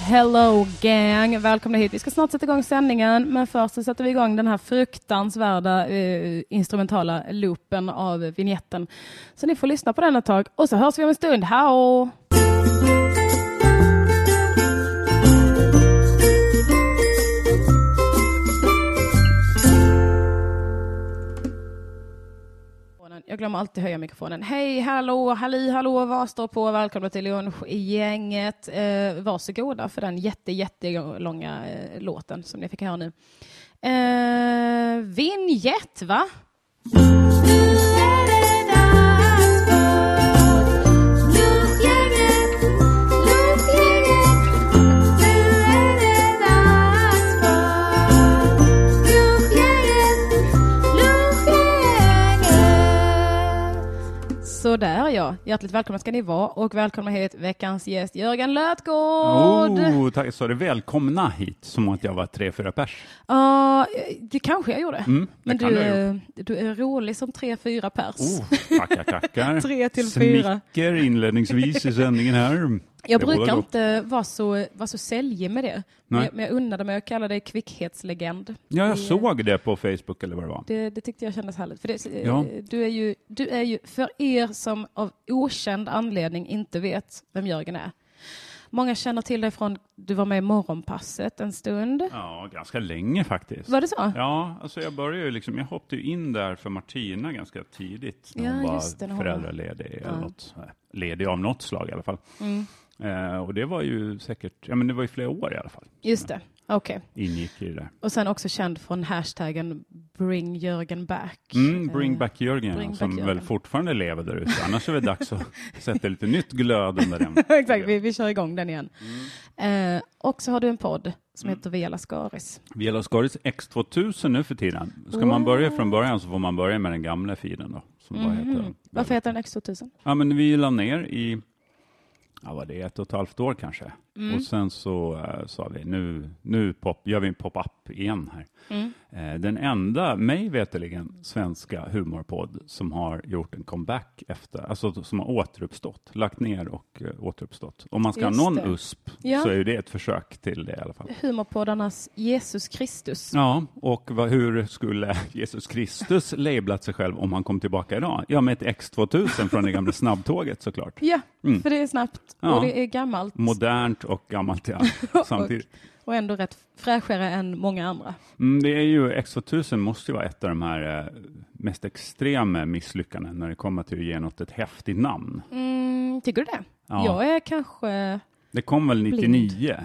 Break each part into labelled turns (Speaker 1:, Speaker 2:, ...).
Speaker 1: Hello gang! Välkomna hit. Vi ska snart sätta igång sändningen, men först så sätter vi igång den här fruktansvärda eh, instrumentala loopen av vignetten. Så ni får lyssna på den ett tag och så hörs vi om en stund. Hao! Jag glömmer alltid höja mikrofonen. Hej, hallå, halli, hallå, vad står på? Välkomna till lunch i gänget. Eh, varsågoda för den jätte, jättelånga eh, låten som ni fick höra nu. Eh, vignett, va? Sådär ja. Hjärtligt välkomna ska ni vara och välkomna hit veckans gäst Jörgen Lötgård.
Speaker 2: Oh, tack. Sa du välkomna hit som att jag var tre, fyra pers?
Speaker 1: Ja, det kanske jag gjorde.
Speaker 2: Mm, det
Speaker 1: Men
Speaker 2: kan
Speaker 1: du,
Speaker 2: jag ha
Speaker 1: är- du är rolig som tre, fyra pers.
Speaker 2: Oh, tackar, tackar.
Speaker 1: Tre till fyra.
Speaker 2: Smicker inledningsvis i sändningen här.
Speaker 1: Jag
Speaker 2: Det
Speaker 1: brukar
Speaker 2: bådar gott.
Speaker 1: inte vara så, vara så säljig med det. Men
Speaker 2: Nej.
Speaker 1: jag, men jag undrade mig att kalla dig kvickhetslegend.
Speaker 2: Ja, jag
Speaker 1: Det-
Speaker 2: såg det på Facebook eller vad det var.
Speaker 1: Det, det tyckte jag kändes härligt. För det, eh,
Speaker 2: Ja.
Speaker 1: du, är ju, du är ju, för er som av okänd anledning inte vet vem Jörgen är. Många känner till dig från, du var med i Morgonpasset en stund.
Speaker 2: Ja, ganska länge faktiskt.
Speaker 1: Var det så?
Speaker 2: Ja, alltså jag började ju liksom, jag hoppade ju in där för Martina ganska tidigt när
Speaker 1: Ja,
Speaker 2: hon
Speaker 1: just
Speaker 2: var
Speaker 1: det, när hon var-
Speaker 2: föräldraledig,
Speaker 1: Ja.
Speaker 2: eller något, så här. ledig av något slag i alla fall.
Speaker 1: Mm.
Speaker 2: Eh, och det var ju säkert, ja men det var ju flera år i alla fall,
Speaker 1: Just det, okej.
Speaker 2: ingick i det där.
Speaker 1: Och sen också känd från hashtaggen Bring Jörgen back.
Speaker 2: Mm, bring
Speaker 1: Eh,
Speaker 2: back Jörgen,
Speaker 1: Bring
Speaker 2: som
Speaker 1: back Jörgen.
Speaker 2: väl fortfarande lever där ute. Annars är det dags att sätta lite nytt glöd under den.
Speaker 1: Exakt, vi, vi kör igång den igen.
Speaker 2: Mm.
Speaker 1: Eh, och så har du en podd som heter Via Lascaris.
Speaker 2: Vi har Skaris X2000 nu för tiden. Ska man börja från början så får man börja med den gamla feeden då. Som bara heter.
Speaker 1: Mhm. Varför heter den X2000?
Speaker 2: Ja, men vi la ner i, ja vad det är, ett och ett halvt år kanske.
Speaker 1: Mm.
Speaker 2: Och sen så eh, sa vi, nu, nu pop, gör vi en pop-up igen här.
Speaker 1: Mm.
Speaker 2: Eh, den enda, mig veterligen, svenska humorpodd som har gjort en comeback efter, alltså som har återuppstått, lagt ner och eh, återuppstått. Om man ska
Speaker 1: Just
Speaker 2: ha någon
Speaker 1: det.
Speaker 2: USP
Speaker 1: Ja.
Speaker 2: så är ju det ett försök till det i alla fall.
Speaker 1: Humorpoddarnas Jesus Kristus.
Speaker 2: Ja, och vad, hur skulle Jesus Kristus lablat sig själv om han kom tillbaka idag? Ja, med ett X2000 från det gamla snabbtåget såklart.
Speaker 1: Ja,
Speaker 2: Mm.
Speaker 1: för det är snabbt
Speaker 2: Ja.
Speaker 1: och det är gammalt
Speaker 2: Modernt och gammalt ja, samtidigt.
Speaker 1: och ändå rätt fräschare än många andra.
Speaker 2: Mm, det är ju, X2000 måste ju vara ett av de här eh, mest extrema misslyckandena när det kommer till att ge något ett häftigt namn.
Speaker 1: Mm, tycker du det?
Speaker 2: Ja.
Speaker 1: Jag är kanske...
Speaker 2: Det kom väl
Speaker 1: Blind.
Speaker 2: 99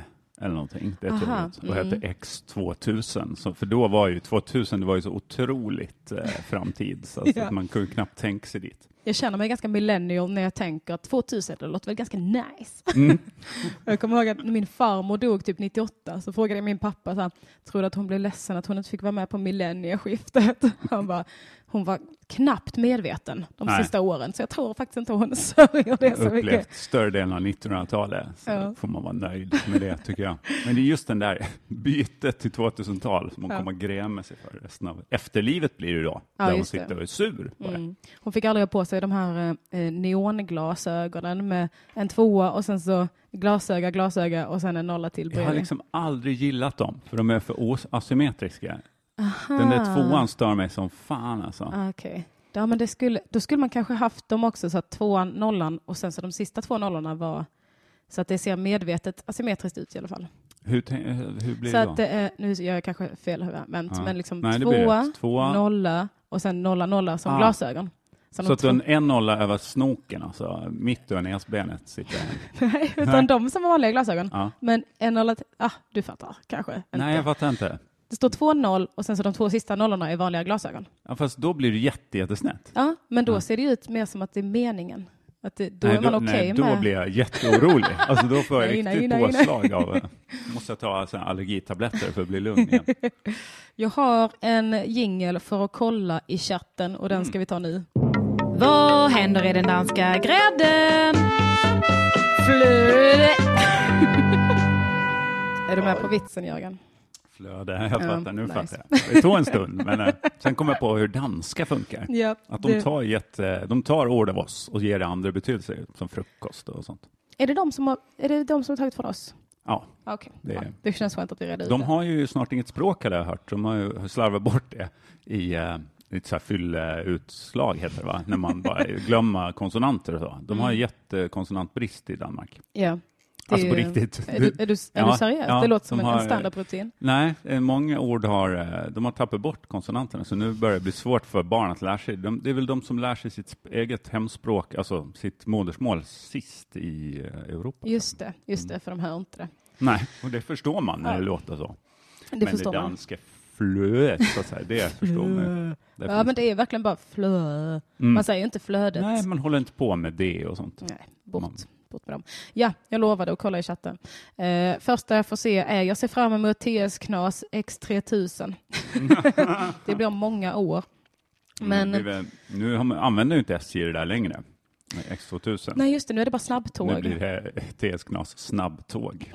Speaker 2: eller någonting, det
Speaker 1: Aha,
Speaker 2: tåget, och
Speaker 1: mm.
Speaker 2: hette X2000. Så, för då var ju 2000 det var ju så otroligt eh, framtid, så att,
Speaker 1: Ja.
Speaker 2: att man kunde knappt tänka sig dit.
Speaker 1: Jag känner mig ganska millennial när jag tänker att 2000, det låter väl ganska nice.
Speaker 2: Mm.
Speaker 1: jag kommer ihåg att när min farmor dog typ 98 så frågade jag min pappa så här, tror du att hon blev ledsen att hon inte fick vara med på millennieskiftet? Han bara, hon var knappt medveten de
Speaker 2: Nej.
Speaker 1: sista åren så jag tror faktiskt inte hon sörjer det så mycket.
Speaker 2: upplevt större delen av 1900-talet, så
Speaker 1: Ja.
Speaker 2: får man vara nöjd med det tycker jag. Men det är just den där bytet till 2000-tal som man
Speaker 1: Ja.
Speaker 2: kommer att gräma sig för resten av efterlivet blir det då,
Speaker 1: Ja,
Speaker 2: där hon
Speaker 1: just det.
Speaker 2: sitter och är sur. på det.
Speaker 1: Mm. Hon fick aldrig ha på sig de här eh, neonglasögonen med en tvåa och sen så glasöga, glasöga och sen en nolla till
Speaker 2: Jag har
Speaker 1: bredvid.
Speaker 2: liksom aldrig gillat dem, för de är för os- asymmetriska. Den där tvåan stör mig som fan alltså.
Speaker 1: Ah, Okej. Ja, men det skulle, då skulle man kanske haft dem också så att tvåan, nollan och sen så de sista två nollorna var så att det ser medvetet asymmetriskt ut i alla fall.
Speaker 2: Hur, tän- eh, hur blir
Speaker 1: Så
Speaker 2: det då?
Speaker 1: att eh, det är, nu gör jag kanske fel vänt,
Speaker 2: Ja.
Speaker 1: men liksom
Speaker 2: Nej, det blir
Speaker 1: tvåa,
Speaker 2: rätt. Tvåa.
Speaker 1: nolla och sen nolla, nolla som
Speaker 2: Ah.
Speaker 1: glasögon. Så
Speaker 2: Så
Speaker 1: de
Speaker 2: att
Speaker 1: tror-
Speaker 2: en, en nolla över snoken, alltså mitt över näsbenet sitter en.
Speaker 1: Nej, utan de som har vanliga glasögon.
Speaker 2: Ja.
Speaker 1: Men en nolla, ah, du fattar kanske. Inte.
Speaker 2: Nej, jag fattar inte.
Speaker 1: Det står två noll och sen så de två sista nollorna är vanliga glasögon.
Speaker 2: Ja, fast då blir det jätte, jättesnett.
Speaker 1: Ja, men då ser det ju ut mer som att det är meningen. Att det, då är
Speaker 2: nej,
Speaker 1: man
Speaker 2: då,
Speaker 1: okej
Speaker 2: nej,
Speaker 1: med...
Speaker 2: då blir jag jätteorolig. Alltså, då får jag
Speaker 1: Nej, nej,
Speaker 2: riktigt
Speaker 1: nej, nej.
Speaker 2: påslag av... eh, Måste jag ta alltså, allergitabletter för att bli lugn igen.
Speaker 1: Jag har en jingel för att kolla i chatten och
Speaker 2: Mm.
Speaker 1: den ska vi ta nu. Vad händer i den danska grädden? Flöde. Är du med på vitsen Jörgen?
Speaker 2: Flöde, jag fattar. Nu
Speaker 1: nice.
Speaker 2: fattar jag. Det tog en stund, men eh, sen kom jag på hur danska funkar.
Speaker 1: Ja,
Speaker 2: Att de
Speaker 1: det-
Speaker 2: tar, jätte, de tar ord av oss och ger det andra betydelser, som frukost och sånt.
Speaker 1: Är det de som har, är det de som har tagit från oss?
Speaker 2: Ja,
Speaker 1: Ah, Okej,
Speaker 2: Det-
Speaker 1: ja, det känns skönt att vi redde ut
Speaker 2: de
Speaker 1: det.
Speaker 2: har ju snart inget språk har jag hört. De har ju slarvat bort det i eh, lite så här fylleutslag heter det va? När man bara glömmer konsonanter och så. De
Speaker 1: Mm.
Speaker 2: har ju jättekonsonantbrist i Danmark.
Speaker 1: Ja. Det
Speaker 2: Alltså på
Speaker 1: är ju-
Speaker 2: riktigt.
Speaker 1: Är du, är du, är
Speaker 2: Ja,
Speaker 1: du seriös?
Speaker 2: ja,
Speaker 1: det låter som
Speaker 2: de
Speaker 1: en,
Speaker 2: har-
Speaker 1: en standardrutin.
Speaker 2: Nej, eh, många ord har, eh, de har tappat bort konsonanterna, så nu börjar det bli svårt för barn att lära sig. De, det är väl de som lär sig sitt sp- eget hemspråk, alltså sitt modersmål, sist i eh, Europa.
Speaker 1: Just det, just det, för de hör inte det.
Speaker 2: Nej, och det förstår man när det låter så.
Speaker 1: Det
Speaker 2: men
Speaker 1: förstår
Speaker 2: det
Speaker 1: man.
Speaker 2: danska flöet, så att säga, det förstår man ju. Där
Speaker 1: Ja,
Speaker 2: finns- Mm.
Speaker 1: men det är verkligen bara flö. Man säger ju inte flödet.
Speaker 2: Nej, man håller inte på med det och sånt.
Speaker 1: Nej, bort.
Speaker 2: Man-
Speaker 1: Bort med dem. Ja, jag lovade att kolla i chatten. Eh, första jag får se är, jag ser fram emot TS Knas X3000. det blir om många år. Mm. Men,
Speaker 2: Nu, blir det- nu har man- använder ju inte SJ det där längre, med X2000.
Speaker 1: nej just det, nu är det bara
Speaker 2: Nu
Speaker 1: snabbtåg.
Speaker 2: blir det TS Knas snabbtåg.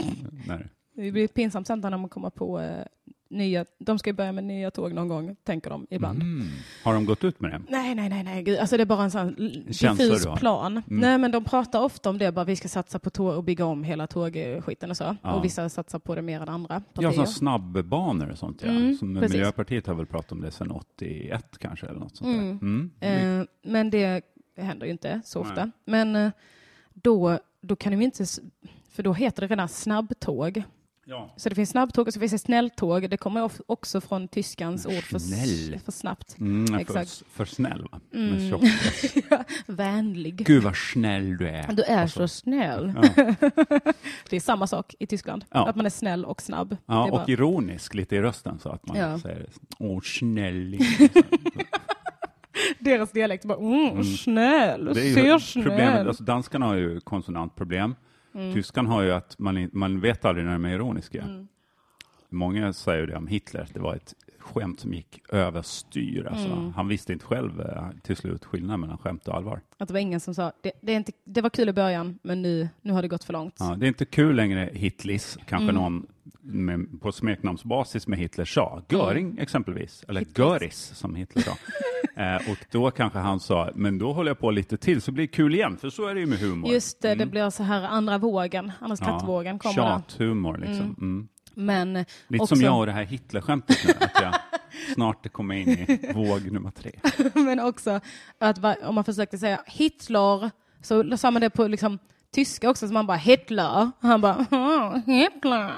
Speaker 2: När,
Speaker 1: Det blir ett pinsamt sen när de kommer på eh, nya, de ska ju börja med nya tåg någon gång, tänker de ibland.
Speaker 2: Mm. Har de gått ut med det?
Speaker 1: Nej, nej, nej, nej, gud. Alltså det är bara en sån l-
Speaker 2: Känsla
Speaker 1: diffus
Speaker 2: du har.
Speaker 1: plan. Nej, men de pratar ofta om det, bara vi ska satsa på tåg och bygga om hela tågskiten och så.
Speaker 2: Ja.
Speaker 1: Och vissa satsar på det mer än andra
Speaker 2: Ja,
Speaker 1: partier.
Speaker 2: sådana snabbbanor och sånt. Ja.
Speaker 1: Mm,
Speaker 2: Som
Speaker 1: precis.
Speaker 2: Miljöpartiet har väl pratat om det sedan 81 kanske. Eller något sånt där.
Speaker 1: Mm.
Speaker 2: Mm.
Speaker 1: eh, men det händer ju inte så
Speaker 2: Nej.
Speaker 1: ofta. Men eh, då, då kan de ju inte, s- för då heter det redan snabbtåg.
Speaker 2: Ja.
Speaker 1: Så det finns snabbtåg och så finns det snälltåg. Det kommer of- också från tyskans ord för,
Speaker 2: Snäll.
Speaker 1: s- för snabbt.
Speaker 2: Mm, för,
Speaker 1: Exakt. Mm.
Speaker 2: för snäll va? Men tjock.
Speaker 1: Vänlig.
Speaker 2: Gud vad snäll du är. Alltså,
Speaker 1: Du är så snäll. det är samma sak i Tyskland.
Speaker 2: Ja.
Speaker 1: Att man är snäll och snabb.
Speaker 2: Ja,
Speaker 1: det är
Speaker 2: och ironisk lite i rösten så att man
Speaker 1: Ja.
Speaker 2: säger åh snälling.
Speaker 1: Deras dialekt bara mm, snäll,
Speaker 2: Det är
Speaker 1: ser
Speaker 2: ju
Speaker 1: snäll. Mm.
Speaker 2: problemet. Alltså, danskarna har ju konsonantproblem. Tyskan har ju att man, in- man vet aldrig när de är ironiska. Många säger ju det om Hitler, att det var ett skämt som gick överstyr. Alltså,
Speaker 1: Mm.
Speaker 2: Han visste inte själv eh, till slut skillnaden mellan skämt och allvar.
Speaker 1: Att det var ingen som sa det, det, är inte, det var kul i början men nu, nu har det gått för långt.
Speaker 2: Ja, det är inte kul längre, Hitlis, kanske
Speaker 1: Mm.
Speaker 2: någon med, på smeknamnsbasis med Hitler sa.
Speaker 1: Mm.
Speaker 2: Göring exempelvis, eller Göris som Hitler sa. eh, och då kanske han sa, men då håller jag på lite till så blir det kul igen, för så är det ju med humor.
Speaker 1: Just det,
Speaker 2: Mm.
Speaker 1: det blir så här andra vågen, annars kattvågen kommer där.
Speaker 2: Tjathumor liksom. Mm.
Speaker 1: Men
Speaker 2: Lite
Speaker 1: också,
Speaker 2: som jag och det här Hitlerskämtet nu, att jag snart kommer in i våg nummer tre.
Speaker 1: men också att va, om man försökte säga Hitler så sa man det på liksom tyska också, så man bara Hitler. Han bara "Ah, Hitler.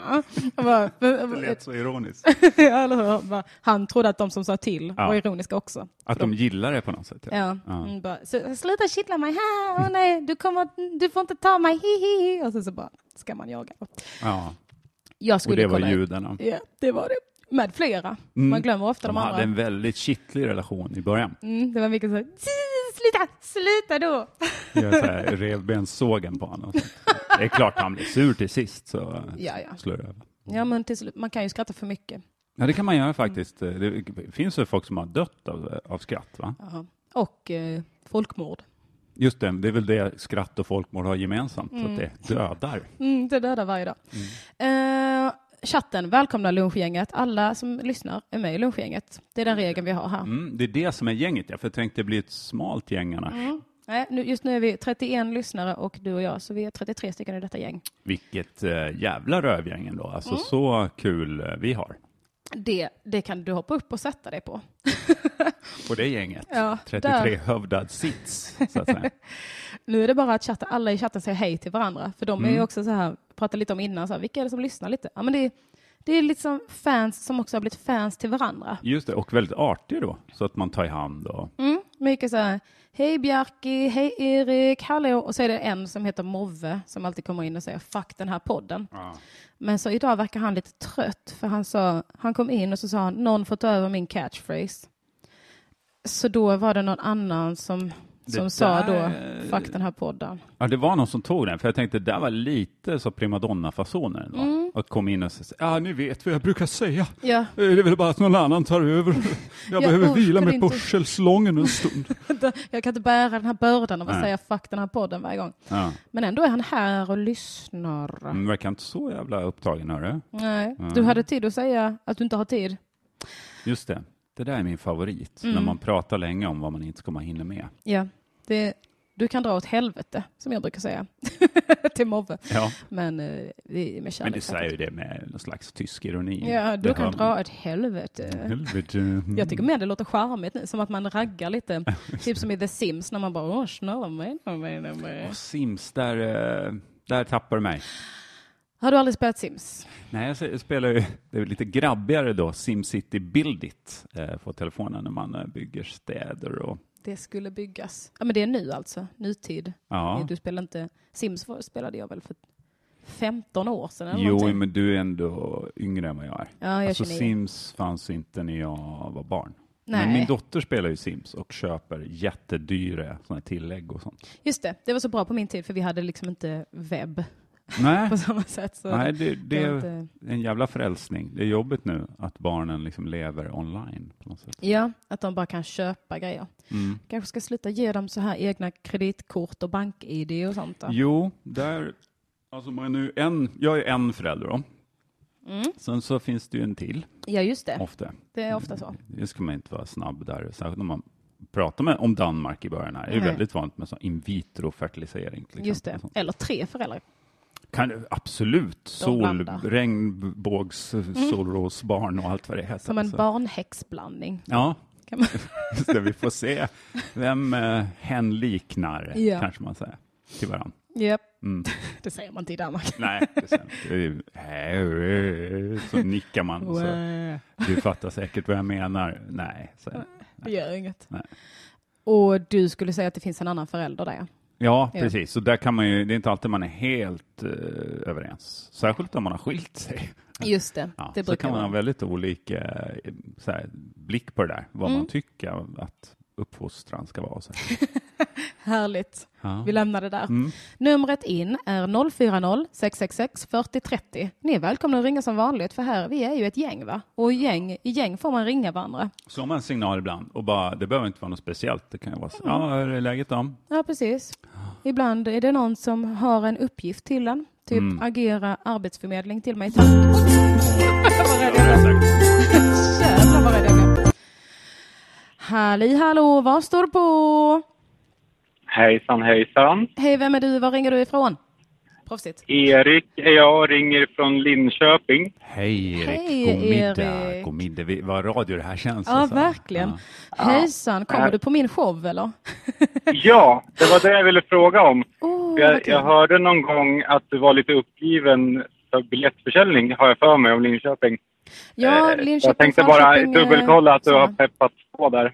Speaker 1: Jag bara,
Speaker 2: Det lät så ironiskt.
Speaker 1: Ja, eller hur? Han bara- Han trodde att de som sa till
Speaker 2: Ja.
Speaker 1: var ironiska också.
Speaker 2: Att de gillar det på något sätt. Ja.
Speaker 1: Ja. Mm, bara, så, sluta kittla mig, ha, åh nej, du, kommer, du får inte ta mig, hihi. Och så, så bara, ska man jaga.
Speaker 2: Ja.
Speaker 1: Jag
Speaker 2: Och
Speaker 1: skulle
Speaker 2: det var
Speaker 1: kolla.
Speaker 2: judarna.
Speaker 1: Ja, det var det. Med flera. Man glömmer ofta de,
Speaker 2: De
Speaker 1: andra.
Speaker 2: hade en väldigt kittlig relation i början.
Speaker 1: Mm, det var mycket så, här, sluta, sluta då.
Speaker 2: Jag så här, revbenssågen på honom. Det är klart han blir sur till sist, så
Speaker 1: Ja, ja.
Speaker 2: slår det över.
Speaker 1: Ja, men till slut, man kan ju skratta för mycket.
Speaker 2: Ja, det kan man göra faktiskt. Det finns ju folk som har dött av, av skratt, va?
Speaker 1: Jaha. Och eh, folkmord.
Speaker 2: Just det, det är väl det skratt och folkmord har gemensamt, att det dödar.
Speaker 1: Mm, det dödar varje dag. Eh, chatten, välkomna lunchgänget. Alla som lyssnar är med i lunchgänget. Det är den regeln vi har här.
Speaker 2: Mm, det är det som är gänget, ja, för jag tänkte det blir ett smalt gäng annars.
Speaker 1: Mm. Nej, nu, just nu är vi 31 lyssnare och du och jag, så vi är 33 stycken i detta gäng.
Speaker 2: Vilket eh, jävla rövgäng ändå. Alltså
Speaker 1: Mm.
Speaker 2: så kul eh, vi har
Speaker 1: Det, det kan du hoppa upp och sätta dig på.
Speaker 2: på det gänget.
Speaker 1: Ja,
Speaker 2: 33
Speaker 1: där.
Speaker 2: hövdad sits, så att säga.
Speaker 1: Nu är det bara att chatta, alla i chatten säger hej till varandra, för de är ju också så här, pratade lite om innan, så här, vilka är det som lyssnar lite? Ja, men det, är- det är liksom fans som också har blivit fans till varandra.
Speaker 2: Just det, och väldigt artig då, så att man tar i hand och
Speaker 1: Mm, mycket så här, hej Bjarki, hej Erik, hallå. Och så är det en som heter Move som alltid kommer in och säger fuck den här podden. Men så idag verkar han lite trött för han, sa, han kom in och så sa han någon får ta över min catchphrase. Så då var det någon annan som, som sa då
Speaker 2: där- eh,
Speaker 1: fuck den här podden.
Speaker 2: Ja, det var någon som tog den, för jag tänkte det där var lite så primadonna-fasoner. ändå.
Speaker 1: Mm.
Speaker 2: Och kom in och sa, ja ni vet vad jag brukar säga. Eh,
Speaker 1: Ja,
Speaker 2: Det är väl bara att någon annan tar över. Jag
Speaker 1: Ja,
Speaker 2: behöver
Speaker 1: usch,
Speaker 2: vila
Speaker 1: det är
Speaker 2: mig på
Speaker 1: inte-
Speaker 2: skällslången en stund.
Speaker 1: jag kan inte bära den här bördan av att
Speaker 2: Nej.
Speaker 1: säga fuck den här podden varje gång.
Speaker 2: Ja,
Speaker 1: Men ändå är han här och lyssnar.
Speaker 2: men verkar inte så jävla upptagen, hörru.
Speaker 1: Nej,
Speaker 2: Mm.
Speaker 1: du hade tid att säga att du inte har tid.
Speaker 2: Just
Speaker 1: Mm.
Speaker 2: det, det där är min favorit. När man pratar länge om vad man inte kommer hinna med.
Speaker 1: Ja, det, Du kan dra åt helvete, som jag brukar säga till Mobbe.
Speaker 2: Ja,
Speaker 1: Men eh, vi- med
Speaker 2: men
Speaker 1: kärlek.
Speaker 2: du säger ju det med någon slags tysk ironi.
Speaker 1: Ja, du
Speaker 2: Det
Speaker 1: kan
Speaker 2: hör
Speaker 1: dra
Speaker 2: man.
Speaker 1: åt
Speaker 2: Mm.
Speaker 1: helvete.
Speaker 2: Helvete.
Speaker 1: Jag tycker mer det låter charmigt nu, som att man raggar lite. typ som i The Sims när man bara åh, snälla mig, nej, nej, nej, nej."
Speaker 2: Och Sims, där, eh, där tappar du mig.
Speaker 1: Har du aldrig spelat Sims?
Speaker 2: Nej, jag se- spelar ju det är lite grabbigare då, Simcity Build It, eh, på telefonen när man eh, bygger städer och
Speaker 1: Det skulle byggas. Ja, men det är nu alltså, nutid.
Speaker 2: ja.
Speaker 1: Du spelar inte... Sims var- spelade jag väl för 15 år sedan eller
Speaker 2: Jo,
Speaker 1: någonting.
Speaker 2: men du är ändå yngre än vad jag är.
Speaker 1: Ja, jag
Speaker 2: alltså
Speaker 1: känner igen.
Speaker 2: Sims fanns inte när jag var barn. Men min
Speaker 1: Nej,
Speaker 2: dotter spelar ju Sims och köper jättedyra såna här tillägg och sånt.
Speaker 1: just det. Det var så bra på min tid för vi hade liksom inte webb
Speaker 2: Nej,
Speaker 1: på samma sätt. Så
Speaker 2: nej det, det
Speaker 1: var
Speaker 2: är
Speaker 1: inte...
Speaker 2: en jävla frälsning. Det är jobbigt nu att barnen liksom lever online på något sätt.
Speaker 1: Ja, att de bara kan köpa grejer.
Speaker 2: Mm.
Speaker 1: Kanske ska sluta ge dem så här egna kreditkort och bank-id och sånt. Då.
Speaker 2: Jo, där, alltså man är nu en, jag är en förälder då.
Speaker 1: Mm.
Speaker 2: Sen så finns det ju en till,
Speaker 1: Ja, just det.
Speaker 2: ofta.
Speaker 1: Det är ofta så.
Speaker 2: Det ska man inte vara snabb där, särskilt när man pratar med, om Danmark i början. Här. Det är ju
Speaker 1: Nej.
Speaker 2: väldigt vanligt med sån in vitro-fertilisering. till
Speaker 1: Just
Speaker 2: exempel.
Speaker 1: det. Eller tre föräldrar.
Speaker 2: Kan du, absolut. Sol,
Speaker 1: blandar. Mm.
Speaker 2: regnbågs, solrosbarn och allt vad det heter.
Speaker 1: Som en
Speaker 2: Så-
Speaker 1: barnhäxblandning.
Speaker 2: Ja,
Speaker 1: Kan man...
Speaker 2: just det, vi får se vem eh, hen liknar,
Speaker 1: Ja.
Speaker 2: kanske man säger, till varandra.
Speaker 1: Japp,
Speaker 2: Mm.
Speaker 1: det säger man inte i Danmark.
Speaker 2: Nej, det är sant. Det är ju- Hej, så nickar man. och Så.
Speaker 1: Wow.
Speaker 2: Du fattar säkert vad jag menar. Nej, så.
Speaker 1: Det gör inget.
Speaker 2: Nej.
Speaker 1: Och du skulle säga att det finns en annan förälder där.
Speaker 2: Ja,
Speaker 1: Ja.
Speaker 2: precis. Så där kan man ju, det är inte alltid man är helt eh, överens. Särskilt om man har skilt sig.
Speaker 1: Just det.
Speaker 2: Ja,
Speaker 1: det
Speaker 2: så kan man ha
Speaker 1: vara.
Speaker 2: väldigt olika eh, så här, blick på det där, vad
Speaker 1: Mm.
Speaker 2: man tycker att uppfostran ska vara. och Så här.
Speaker 1: Härligt.
Speaker 2: Ja.
Speaker 1: Vi lämnar det där.
Speaker 2: Mm.
Speaker 1: Numret in är 040 666 4030. Ni är välkomna att ringa som vanligt för här, vi är ju ett gäng va? Och i gäng, i gäng får man ringa varandra.
Speaker 2: Så har man en signal ibland och bara, det behöver inte vara något speciellt. Det kan ju vara så, ja, hur är läget då?
Speaker 1: Ja, precis. Ah. Ibland är det någon som har en uppgift till en. Typ agera arbetsförmedling till mig. Tack. Vad rädd jag blev. Jävlar vad rädd jag blev. Halli hallå, vad står det på?
Speaker 3: Hejsan, hejsan.
Speaker 1: Hej, vem är du? Var ringer du ifrån? Proffsigt.
Speaker 3: Erik är jag, ringer från Linköping.
Speaker 2: Hej Erik,
Speaker 1: Hej,
Speaker 2: god middag.
Speaker 1: Erik.
Speaker 2: God middag. Vi, vad radio det här känns.
Speaker 1: Ja,
Speaker 2: alltså.
Speaker 1: verkligen.
Speaker 2: Ja.
Speaker 1: Hejsan, kommer du på min show eller?
Speaker 3: Ja, det var det jag ville fråga om.
Speaker 1: Åh, vad
Speaker 3: Jag,
Speaker 1: kul.
Speaker 3: jag hörde någon gång att du var lite uppgiven för biljettförsäljning, har jag för mig, om Linköping.
Speaker 1: ja,
Speaker 3: Eh,
Speaker 1: Linköping,
Speaker 3: jag tänkte bara
Speaker 1: Falköping, eh,
Speaker 3: dubbelkolla att du har
Speaker 1: så.
Speaker 3: peppat på där.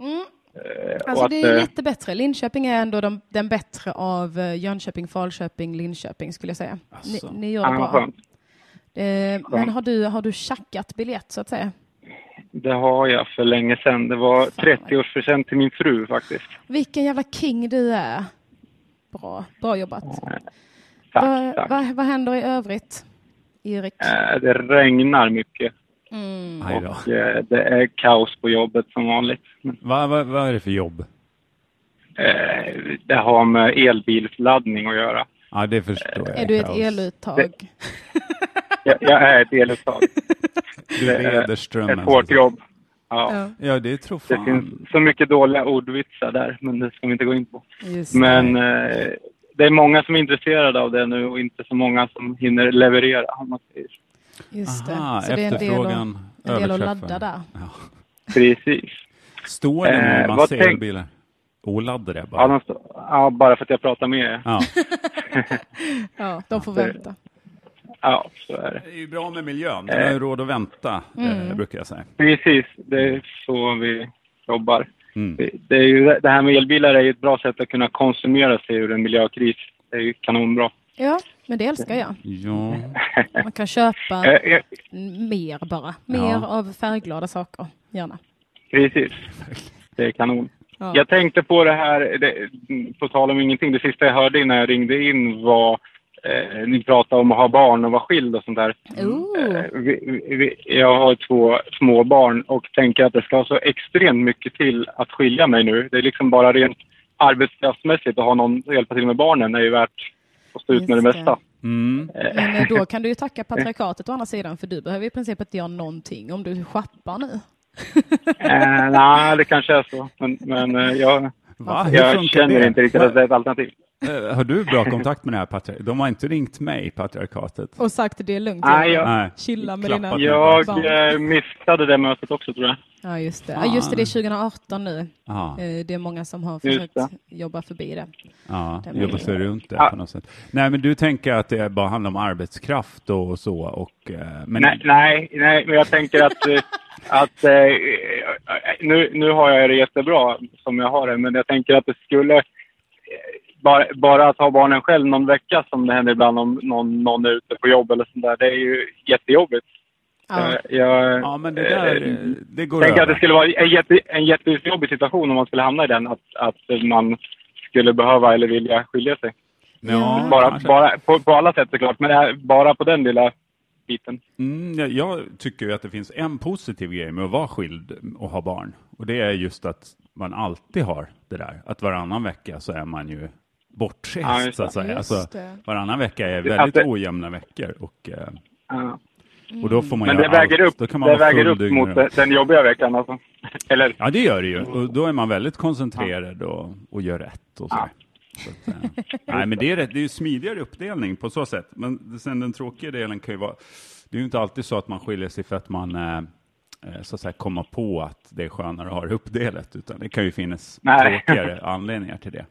Speaker 1: Mm.
Speaker 3: Eh,
Speaker 1: Alltså
Speaker 3: och
Speaker 1: det
Speaker 3: att,
Speaker 1: är
Speaker 3: eh,
Speaker 1: lite bättre. Linköping är ändå de, den bättre av eh, Jönköping, Falköping, Linköping skulle jag säga. Ni,
Speaker 2: Asså.
Speaker 1: ni gör det
Speaker 3: Alltså. ja, vad
Speaker 1: bra.
Speaker 3: skönt.
Speaker 1: Eh, men har du, har du tjackat biljett så att säga?
Speaker 3: Det har jag för länge sedan. Det var
Speaker 1: Fan, vad-
Speaker 3: 30-årspresent till min fru faktiskt.
Speaker 1: Vilken jävla king du är. Bra, bra jobbat.
Speaker 3: Tack,
Speaker 1: Vad
Speaker 3: tack.
Speaker 1: vad- vad händer i övrigt, Erik?
Speaker 3: Eh, Det regnar mycket
Speaker 1: Mm.
Speaker 2: Aj då.
Speaker 3: och eh, det är kaos på jobbet som vanligt. Men
Speaker 2: Vad vad- vad är det för jobb?
Speaker 3: Eh, Det har med elbilsladdning att göra.
Speaker 2: Ja, det förstår jag.
Speaker 1: Är du ett
Speaker 2: Kaos.
Speaker 1: eluttag?
Speaker 3: Jag, jag är ett eluttag.
Speaker 2: Du leder strömmen.
Speaker 3: Ett hårt
Speaker 2: så-
Speaker 3: jobb. Ja.
Speaker 1: Ja,
Speaker 2: Ja, det tror
Speaker 3: Det
Speaker 2: fan.
Speaker 3: finns så mycket dåliga ordvitsar där, men det ska vi inte gå in på.
Speaker 1: just det.
Speaker 3: Men eh, det är många som är intresserade av det nu och inte så många som hinner leverera. Om man säger. så.
Speaker 1: Just
Speaker 2: Aha,
Speaker 1: det. Så det är en del, att,
Speaker 2: efterfrågan
Speaker 1: en del att
Speaker 2: överträffar.
Speaker 1: ladda där.
Speaker 2: Ja.
Speaker 3: Precis.
Speaker 2: Står det nu
Speaker 3: Eh,
Speaker 2: en
Speaker 3: vad
Speaker 2: massa
Speaker 3: tänk-
Speaker 2: elbilar? Oladdade det bara?
Speaker 3: Ja, de, står- ja, bara för att jag pratar med er.
Speaker 2: Ja.
Speaker 1: Ja, de får vänta.
Speaker 3: Ja, så är det.
Speaker 2: Det är ju bra med miljön.
Speaker 3: Eh.
Speaker 2: Den har ju råd att vänta,
Speaker 3: Mm.
Speaker 2: eh, brukar jag säga.
Speaker 3: Precis, det är så vi jobbar.
Speaker 2: Mm.
Speaker 3: Det, det, är ju, det här med elbilar är ju ett bra sätt att kunna konsumera sig ur en miljökris. Det är ju kanonbra.
Speaker 1: Ja, men det älskar jag.
Speaker 2: Ja.
Speaker 1: Man kan köpa
Speaker 3: Eh, eh,
Speaker 1: mer bara. Mer
Speaker 2: Ja.
Speaker 1: av färgglada saker, gärna.
Speaker 3: Precis. Det är kanon.
Speaker 1: Ja.
Speaker 3: Jag tänkte på det här, det, på tal om ingenting, det sista jag hörde innan jag ringde in var eh, ni pratade om att ha barn och vara skild och sånt där.
Speaker 2: Oh.
Speaker 1: Ooh.
Speaker 3: Eh, vi, vi- vi, jag har två små barn och tänker att det ska så extremt mycket till att skilja mig nu. Det är liksom bara rent arbetskraftsmässigt att ha någon att hjälpa till med barnen är ju värt att stå ut med det
Speaker 1: Just det.
Speaker 3: mesta.
Speaker 2: Mm.
Speaker 1: Men eh, då kan du ju tacka patriarkatet å andra sidan, för du behöver i princip inte göra någonting om du schappar nu.
Speaker 3: Eh, Nej, det kanske är så. Men, men eh, jag,
Speaker 2: Va? Hur
Speaker 3: Jag
Speaker 2: funkar
Speaker 3: känner
Speaker 2: det?
Speaker 3: inte riktigt att det är ett alternativ.
Speaker 2: Eh, Har du bra kontakt med det här patriarkatet? De har inte ringt mig, patriarkatet.
Speaker 1: Och sagt det är lugnt.
Speaker 3: Nej, jag-
Speaker 2: Nej.
Speaker 1: Chilla med
Speaker 2: Klappat
Speaker 1: dina
Speaker 2: mig.
Speaker 3: Ah, Jag
Speaker 1: barn.
Speaker 3: eh, missade det mötet också tror jag.
Speaker 1: Ja, just det. Ja, just det, det är 2018 nu.
Speaker 2: Ja,
Speaker 1: Eh, Det är många som har
Speaker 3: Ah. Just
Speaker 1: försökt jobba förbi det.
Speaker 2: ja,
Speaker 1: det var
Speaker 2: jobba sig runt det
Speaker 3: Ja.
Speaker 2: på något sätt. Nej, men du tänker att det bara handlar om arbetskraft och så. Och, eh, men,
Speaker 3: Nej, nej, nej, men jag tänker att, eh, att eh, nu, nu har jag det jättebra som jag har det, men jag tänker att det skulle eh, bara, bara att ha barnen själv någon vecka som det händer ibland om någon, någon är ute på jobb eller sånt där, det är ju jättejobbigt.
Speaker 1: Ja.
Speaker 3: Eh, Jag,
Speaker 2: Ja, men det där, eh, det går
Speaker 3: tänker att det
Speaker 2: över.
Speaker 3: skulle vara en, jätte, en jättejobbig situation om man skulle hamna i den, att, att man skulle behöva eller vilja skilja sig.
Speaker 2: Ja,
Speaker 3: Bara,
Speaker 2: kanske.
Speaker 3: bara på, på alla sätt såklart, men det här, bara på den lilla biten.
Speaker 2: Mm, jag, jag tycker ju att det finns en positiv grej med att vara skild och ha barn. Och det är just att man alltid har det där. Att varannan vecka så är man ju
Speaker 3: Ja,
Speaker 2: bortrest,
Speaker 3: just
Speaker 2: så att
Speaker 3: det.
Speaker 2: säga.
Speaker 1: Just
Speaker 2: Alltså,
Speaker 1: det.
Speaker 2: varannan vecka är väldigt
Speaker 3: Alltså-
Speaker 2: ojämna veckor. Och, eh,
Speaker 3: Ja.
Speaker 2: och
Speaker 1: Mm.
Speaker 2: då får man
Speaker 3: Men det
Speaker 2: göra
Speaker 3: väger
Speaker 2: allt.
Speaker 3: upp,
Speaker 2: Då kan man
Speaker 3: det
Speaker 2: vara
Speaker 3: väger
Speaker 2: full
Speaker 3: upp
Speaker 2: dygnet runt.
Speaker 3: mot den- den jobbiga veckan alltså. Eller,
Speaker 2: Ja, det gör det ju. Och då är man väldigt koncentrerad och, och gör rätt. Och så. Så att, eh, nej, men det är, rätt, det är ju smidigare uppdelning på så sätt. Men sen den tråkiga delen kan ju vara, det är ju inte alltid så att man skiljer sig för att man eh, eh, så att säga kommer på att det är skönare att ha det uppdelat, utan det kan ju finnas
Speaker 3: Nej.
Speaker 2: tråkigare anledningar till det.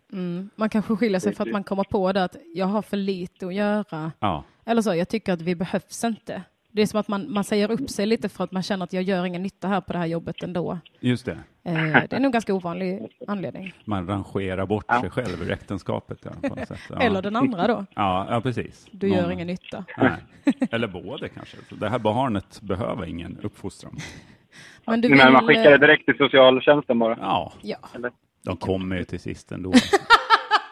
Speaker 1: Man kanske skiljer sig för att man kommer på det att jag har för lite att göra.
Speaker 2: Ja,
Speaker 1: Eller så, jag tycker att vi behövs inte. Det är som att man, man säger upp sig lite för att man känner att jag gör ingen nytta här på det här jobbet ändå.
Speaker 2: just det.
Speaker 1: Eh, det är nog en ganska ovanlig anledning.
Speaker 2: Man rangerar bort sig själv ur äktenskapet. Ja, på något sätt. Ja.
Speaker 1: Eller den andra då,
Speaker 2: ja, ja, precis.
Speaker 1: du
Speaker 2: Någon-
Speaker 1: gör ingen nytta.
Speaker 2: Nej. Eller både kanske. Så det här barnet behöver ingen uppfostran.
Speaker 1: Men du
Speaker 3: nej, men man
Speaker 1: vill, eh,
Speaker 3: skickar det direkt till socialtjänsten bara.
Speaker 2: Ja,
Speaker 1: Ja,
Speaker 3: Eller,
Speaker 2: De kommer ju till sist ändå.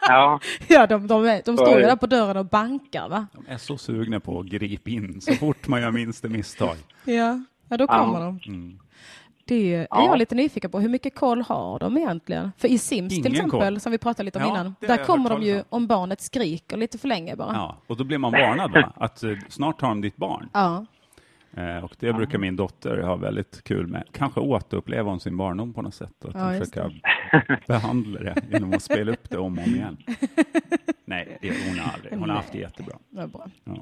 Speaker 3: ja.
Speaker 1: ja de, de, är- de står
Speaker 3: är
Speaker 1: ju
Speaker 3: det.
Speaker 1: där på dörren och bankar va?
Speaker 2: De är så sugna på att gripa in så fort man gör minsta misstag.
Speaker 1: Ja, ja då
Speaker 3: Ja.
Speaker 1: kommer de.
Speaker 2: Mm.
Speaker 1: Det är jag lite nyfiken på. Hur mycket koll har de egentligen? För i Sims
Speaker 2: Ingen
Speaker 1: till exempel,
Speaker 2: koll.
Speaker 1: som vi pratade lite om
Speaker 2: Ja,
Speaker 1: innan,
Speaker 2: det
Speaker 1: där
Speaker 2: har jag
Speaker 1: kommer
Speaker 2: hört
Speaker 1: de ju
Speaker 2: talas
Speaker 1: om barnet skriker lite för länge bara.
Speaker 2: Ja, och då blir man varnad va? att eh, snart har de ditt barn.
Speaker 1: Ja.
Speaker 2: Eh, och det brukar min dotter ha väldigt kul med. Kanske återuppleva om sin barndom på något sätt. Att
Speaker 1: Ja,
Speaker 2: hon
Speaker 1: just
Speaker 2: försöka behandla det genom att spela upp det om och om igen. Nej, det hon har aldrig. Hon har haft det jättebra.
Speaker 1: Det är bra.
Speaker 2: Ja.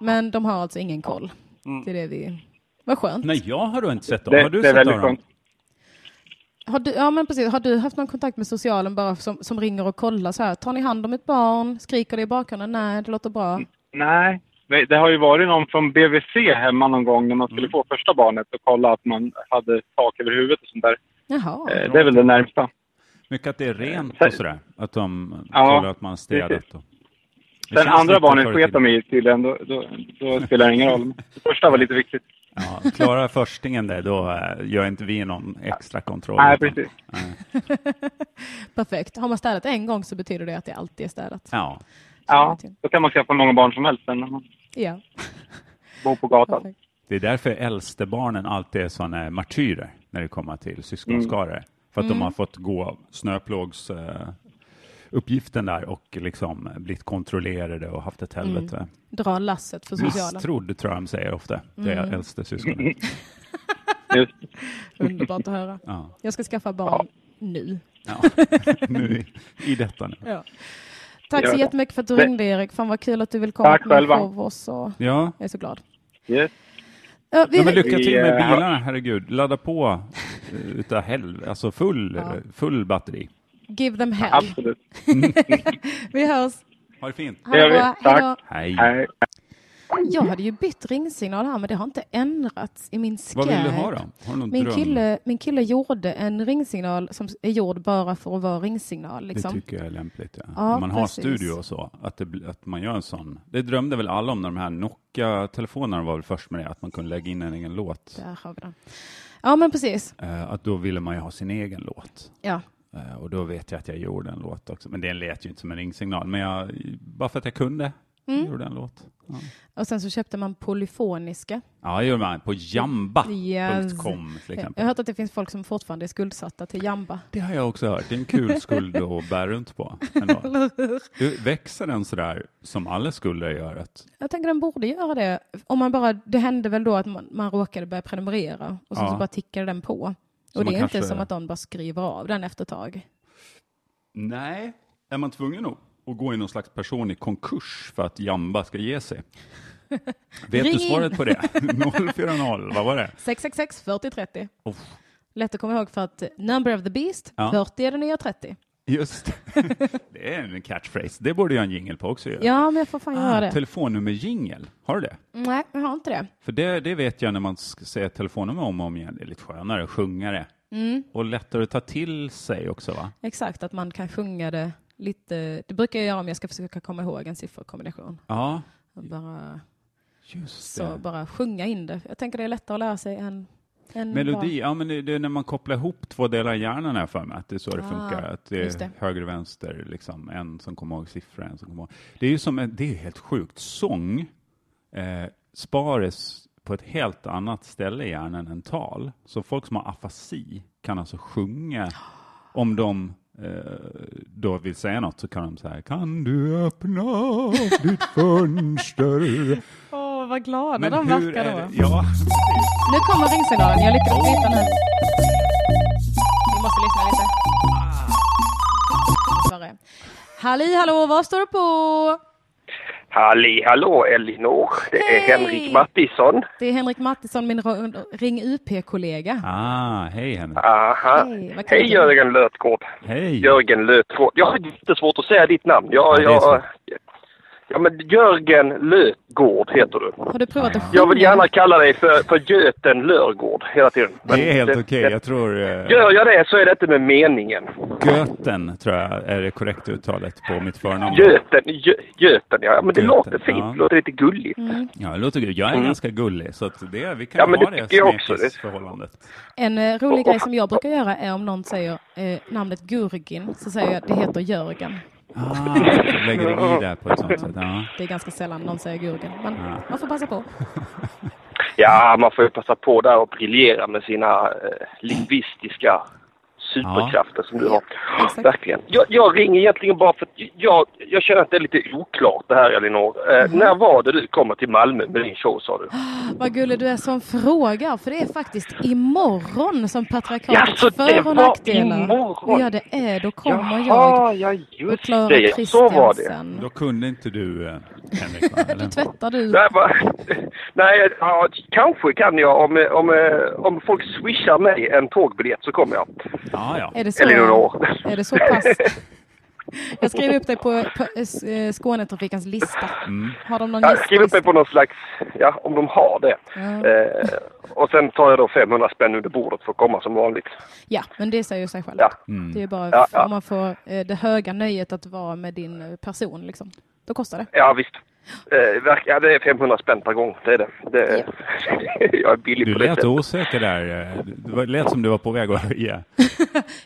Speaker 1: Men de har alltså ingen koll.
Speaker 3: Mm.
Speaker 1: Det är det vi... Vad skönt.
Speaker 2: Nej, jag har då inte sett dem.
Speaker 3: Det,
Speaker 2: har du
Speaker 3: det är
Speaker 2: sett
Speaker 3: väldigt
Speaker 2: dem?
Speaker 3: skönt.
Speaker 1: Har du, ja, men precis. har du haft någon kontakt med socialen bara som, som ringer och kollar så här? Tar ni hand om ett barn? Skriker det i bakgrunden? Nej, det låter bra.
Speaker 3: Mm. Nej, det det har ju varit någon från BVC hemma någon gång när man
Speaker 2: Mm.
Speaker 3: skulle få första barnet och kolla att man hade tak över huvudet och sånt där.
Speaker 1: Jaha.
Speaker 3: Eh, Det är väl det närmsta.
Speaker 2: Mycket att det är rent och sådär. Att de
Speaker 3: Eh, Ja,
Speaker 2: kollar att man har städat.
Speaker 3: precis.
Speaker 2: och- Det
Speaker 3: Sen
Speaker 2: känns
Speaker 3: andra
Speaker 2: lite
Speaker 3: barnet
Speaker 2: förr i
Speaker 3: sket
Speaker 2: tiden.
Speaker 3: de i tydligen, då, då, då spelar det ingen roll. Men Det första var lite viktigt.
Speaker 2: Ja, klarar förstingen det, då eh, gör inte vi någon extra kontroll.
Speaker 3: Nej,
Speaker 2: utan-
Speaker 3: precis.
Speaker 1: Perfekt. Har man städat en gång så betyder det att det alltid är städat.
Speaker 2: Ja,
Speaker 3: Ja, då kan man skaffa hur många barn som helst sen när man
Speaker 1: Ja.
Speaker 3: bor på gatan.
Speaker 1: Perfekt.
Speaker 2: det är därför äldstebarnen alltid är sådana martyrer när det kommer till syskonskaror. För att de har fått gå snöplågs eh, uppgiften där och liksom blivit kontrollerade och haft ett helvete.
Speaker 1: Dra lasset för socialen.
Speaker 2: Misstrodd tror jag de säger ofta, det är äldste syskonet.
Speaker 3: Just.
Speaker 1: Underbart att höra.
Speaker 2: Ja.
Speaker 1: Jag ska skaffa barn nu.
Speaker 2: Ja. nu, I detta nu.
Speaker 1: Ja. Tack
Speaker 3: Gör
Speaker 1: så
Speaker 3: det.
Speaker 1: jättemycket för att du
Speaker 3: Det-
Speaker 1: ringde Erik. Fan vad kul att du vill komma
Speaker 3: Tack
Speaker 1: till min
Speaker 3: själva.
Speaker 1: show. Och så.
Speaker 2: Ja.
Speaker 1: Jag är så glad.
Speaker 3: Yes.
Speaker 1: Ja, vi,
Speaker 2: Ja, men lycka till med
Speaker 3: Vi, eh,
Speaker 2: bilarna, herregud. Ladda på eh, utav helvete, alltså full, full batteri.
Speaker 1: give them hell.
Speaker 3: Absolut.
Speaker 1: Vi hörs.
Speaker 2: Ha det fint.
Speaker 1: Ha
Speaker 3: Det
Speaker 1: det
Speaker 3: gör vi.
Speaker 1: bra.
Speaker 3: Tack.
Speaker 1: Hejdå.
Speaker 2: Hej.
Speaker 3: Nej.
Speaker 1: Jag hade ju bytt ringsignal här, men det har inte ändrats i min Skype.
Speaker 2: Vad vill du ha då? Har du någon
Speaker 1: Min
Speaker 2: dröm?
Speaker 1: kille, min kille gjorde en ringsignal som är gjord bara för att vara ringsignal.
Speaker 2: Det
Speaker 1: Liksom.
Speaker 2: tycker jag är lämpligt. Ja.
Speaker 1: Ja,
Speaker 2: När man har
Speaker 1: precis.
Speaker 2: studio och så, att, det, bli- att man gör en sån. Det drömde väl alla om när de här Nokia-telefonerna var väl först med det, att man kunde lägga in en egen låt.
Speaker 1: Där har vi den. Ja, men precis.
Speaker 2: Eh, att då ville man ju ha sin egen låt.
Speaker 1: Ja.
Speaker 2: Eh, och då vet jag att jag gjorde en låt också, men den lät ju inte som en ringsignal. Men jag, bara för att jag kunde,
Speaker 1: Mm.
Speaker 2: gjorde en låt. Ja,
Speaker 1: Och sen så köpte man polyfoniska.
Speaker 2: ja det gjorde man på jamba.com till
Speaker 1: Jag
Speaker 2: exempel.
Speaker 1: har hört att det finns folk som fortfarande är skuldsatta till Jamba.
Speaker 2: Det har jag också hört. Det är en kul skuld att bära runt på. Ändå. Du, växer den sådär som alla skulder gör? Att,
Speaker 1: Jag tänker den borde göra det. Om man bara, det hände väl då att man, man råkade börja prenumerera och sen
Speaker 2: Ja.
Speaker 1: så bara tickade den på.
Speaker 2: Så
Speaker 1: och det
Speaker 2: man
Speaker 1: är
Speaker 2: kanske-
Speaker 1: inte som att de bara skriver av den efter ett tag.
Speaker 2: Nej, är man tvungen att, att gå i någon slags personlig konkurs för att Jamba ska ge sig? Vet
Speaker 1: Ring
Speaker 2: du
Speaker 1: in.
Speaker 2: svaret på det? 040, vad var det?
Speaker 1: 666 4030.
Speaker 2: Oh,
Speaker 1: Lätt att komma ihåg för att number of the beast,
Speaker 2: Ja.
Speaker 1: 40 är det nya 30.
Speaker 2: just det. det, är en catchphrase. Det borde jag ha en jingel på också. ju.
Speaker 1: Ja, men jag får fan
Speaker 2: Ah,
Speaker 1: göra det.
Speaker 2: Telefonnummer-jingel, har du det?
Speaker 1: Nej, jag har inte det.
Speaker 2: För det, det vet jag när man ska säga ett telefonnummer om och om igen, det är lite skönare att sjunga det.
Speaker 1: Mm.
Speaker 2: Och lättare att ta till sig också va?
Speaker 1: Exakt, att man kan sjunga det lite. Det brukar jag göra om jag ska försöka komma ihåg en sifferkombination.
Speaker 2: Ja,
Speaker 1: Och Bara,
Speaker 2: just
Speaker 1: så
Speaker 2: det.
Speaker 1: bara sjunga in det. Jag tänker det är lättare att lära sig än, än bara-
Speaker 2: Melodi, ja men det det är när man kopplar ihop två delar i hjärnan här för mig, att det är så det
Speaker 1: Ah,
Speaker 2: funkar, att det
Speaker 1: just
Speaker 2: är
Speaker 1: det.
Speaker 2: höger och vänster, liksom, en som kommer ihåg siffror, en som kommer ihåg... Det är ju som en, det är ju helt sjukt, sång eh, spares på ett helt annat ställe i hjärnan än tal, så folk som har afasi kan alltså sjunga om de eh, då vill säga något så kan de säga kan du öppna ditt fönster?
Speaker 1: Åh, vad glada de verkar då.
Speaker 2: det? Ja,
Speaker 1: Nu kommer ringsignalen. Jag lyckades hitta den. Vi måste lyssna lite.
Speaker 2: Ah.
Speaker 1: Sorry. Halli hallå, vad står du på?
Speaker 4: Halli hallå Elinor, det är
Speaker 1: Hej!
Speaker 4: Henrik Mattisson.
Speaker 1: Det är Henrik Mattisson, min ro- Ring UP-kollega.
Speaker 2: ah, hej Henrik.
Speaker 4: Aha.
Speaker 1: Hej, vad kul.
Speaker 4: Hej Jörgen Lötgård.
Speaker 2: Hej.
Speaker 4: Jörgen Lötgård. Jag har jättesvårt att säga ditt namn. Jag,
Speaker 2: Ja, det är så.
Speaker 4: jag, ja, men Jörgen Lötgård heter du.
Speaker 1: Har du provat att sjunga?
Speaker 4: Jag
Speaker 2: Mm.
Speaker 4: vill gärna kalla dig för, för Göten Lörgård hela tiden. Men
Speaker 2: Det är helt
Speaker 4: det-
Speaker 2: okej.
Speaker 4: det-
Speaker 2: Jag tror eh,
Speaker 4: Gör jag det så är det inte med meningen.
Speaker 2: Göten tror jag är det korrekta uttalet på mitt förnamn.
Speaker 4: Göten, gö, Göten ja. Men det
Speaker 2: Göten,
Speaker 4: låter fint.
Speaker 2: ja.
Speaker 4: Det låter lite gulligt.
Speaker 1: Mm.
Speaker 2: Ja, det låter gulligt. Jag är ganska gullig, så att det, vi kan
Speaker 4: Mm. Ja,
Speaker 2: ju
Speaker 4: men
Speaker 2: ha
Speaker 4: det
Speaker 2: det,
Speaker 4: tycker jag också.
Speaker 2: smekisförhållandet.
Speaker 1: En eh, rolig grej som jag brukar göra är om någon säger eh, namnet Gurgin så säger jag det heter Jörgen.
Speaker 2: Ah, du lägger det i där på ett sånt sätt. Ja.
Speaker 1: Det är ganska sällan någon säger Gurgen, men
Speaker 2: Ja.
Speaker 1: man får passa på.
Speaker 4: Ja, man får ju passa på där och briljera med sina eh, lingvistiska superkrafter som du har.
Speaker 1: exakt.
Speaker 4: Verkligen. Jag, jag ringer egentligen bara för att jag, jag känner att det är lite oklart det här Elinor. Eh,
Speaker 1: Mm.
Speaker 4: När var det du kommer till Malmö med din show sa du?
Speaker 1: Vad gullig du är som frågar, för det är faktiskt imorgon som
Speaker 4: Ja,
Speaker 1: patriarkatet
Speaker 4: så det
Speaker 1: för och
Speaker 4: var
Speaker 1: nackdelar.
Speaker 4: imorgon.
Speaker 1: Ja, det är, då kommer jag
Speaker 4: Jaha, ja
Speaker 1: och
Speaker 4: just
Speaker 1: Klara
Speaker 4: det. Ja, så var det.
Speaker 1: Kristiansen.
Speaker 2: Då kunde inte du, eh, Henrik, va? Eller?
Speaker 1: Tvättar du?
Speaker 4: Nej, va? Nej ja, kanske kan jag om, eh, om, eh, om folk swishar mig en tågbiljett så kommer jag.
Speaker 2: Ja, ja.
Speaker 1: Är det så,
Speaker 4: Elinor.
Speaker 1: är det så pass? Jag skriver upp dig på, på eh, s- eh, Skånetrafikens lista. Har de någon
Speaker 4: Jag skriver Mm. upp mig på någon slags, ja om de har det.
Speaker 1: Ja.
Speaker 4: Eh, och sen tar jag då 500 spänn under bordet för att komma som vanligt.
Speaker 1: ja, men det säger ju sig självt.
Speaker 4: Ja.
Speaker 1: Det är ju bara
Speaker 4: Ja,
Speaker 1: f-
Speaker 4: ja.
Speaker 1: om man får eh, det höga nöjet att vara med din eh, person. Liksom. Då kostar det.
Speaker 4: Ja visst. Eh, verk- ja, det är 500 spänn per gång, det är det. det jag är billig
Speaker 2: Du
Speaker 4: på det
Speaker 2: lät
Speaker 4: sättet.
Speaker 2: osäker där. eh. Det var- lät som du var på väg att höja.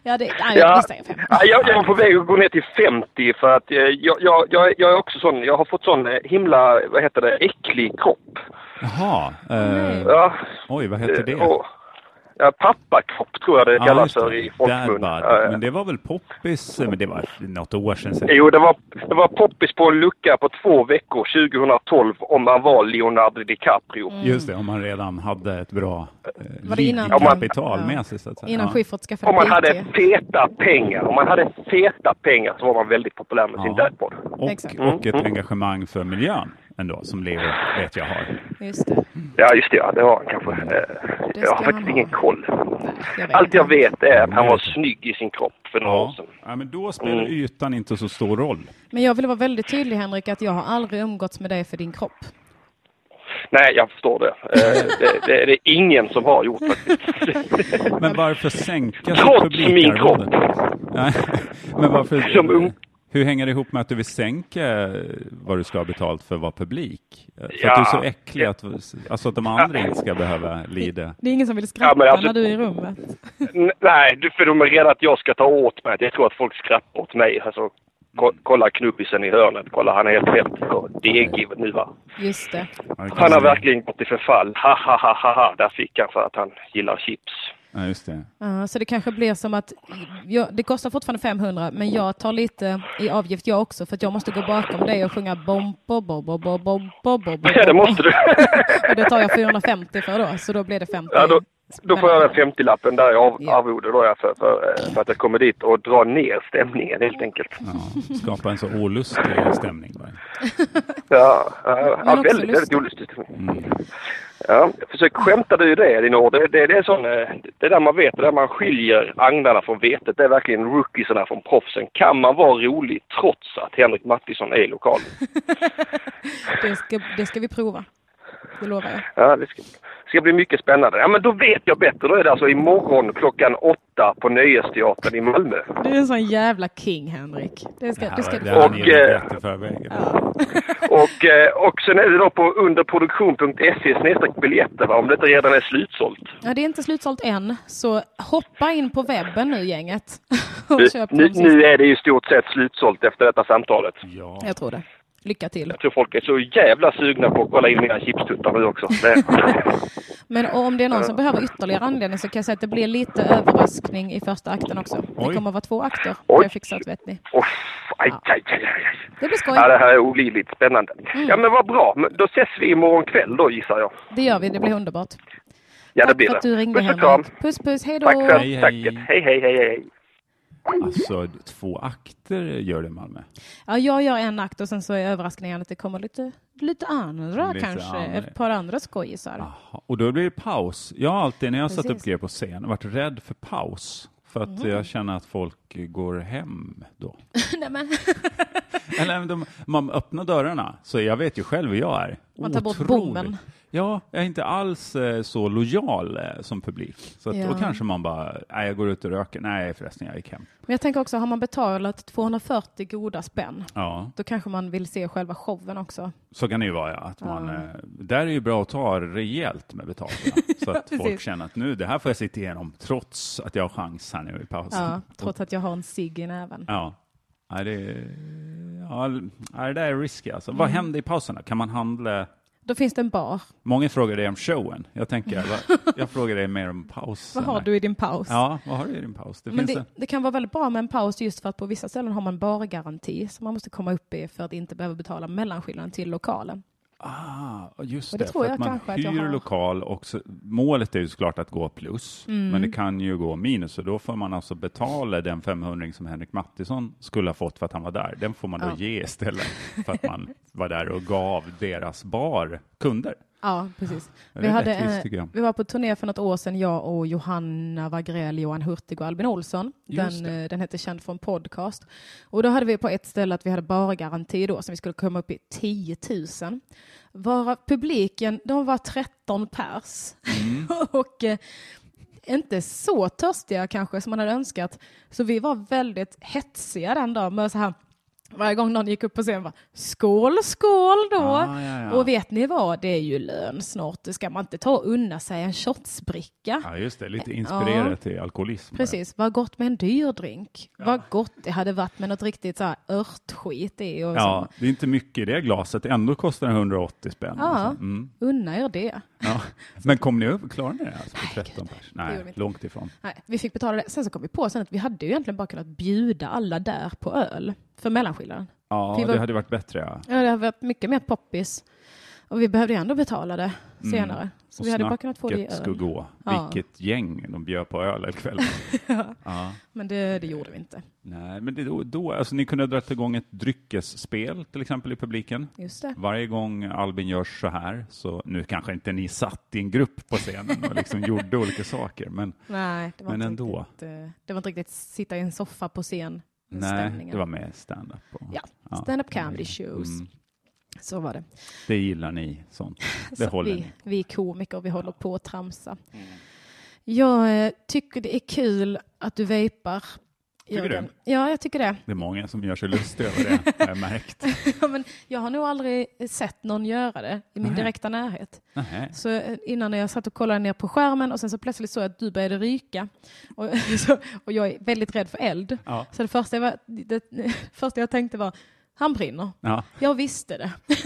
Speaker 1: Ja, det, nej,
Speaker 4: Ja.
Speaker 1: det säger fem.
Speaker 4: Ja, jag, jag var på väg att gå ner till 50 för att eh, jag, jag, jag, jag är också sån, jag har fått sån eh, himla, vad heter det, äcklig kropp.
Speaker 2: Jaha. Eh,
Speaker 4: Ja,
Speaker 2: oj, vad hette det?
Speaker 4: eh, och- ja, pappakropp tror jag det
Speaker 2: Ja,
Speaker 4: kallas
Speaker 2: just det.
Speaker 4: för i
Speaker 2: Bad
Speaker 4: folkmun.
Speaker 2: Bud.
Speaker 4: Ja, ja.
Speaker 2: Men det var väl poppis? eh, Men det var något år sedan. säkert.
Speaker 4: Jo, det var, det var poppis på en lucka på två veckor 2012 om man var Leonardo DiCaprio.
Speaker 2: Just det, om man redan hade ett bra eh,
Speaker 1: Mm. Var det innan-
Speaker 2: liggkapital
Speaker 1: Ja.
Speaker 2: med sig. Så att säga.
Speaker 1: Innan
Speaker 2: ja.
Speaker 1: Schyffert
Speaker 4: Om man
Speaker 1: skaffade
Speaker 4: hade
Speaker 1: PT.
Speaker 4: feta pengar, om man hade feta pengar så var man väldigt populär med sin
Speaker 2: Ja.
Speaker 4: dadbod.
Speaker 2: och,
Speaker 1: Exakt.
Speaker 2: och ett engagemang för miljön ändå, som Leo vet jag har.
Speaker 1: Just det.
Speaker 4: Ja, just det, ja, det var han kanske. Eh,
Speaker 1: ska
Speaker 4: Jag har
Speaker 1: han
Speaker 4: faktiskt
Speaker 1: ha.
Speaker 4: ingen koll.
Speaker 1: jag vet
Speaker 4: Allt jag
Speaker 1: inte.
Speaker 4: vet är att
Speaker 2: Mm,
Speaker 4: han var
Speaker 2: det vet
Speaker 4: snygg i sin kropp för några år
Speaker 2: Ja.
Speaker 4: sedan.
Speaker 2: ja, men då spelar
Speaker 4: Mm.
Speaker 2: ytan inte så stor roll.
Speaker 1: Men jag vill vara väldigt tydlig Henrik att jag har aldrig umgåtts med dig för din kropp.
Speaker 4: Nej, jag förstår det. Eh, det, det. Det är ingen som har gjort faktiskt.
Speaker 2: Men varför sänka sitt
Speaker 4: Trots min kropp.
Speaker 2: publikarvode? Nej, men varför...
Speaker 4: Som ung.
Speaker 2: Hur hänger det ihop med att du vill sänka eh, vad du ska ha betalt för att vara publik? Eh, För
Speaker 4: Ja.
Speaker 2: att du är så äcklig, att, alltså att de andra inte ska behöva lida.
Speaker 1: Det är ingen som vill skratta
Speaker 4: Ja, men alltså-
Speaker 1: när du är i rummet.
Speaker 4: N- Nej, du- för de är rädda att jag ska ta åt mig. att Jag tror att folk skrattar åt mig. Alltså, ko- kolla knubbisen i hörnet. Kolla, han är helt helt så degig nu va.
Speaker 1: Just det.
Speaker 4: Han har verkligen gått i förfall. Ha, ha, ha, ha, ha. Där fick han för att han gillar chips.
Speaker 2: Ja, just det.
Speaker 1: Ja, så det kanske blir som att jag, det kostar fortfarande 500 men jag tar lite i avgift jag också för att jag måste gå bakom dig och sjunga bombo bombo bombo bombo bombo.
Speaker 4: Ja, det måste du.
Speaker 1: Och det tar jag 450 för då så då blir det 50
Speaker 4: Ja, då, Då får jag den 50-lappen där jag
Speaker 1: Ja.
Speaker 4: av- arvode då jag för, för, eh, för att jag kommer dit och drar ner stämningen helt enkelt.
Speaker 2: Ja, skapa en så olustig stämning. Bara.
Speaker 4: Ja, ja, ja
Speaker 1: också
Speaker 4: väldigt, väldigt
Speaker 1: lustigt.
Speaker 4: olustigt. Ja, försök skämtade ju det din ord. Det, det, det är sån, eh, det där man vet, det där man skiljer agnarna från vetet, det är verkligen rookiesarna från proffsen. Kan man vara rolig trots att Henrik Mattisson är lokal?
Speaker 1: Det ska, det ska vi prova. Det lovar jag.
Speaker 4: Ja, det ska, ska bli mycket spännande. Ja, men då vet jag bättre. Då är det alltså imorgon klockan åtta på Nöjesteatern i Malmö.
Speaker 1: Du är en sån jävla king, Henrik. Det ska, det ska du
Speaker 2: det här
Speaker 1: få.
Speaker 4: Och,
Speaker 2: ni är
Speaker 4: eh,
Speaker 2: rätt i förväg.
Speaker 4: Och, eh, och sen är det då på underproduktion.se snedstreck biljetter va, om det inte redan är slutsålt.
Speaker 1: Ja, det är inte slutsålt än, så hoppa in på webben nu, gänget. Och köp
Speaker 4: Nu,
Speaker 1: de sista.
Speaker 4: nu är det i stort sett slutsålt efter detta samtalet.
Speaker 2: Ja.
Speaker 1: Jag tror det. Lycka till.
Speaker 4: Jag tror folk är så jävla sugna på att kolla in mina chipstuttar nu också. Det,
Speaker 1: Men om det är någon som behöver ytterligare anledning så kan jag säga att det blir lite överraskning i första akten också. Det
Speaker 2: Oj.
Speaker 1: kommer att vara två akter. Det
Speaker 4: Oj.
Speaker 1: har jag fixat, vet ni.
Speaker 4: oh, aj, aj, aj, aj, aj.
Speaker 1: Det blir
Speaker 4: Ja,
Speaker 1: skoj.
Speaker 4: det här är olidligt spännande.
Speaker 1: Mm.
Speaker 4: Ja, men vad bra. Men då ses vi imorgon kväll då gissar jag.
Speaker 1: Det gör vi. Det blir underbart.
Speaker 4: Ja, det
Speaker 1: Tack
Speaker 4: blir
Speaker 1: för att du
Speaker 4: det.
Speaker 1: ringde,
Speaker 4: Puss och kram.
Speaker 1: Henrik. Puss, puss. Hej då.
Speaker 4: Tack för
Speaker 2: Hej, hej.
Speaker 4: tacket. Hej, hej, hej, hej.
Speaker 2: Alltså, två akter gör det i Malmö.
Speaker 1: Ja, jag gör en akt och sen så är överraskningen att det kommer lite, lite andra
Speaker 2: Lite
Speaker 1: kanske.
Speaker 2: andra.
Speaker 1: Ett par andra skojisar.
Speaker 2: Aha. Och då blir det paus. Jag har alltid, när jag har satt
Speaker 1: Precis. Mm.
Speaker 2: upp grejer på scen, varit rädd för paus. För att jag känner att folk går hem då.
Speaker 1: Nej, men,
Speaker 2: Eller även de, man öppnar dörrarna, så jag vet ju själv hur jag är.
Speaker 1: Man tar bort
Speaker 2: Otroligt.
Speaker 1: bommen.
Speaker 2: Ja, jag är inte alls eh, så lojal eh, som publik. Så att,
Speaker 1: Ja.
Speaker 2: Då kanske man bara, nej jag går ut och röker, nej förresten jag gick hem.
Speaker 1: men jag tänker också, har man betalat 240 goda spänn,
Speaker 2: Ja,
Speaker 1: då kanske man vill se själva showen också.
Speaker 2: så kan det ju vara ja. Att man, eh, Där är ju bra att ta rejält med betalt. ja. Så att folk
Speaker 1: Precis.
Speaker 2: känner att nu, det här får jag sitta igenom trots att jag har chans här nu i pausen.
Speaker 1: Ja, trots att jag har en cigg i näven.
Speaker 2: Ja, ja, det, ja, ja, det där är risky alltså. Vad
Speaker 1: Mm.
Speaker 2: händer i pauserna? Kan man handla
Speaker 1: Då finns det en bar.
Speaker 2: Många frågar dig om showen. Jag tänker, vad, jag frågar dig mer om pausen.
Speaker 1: Vad har
Speaker 2: här.
Speaker 1: du i din paus?
Speaker 2: Ja, vad har du i din paus? Det
Speaker 1: Men
Speaker 2: finns
Speaker 1: det, det kan vara väldigt bra med en paus just för att på vissa ställen har man bargaranti som man måste komma upp i för att inte behöva betala mellanskillnaden till lokalen.
Speaker 2: en, ah, just
Speaker 1: och
Speaker 2: det,
Speaker 1: det tror
Speaker 2: för
Speaker 1: jag
Speaker 2: att man
Speaker 1: kanske att
Speaker 2: hyr
Speaker 1: jag har.
Speaker 2: lokal och så, målet är ju såklart att gå plus,
Speaker 1: Mm.
Speaker 2: men det kan ju gå minus och då får man alltså betala den 500 som Henrik Mattisson skulle ha fått för att han var där. Den får man då
Speaker 1: Ja.
Speaker 2: ge istället för att man var där och gav deras bar kunder.
Speaker 1: Ja, precis. Vi,
Speaker 2: Ja, det är
Speaker 1: hade,
Speaker 2: rättvist,
Speaker 1: eh,
Speaker 2: tycker jag.
Speaker 1: vi var på turné för något år sedan, jag och Johanna Wagrell, Johan Hurtig och Albin Olsson.
Speaker 2: Just
Speaker 1: Den, eh, den hette Känd från podcast. Och då hade vi på ett ställe att vi hade bargaranti då som vi skulle komma upp i 10 000. Varav publiken, de var 13 pers.
Speaker 2: Mm.
Speaker 1: och eh, inte så törstiga kanske som man hade önskat. Så vi var väldigt hetsiga den dagen med så här varje gång någon gick upp på scen var skål, skål då.
Speaker 2: Ah, ja, ja.
Speaker 1: Och vet ni vad, det är ju lön snart. Det ska man inte ta och unna sig en shotsbricka.
Speaker 2: Ja, just det, lite inspirerat till alkoholism.
Speaker 1: Precis, vad gott med en dyr drink. Vad gott det hade varit med något riktigt så här örtskit i. Och
Speaker 2: Ja,
Speaker 1: ja.
Speaker 2: det är inte mycket i det glaset, ändå kostar det 180 spänn.
Speaker 1: Ja,
Speaker 2: Alltså. Mm.
Speaker 1: unna er det.
Speaker 2: Ja. Men kom ni upp, klarade ni det alltså på 13 pers?
Speaker 1: gjorde vi
Speaker 2: Nej,
Speaker 1: inte.
Speaker 2: långt ifrån.
Speaker 1: Nej, vi fick betala det. Sen så kom vi på sen att vi hade ju egentligen bara kunnat bjuda alla där på öl för mellanskillnaden.
Speaker 2: Ja,
Speaker 1: Vi var-
Speaker 2: det hade varit bättre. Ja.
Speaker 1: Ja, det hade varit mycket mer poppis. Och vi behövde ju ändå betala det senare. Så
Speaker 2: Mm. Och
Speaker 1: vi hade bara kunnat få det i
Speaker 2: snacket skulle
Speaker 1: öl.
Speaker 2: gå.
Speaker 1: Ja.
Speaker 2: Vilket gäng de bjöd på öl en kväll.
Speaker 1: Men det, det gjorde vi inte.
Speaker 2: Nej, men det, då, då, alltså, ni kunde ha dragit igång ett dryckesspel till exempel i publiken.
Speaker 1: Just det.
Speaker 2: Varje gång Albin gör så här, så nu kanske inte ni satt i en grupp på scenen och liksom gjorde olika saker, men
Speaker 1: Nej, det var,
Speaker 2: Men
Speaker 1: inte,
Speaker 2: ändå.
Speaker 1: Riktigt, eh, det var inte riktigt sitta i en soffa på scen.
Speaker 2: nej, det var med stand-up. och-
Speaker 1: Ja, stand-up comedy shows.
Speaker 2: Mm,
Speaker 1: Så var det.
Speaker 2: det gillar ni, sånt. Det
Speaker 1: Så
Speaker 2: håller
Speaker 1: vi,
Speaker 2: ni. Mm.
Speaker 1: vi är komiker, vi håller på att tramsa. Jag eh, tycker det är kul att du vejpar.
Speaker 2: Tycker du?
Speaker 1: Jörgen. Ja, jag tycker det.
Speaker 2: Det är många som gör sig lustiga över det, har jag märkt.
Speaker 1: Ja, Men jag har nog aldrig sett någon göra det i min
Speaker 2: Nej.
Speaker 1: direkta närhet.
Speaker 2: Nähä.
Speaker 1: Så eh, innan när jag satt och kollade ner på skärmen och sen så plötsligt såg jag att du började ryka. Och, så, och jag är väldigt rädd för eld.
Speaker 2: Ja.
Speaker 1: Så det första, jag var, det, det första jag tänkte var, han brinner.
Speaker 2: Ja.
Speaker 1: Jag visste det. det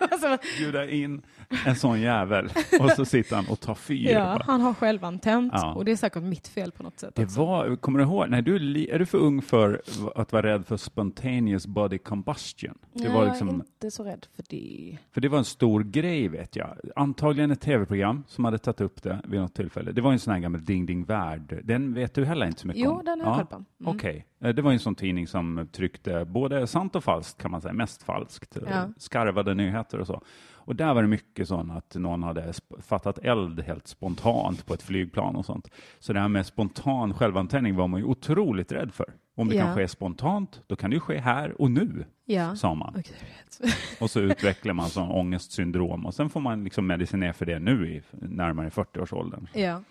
Speaker 1: var Alltså,
Speaker 2: bjuda in en sån jävel och så sitter han och tar fyr.
Speaker 1: ja,
Speaker 2: bara.
Speaker 1: han har självantänt
Speaker 2: Ja.
Speaker 1: och det är säkert mitt fel på något sätt.
Speaker 2: Det
Speaker 1: också.
Speaker 2: var, kommer du ihåg, nej, du, är li- är du för ung för att vara rädd för spontaneous body combustion? Det
Speaker 1: Nej,
Speaker 2: var
Speaker 1: Jag är
Speaker 2: liksom,
Speaker 1: inte så rädd för det.
Speaker 2: för det var en stor grej vet jag. Antagligen ett tv-program som hade tagit upp det vid något tillfälle. Det var ju en sån här gammal Ding Ding Värld. Den vet du heller inte så mycket
Speaker 1: Jo,
Speaker 2: om?
Speaker 1: den har jag koll på. Mm.
Speaker 2: Okej. Eh, Det var ju en sån tidning som tryckte både sant och falskt kan man säga, mest falskt. Eh,
Speaker 1: Ja.
Speaker 2: Skarvade nyheter och så. Och där var det mycket sån att någon hade sp- fattat eld helt spontant på ett flygplan och sånt. Så det här med spontan självantändning var man ju otroligt rädd för. Om det
Speaker 1: Ja.
Speaker 2: kan ske spontant, då kan det ju ske här och nu,
Speaker 1: Ja.
Speaker 2: sa man.
Speaker 1: Oj, det är rätt.
Speaker 2: Och så utvecklar man sån ångestsyndrom och sen får man liksom medicinera för det nu i närmare 40-årsåldern.
Speaker 1: ja.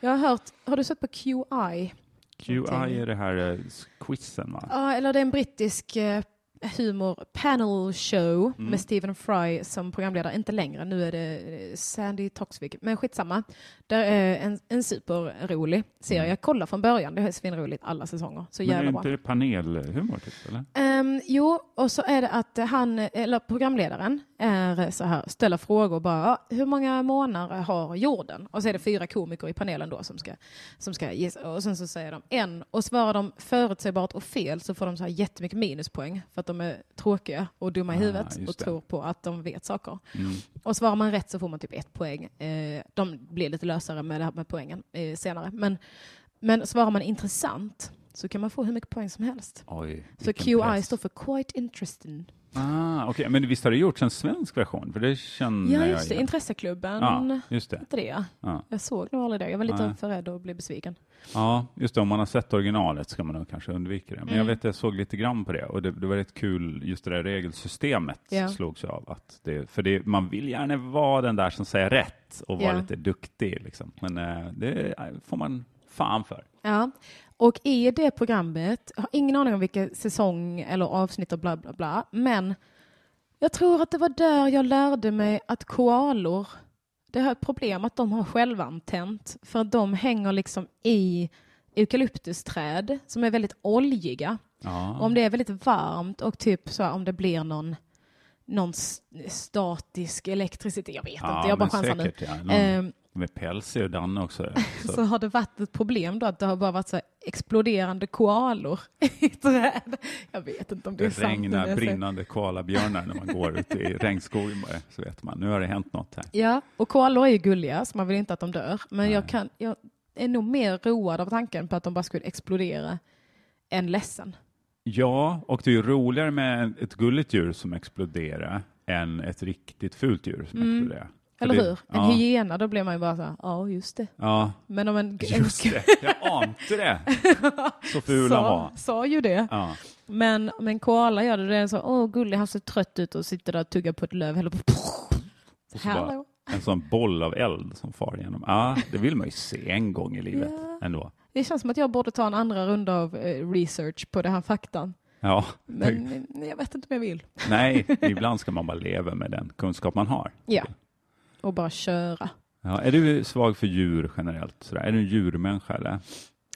Speaker 1: Jag har hört, har du sett på QI?
Speaker 2: QI är det här eh, s- quizen, va?
Speaker 1: Ja, eller det är en brittisk eh, humor panel show
Speaker 2: Mm.
Speaker 1: med Stephen Fry som programledare. Inte längre, nu är det eh, Sandy Toxvig, men skitsamma. Där är en, en superrolig serie. Jag kollar från början, det är svinroligt alla säsonger. Så
Speaker 2: Mm. Men är
Speaker 1: jävla bra.
Speaker 2: inte det panelhumor, typ, eller?
Speaker 1: Ehm, jo, och så är det att han, eller programledaren, är så här, ställer frågor bara, "Ja, hur många månader har jorden? Och så är det fyra komiker i panelen då som ska, som ska gissa. Och sen så säger de en, och svarar de förutsägbart och fel så får de så här jättemycket minuspoäng för att de är tråkiga och dumma i
Speaker 2: Ah,
Speaker 1: huvudet
Speaker 2: just
Speaker 1: och
Speaker 2: det.
Speaker 1: tror
Speaker 2: Mm.
Speaker 1: på att de vet saker. Och svarar man rätt så får man typ ett poäng. Eh, de blir lite lösare med det här med poängen eh, senare. Men, men svarar man intressant så kan man få hur mycket poäng som helst.
Speaker 2: Oj,
Speaker 1: Så
Speaker 2: vilken
Speaker 1: QI
Speaker 2: press.
Speaker 1: står för Quite Interesting.
Speaker 2: Ah, okej. Men visst har det gjorts en svensk version? För det känner
Speaker 1: Ja,
Speaker 2: jag
Speaker 1: just det.
Speaker 2: igen.
Speaker 1: Intresseklubben.
Speaker 2: Mm, Ja, just det.
Speaker 1: Inte det.
Speaker 2: Ja.
Speaker 1: Jag såg nog aldrig det. Jag var lite
Speaker 2: Nej.
Speaker 1: för rädd att bli besviken.
Speaker 2: ja, just det. Om man har sett originalet ska man nog kanske undvika det. Men
Speaker 1: Mm.
Speaker 2: jag vet, jag såg lite grann på det och det, det var rätt kul, just det där regelsystemet
Speaker 1: Ja.
Speaker 2: slogs jag av. Att det, för det, man vill gärna vara den där som säger rätt och vara
Speaker 1: Ja.
Speaker 2: lite duktig. Liksom. Men eh, det eh, får man fan för.
Speaker 1: Ja. Och i det programmet, jag har ingen aning om vilken säsong eller avsnitt och bla bla bla, men jag tror att det var där jag lärde mig att koalor, det här problem att de har självantänt, för att de hänger liksom i eukalyptusträd som är väldigt oljiga.
Speaker 2: Ja.
Speaker 1: Om det är väldigt varmt och typ så här, om det blir någon, någon s- statisk elektricitet, jag vet inte, jag bara
Speaker 2: men
Speaker 1: chansar nu.
Speaker 2: säkert, ja. Någon
Speaker 1: Ehm,
Speaker 2: med pälsig och danne också. Så.
Speaker 1: så har det varit ett problem då att det har bara varit så här exploderande koalor i träd. Jag vet inte om det,
Speaker 2: Det
Speaker 1: är sant. men
Speaker 2: regnar
Speaker 1: jag säger-
Speaker 2: brinnande koalabjörnar när man går ute i regnskogen. bara, Så vet man, nu har det hänt något här.
Speaker 1: Ja, och koalor är ju gulliga så man vill inte att de dör. Men jag, kan, jag är nog mer road av tanken på att de bara skulle explodera än ledsen.
Speaker 2: Ja, och det är ju roligare med ett gulligt djur som exploderar än ett riktigt fult djur som exploderar. För
Speaker 1: Mm. Eller
Speaker 2: det-
Speaker 1: hur? En
Speaker 2: Ja,
Speaker 1: hyena, då blir man ju bara så här, ja just det.
Speaker 2: ja,
Speaker 1: Men om en...
Speaker 2: just
Speaker 1: en
Speaker 2: det. Jag ante det. Så ful han
Speaker 1: sa,
Speaker 2: var.
Speaker 1: sa ju det.
Speaker 2: Ja.
Speaker 1: Men om en koala gör det, då är den så, åh gullig, han ser trött ut och sitter där och tuggar på ett löv. Eller på,
Speaker 2: Och så bara
Speaker 1: Hallå.
Speaker 2: en sån boll av eld som far igenom. Ja, det vill man ju se en gång i livet
Speaker 1: Ja.
Speaker 2: ändå.
Speaker 1: Det känns som att jag borde ta en andra runda av eh, research på den här faktan.
Speaker 2: Ja,
Speaker 1: Men eh, jag vet inte om jag vill.
Speaker 2: nej, ibland ska man bara leva med den kunskap man har.
Speaker 1: Ja. Och bara köra.
Speaker 2: Ja, är du svag för djur generellt? Sådär? Är du en djurmänniska? Eller?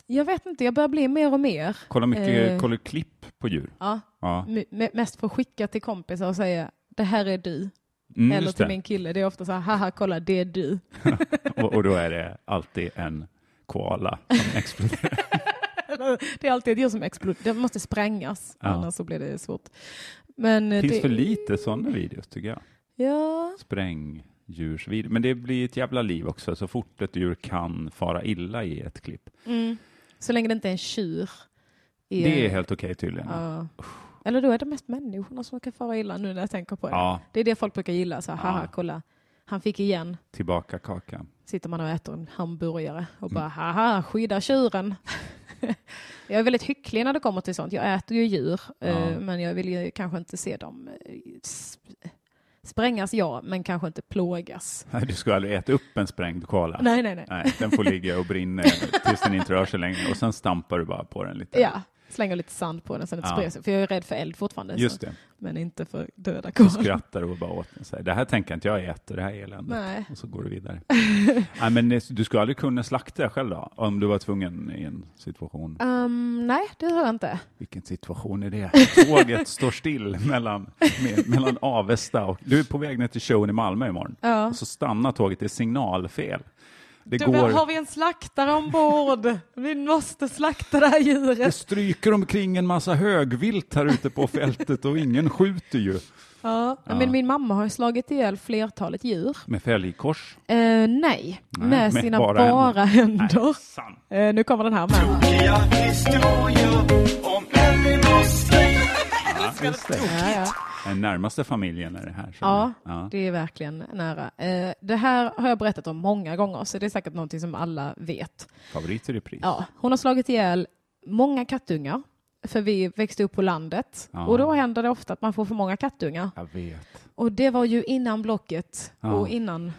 Speaker 1: Jag vet inte, jag börjar bli mer och mer.
Speaker 2: Kollar mycket
Speaker 1: Eh. Mm,
Speaker 2: kollar klipp på djur?
Speaker 1: Ja,
Speaker 2: Ja.
Speaker 1: m- m- mest för att skicka till kompisar och säga det här är du.
Speaker 2: Mm,
Speaker 1: Eller
Speaker 2: just
Speaker 1: till
Speaker 2: det.
Speaker 1: min kille. Det är ofta så här, haha kolla det är du.
Speaker 2: Och, och då är det alltid en koala som exploderar.
Speaker 1: Det är alltid ett djur som exploderar. Det måste sprängas,
Speaker 2: Ja.
Speaker 1: annars så blir det svårt. Men eh,
Speaker 2: Det finns
Speaker 1: det...
Speaker 2: för lite sådana videos tycker jag.
Speaker 1: Ja,
Speaker 2: Sprängdjursvideor. Men det blir ett jävla liv också så fort ett djur kan fara illa i ett klipp.
Speaker 1: så länge det inte är en tjur. i
Speaker 2: Det är
Speaker 1: en-
Speaker 2: helt okej tydligen. Ja.
Speaker 1: Ja. Eller då är det mest människorna som kan fara illa nu när jag tänker på det.
Speaker 2: Ja.
Speaker 1: Det är det folk brukar gilla. Så här,
Speaker 2: Ja.
Speaker 1: haha, kolla, han fick igen.
Speaker 2: Tillbaka kakan.
Speaker 1: Sitter man och äter en hamburgare och
Speaker 2: Mm.
Speaker 1: bara, haha, skydda tjuren. jag är väldigt hycklig när det kommer till sånt. Jag äter ju djur, eh, men jag vill ju kanske inte se dem eh, sp- sprängas, ja, men kanske inte plågas.
Speaker 2: Nej, Du skulle aldrig äta upp en sprängd koala.
Speaker 1: Nej, nej, nej.
Speaker 2: Nej, den får ligga och brinna tills den inte rör sig längre och sen stampar du bara på den lite.
Speaker 1: Ja, Slänger lite sand på den så den inte
Speaker 2: Ja.
Speaker 1: sprider sig. För jag är rädd för eld fortfarande.
Speaker 2: Just
Speaker 1: så.
Speaker 2: det.
Speaker 1: Men inte för döda
Speaker 2: Du
Speaker 1: kor.
Speaker 2: skrattar och bara åt den. Så här, Det här tänker inte jag äta, det här är eländigt.
Speaker 1: Nej.
Speaker 2: Och så går du vidare. Nej, men eh, du skulle aldrig kunna slakta dig själv då? Om du var tvungen i en situation.
Speaker 1: Ehm, nej, det tror jag inte.
Speaker 2: Vilken situation är det? Tåget står still mellan, me, mellan Avesta och... Du är på väg ner till showen i Malmö imorgon.
Speaker 1: Ja.
Speaker 2: Och så stannar tåget, det är signalfel. Det
Speaker 1: Du,
Speaker 2: går...
Speaker 1: Har vi en slaktare ombord? Vi måste slakta det här
Speaker 2: Det
Speaker 1: djuret.
Speaker 2: stryker omkring en massa högvilt här ute på fältet och ingen skjuter ju.
Speaker 1: Ja. Men min mamma har ju slagit ihjäl flertalet djur.
Speaker 2: Med fälgkors.
Speaker 1: Eh, nej, med
Speaker 2: med
Speaker 1: sina
Speaker 2: bara
Speaker 1: bara, händer.
Speaker 2: sant.
Speaker 1: Eh, nu kommer den här med.
Speaker 5: Tokiga historier om Ellinors liv.
Speaker 2: Just det.
Speaker 1: Ja, ja.
Speaker 2: Den närmaste familjen är det här. som-
Speaker 1: Ja,
Speaker 2: ja.
Speaker 1: det är verkligen nära. Eh, det här har jag berättat om många gånger, så det är säkert någonting som alla vet.
Speaker 2: Favorit i repris.
Speaker 1: Ja, hon har slagit ihjäl många kattungar, för vi växte upp på landet.
Speaker 2: Ja.
Speaker 1: Och då händer det ofta att man får för många kattungar.
Speaker 2: Jag vet.
Speaker 1: Och det var ju innan Blocket
Speaker 2: Ja.
Speaker 1: och innan...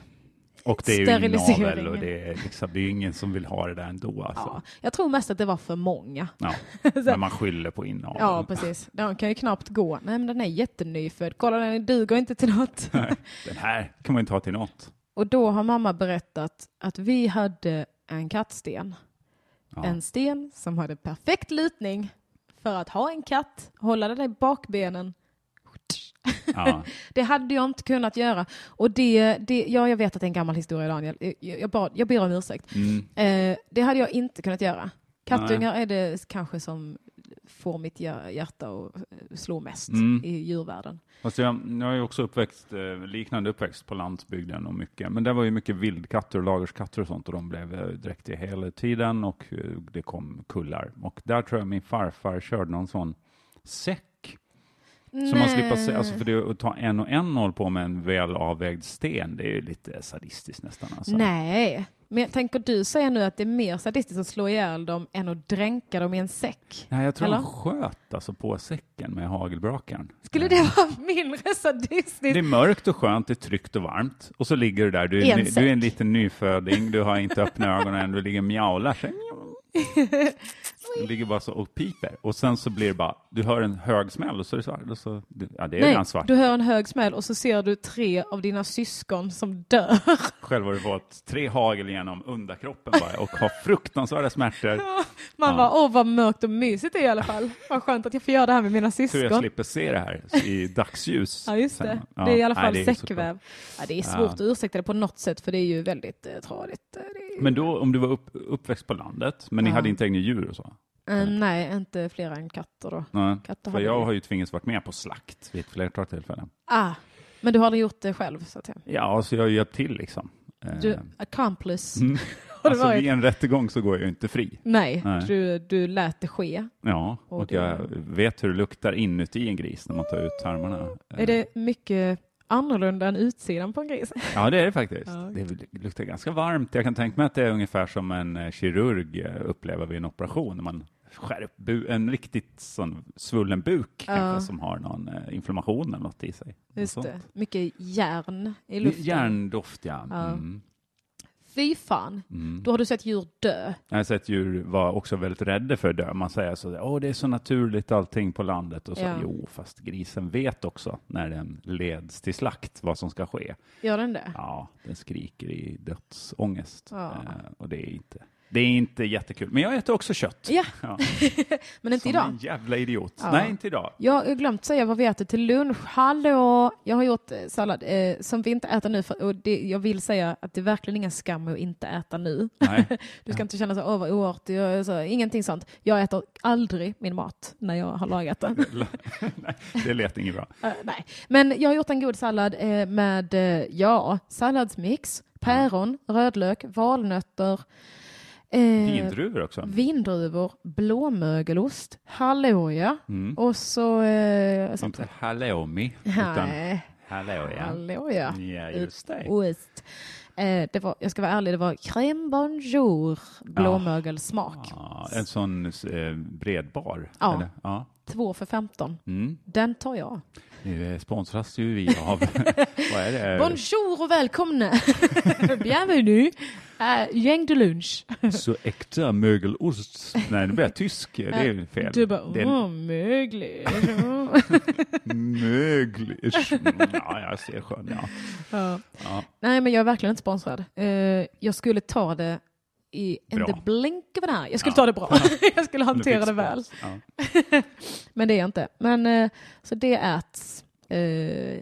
Speaker 2: Och det är ju inavel
Speaker 1: Steriliseringen.
Speaker 2: och det är, liksom, det är ju ingen som vill ha det där ändå. Alltså.
Speaker 1: Ja, jag tror mest att det var för många.
Speaker 2: Ja. Men man skyller på inaveln.
Speaker 1: Ja, precis. De kan ju knappt gå. Nej, men den är jättenyfödd. Kolla, den duger inte till något.
Speaker 2: Den här kan man ju inte ha till något.
Speaker 1: Och då har mamma berättat att vi hade en kattsten. En sten som hade perfekt lutning för att ha en katt, hålla den i bakbenen.
Speaker 2: Ja.
Speaker 1: Det hade jag inte kunnat göra. Och det, det, ja, jag vet att det är en gammal historia Daniel. Jag, jag, bad, jag ber om ursäkt.
Speaker 2: Mm.
Speaker 1: Eh, det hade jag inte kunnat göra. Kattungar är det kanske som får mitt hjär- hjärta att eh, slå mest
Speaker 2: Mm.
Speaker 1: i djurvärlden.
Speaker 2: Fast jag, jag är ju också uppväxt, eh, liknande uppväxt på landsbygden och mycket. Men där var ju mycket vildkatter och lagerskatter och sånt och de blev eh, direkt i hela tiden och eh, det kom kullar. Och där tror jag min farfar körde någon sån säck. Så man slipper se, alltså för det att ta en och en och hålla på med en väl avvägd sten, det är ju lite sadistiskt nästan. Alltså.
Speaker 1: Nej, men jag tänker du säga nu att det är mer sadistiskt att slå ihjäl dem än att dränka dem i en säck?
Speaker 2: Nej, jag tror
Speaker 1: Eller?
Speaker 2: han sköt alltså på säcken med hagelbrakaren.
Speaker 1: Skulle det vara mindre sadistiskt?
Speaker 2: Det är mörkt och skönt, det är tryggt och varmt. Och så ligger du där, du
Speaker 1: I
Speaker 2: är,
Speaker 1: en
Speaker 2: ny, du är en
Speaker 1: säck.
Speaker 2: liten nyföding, du har inte öppna ögonen än, du ligger och mjaular. Så. Du ligger bara så och piper. Och sen så blir det bara, du hör en hög smäll och så är det svart. Och så, ja, det är redan svart.
Speaker 1: du hör en hög smäll och så ser du tre av dina syskon som dör.
Speaker 2: Själv har du fått tre hagel genom underkroppen bara och har fruktansvärda smärtor.
Speaker 1: Man bara, åh vad mörkt och mysigt det är i alla fall. Vad skönt att jag får göra det här med mina
Speaker 2: Tur jag
Speaker 1: syskon.
Speaker 2: slipper se det här i dagsljus.
Speaker 1: Ja, just
Speaker 2: sen.
Speaker 1: det.
Speaker 2: Ja,
Speaker 1: det är i alla
Speaker 2: nej,
Speaker 1: fall
Speaker 2: det är såklart.
Speaker 1: säckväv. Ja, det är svårt att ursäkta det på något sätt, för det är ju väldigt eh, tradigt. Eh, Det är...
Speaker 2: Men då, om du var upp, uppväxt på landet, men ni hade inte egna djur och så?
Speaker 1: Eh, nej, inte fler än katter då.
Speaker 2: Nej,
Speaker 1: Katter
Speaker 2: Mm. för
Speaker 1: hade vi.
Speaker 2: jag har ju tvingats varit med på slakt vid ett flertal tillfällen.
Speaker 1: Ah, men du har aldrig gjort det själv, så att säga.
Speaker 2: Ja, så jag har ju hjälpt till liksom. Eh,
Speaker 1: Du, accomplice. Har du
Speaker 2: alltså
Speaker 1: varit?
Speaker 2: vid en rättegång så går jag ju inte fri.
Speaker 1: Nej,
Speaker 2: Nej.
Speaker 1: Du, du lät det ske.
Speaker 2: Ja, och,
Speaker 1: det-
Speaker 2: jag vet hur det luktar inuti en gris när man tar ut tarmarna. Eh,
Speaker 1: Är det mycket annorlunda än utsidan på en gris?
Speaker 2: Ja, det är det faktiskt. Det luktar ganska varmt. Jag kan tänka mig att det är ungefär som en eh, kirurg eh, upplever vid en operation. När man skär upp bu- en riktigt sån svullen buk kanske som har någon eh, inflammation eller något i sig. Något
Speaker 1: Just
Speaker 2: sånt.
Speaker 1: det. Mycket järn i
Speaker 2: Det är
Speaker 1: luften.
Speaker 2: Järndoft, ja. Mm.
Speaker 1: Fy fan, då har du sett djur dö.
Speaker 2: Jag har sett djur var också väldigt rädda för att dö. Man säger så, åh det är så naturligt allting på landet. Och så,
Speaker 1: Ja.
Speaker 2: Jo, fast grisen vet också när den leds till slakt vad som ska ske.
Speaker 1: Gör den det?
Speaker 2: Ja, den skriker i dödsångest.
Speaker 1: Ja.
Speaker 2: Eh, och det är, inte, det är inte jättekul. Men jag äter också kött.
Speaker 1: Ja,
Speaker 2: Ja,
Speaker 1: men inte
Speaker 2: som en
Speaker 1: idag.
Speaker 2: jävla idiot.
Speaker 1: Ja.
Speaker 2: Nej, inte idag.
Speaker 1: Jag har glömt säga vad vi äter till lunch. Hallå! Jag har gjort eh, sallad eh, som vi inte äter nu. För, och det, jag vill säga att det är verkligen ingen skam att inte äta nu.
Speaker 2: Nej.
Speaker 1: Du ska inte känna så, åh vad oartig jag är", så, Ingenting sånt. Jag äter aldrig min mat när jag har lagat den.
Speaker 2: Nej, det lät inget bra.
Speaker 1: Eh, nej. Men jag har gjort en god sallad eh, med, eh, ja, salladsmix, päron, rödlök, valnötter. eh,
Speaker 2: Vindruvor också.
Speaker 1: Vindruvor, blåmögelost, hallåja
Speaker 2: Mm.
Speaker 1: och så... Eh, sånt.
Speaker 2: Inte halloumi, utan
Speaker 1: Nej,
Speaker 2: hallåja.
Speaker 1: hallåja.
Speaker 2: Ja, just det.
Speaker 1: Ost. Eh, det var, jag ska vara ärlig, det var crème bonjour blåmögelsmak.
Speaker 2: Ah. Ja, en sån eh, bredbar?
Speaker 1: Ja.
Speaker 2: Eller? ja.
Speaker 1: Två för 15.
Speaker 2: Mm.
Speaker 1: Den tar jag.
Speaker 2: Nu eh, sponsras ju vi av, vad är det?
Speaker 1: Bonjour och välkomna! Bienvenue! Uh, gäng de lunch.
Speaker 2: Så äkta mögelost. Nej, nu blir jag tysk. Det är ju fel.
Speaker 1: Du bara, åh,
Speaker 2: Det är
Speaker 1: oh, möglig.
Speaker 2: mögel. Ja, jag ser skön. Ja.
Speaker 1: ja.
Speaker 2: Ja.
Speaker 1: Nej, men jag är verkligen inte sponsrad. Eh, jag skulle ta det i en
Speaker 2: Bra.
Speaker 1: the blink of an eye. Jag skulle
Speaker 2: Ja.
Speaker 1: ta det bra. jag skulle
Speaker 2: Du
Speaker 1: hantera
Speaker 2: fick
Speaker 1: det väl.
Speaker 2: spons. Ja.
Speaker 1: Men det är jag inte. Men, eh, så det äts eh,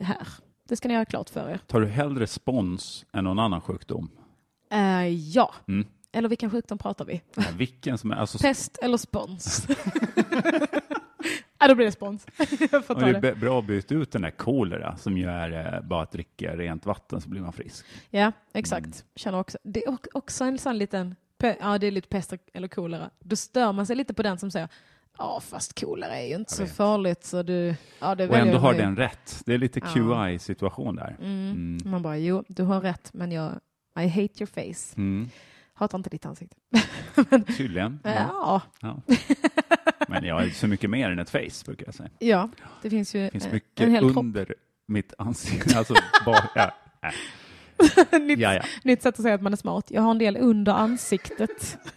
Speaker 1: här. Det ska ni göra klart för er.
Speaker 2: Tar du hellre spons än någon annan sjukdom?
Speaker 1: Eh, ja.
Speaker 2: Mm.
Speaker 1: Eller vilken sjukdom pratar vi?
Speaker 2: Ja, vilken som är, alltså,
Speaker 1: Pest eller spons? ja, då blir det spons. jag får
Speaker 2: om
Speaker 1: ta
Speaker 2: det
Speaker 1: det.
Speaker 2: är bä- bra att byta ut den där kolera som ju är eh, bara att dricka rent vatten så blir man frisk.
Speaker 1: Ja, exakt. Känner också. Det är ock- också en sån liten, pe- ja det är lite pest eller kolera. Då stör man sig lite på den som säger Ja, fast kolera är ju inte så
Speaker 2: vet.
Speaker 1: farligt så du... Ja, det
Speaker 2: Och
Speaker 1: väljer
Speaker 2: ändå
Speaker 1: jag
Speaker 2: har
Speaker 1: mig."
Speaker 2: den rätt. Det är lite
Speaker 1: Ja.
Speaker 2: QI-situation där. Mm.
Speaker 1: Man bara, jo, du har rätt, men jag... I hate your face.
Speaker 2: Mm.
Speaker 1: Hatar inte ditt ansikte.
Speaker 2: Tydligen. Ja.
Speaker 1: Ja,
Speaker 2: Ja. Men jag är så mycket mer än ett face, brukar jag säga.
Speaker 1: ja det finns ju
Speaker 2: Det finns
Speaker 1: eh,
Speaker 2: mycket
Speaker 1: en hel kropp.
Speaker 2: under mitt ansikte. Alltså, bara, ja. nej.
Speaker 1: nytt,
Speaker 2: Ja, ja.
Speaker 1: nytt sätt att säga att man är smart. Jag har en del under ansiktet.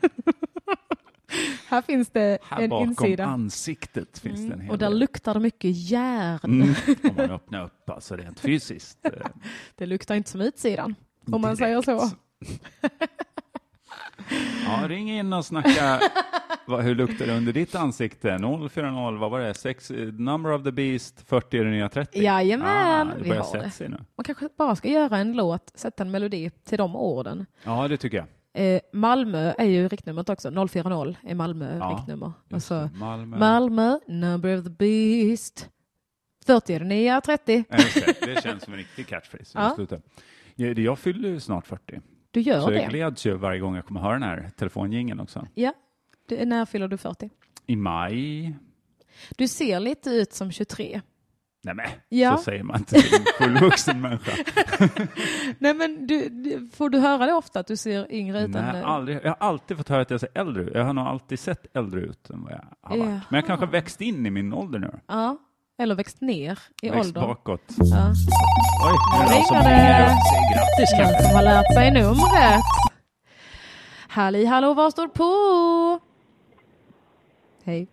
Speaker 1: Här finns det
Speaker 2: Här
Speaker 1: en
Speaker 2: bakom
Speaker 1: insida. Mm.
Speaker 2: ansiktet finns det en hel
Speaker 1: Och där
Speaker 2: del.
Speaker 1: luktar det mycket järn.
Speaker 2: Mm. Om man öppnar upp, alltså rent fysiskt. eh,
Speaker 1: Det luktar inte som utsidan, om man
Speaker 2: Direkt.
Speaker 1: säger så.
Speaker 2: Ja, ring in och snacka. Vad, hur luktar det under ditt ansikte? 040, vad var det? Sex, eh, number of the beast, 40 är det nya 30.
Speaker 1: Jajamän,
Speaker 2: ah, det
Speaker 1: vi
Speaker 2: börjar
Speaker 1: har
Speaker 2: sätta
Speaker 1: det.
Speaker 2: sig nu.
Speaker 1: Man kanske bara ska göra en låt, sätta en melodi till de orden.
Speaker 2: Ja, det tycker jag.
Speaker 1: Eh, Malmö är ju riktnumret också, 040 är Malmö
Speaker 2: Ja,
Speaker 1: riktnummer. Och
Speaker 2: Just
Speaker 1: så
Speaker 2: det, Malmö.
Speaker 1: Malmö, number of the beast, 40 är det nya 30.
Speaker 2: Ja, just det. det känns som en riktig catchphrase.
Speaker 1: Ja.
Speaker 2: Ja. Jag, jag fyller ju snart 40,
Speaker 1: Du gör
Speaker 2: så jag
Speaker 1: det.
Speaker 2: gläds ju varje gång jag kommer höra den här telefonjingeln också.
Speaker 1: Ja, du, när fyller du 40?
Speaker 2: I maj,
Speaker 1: Du ser lite ut som 23.
Speaker 2: nej men,
Speaker 1: Ja.
Speaker 2: så säger man inte till en fullvuxen människa.
Speaker 1: Nej men du, du, får du höra det ofta att du ser yngre ut? än,
Speaker 2: Nej,
Speaker 1: eh,
Speaker 2: aldrig. Jag har alltid fått höra att jag ser äldre ut. Jag har nog alltid sett äldre ut än vad jag har varit.
Speaker 1: Jaha.
Speaker 2: Men jag kanske har växt in i min ålder nu.
Speaker 1: Ja, eller växt ner i
Speaker 2: Växt
Speaker 1: åldern.
Speaker 2: bakåt.
Speaker 1: Ja.
Speaker 2: Oj, nu är det någon som
Speaker 1: ringer det.
Speaker 2: ringer upp sig. Grattis
Speaker 1: Någon
Speaker 2: kanske.
Speaker 1: som har lärt sig numret. Halli hallå, vad står på? Hej.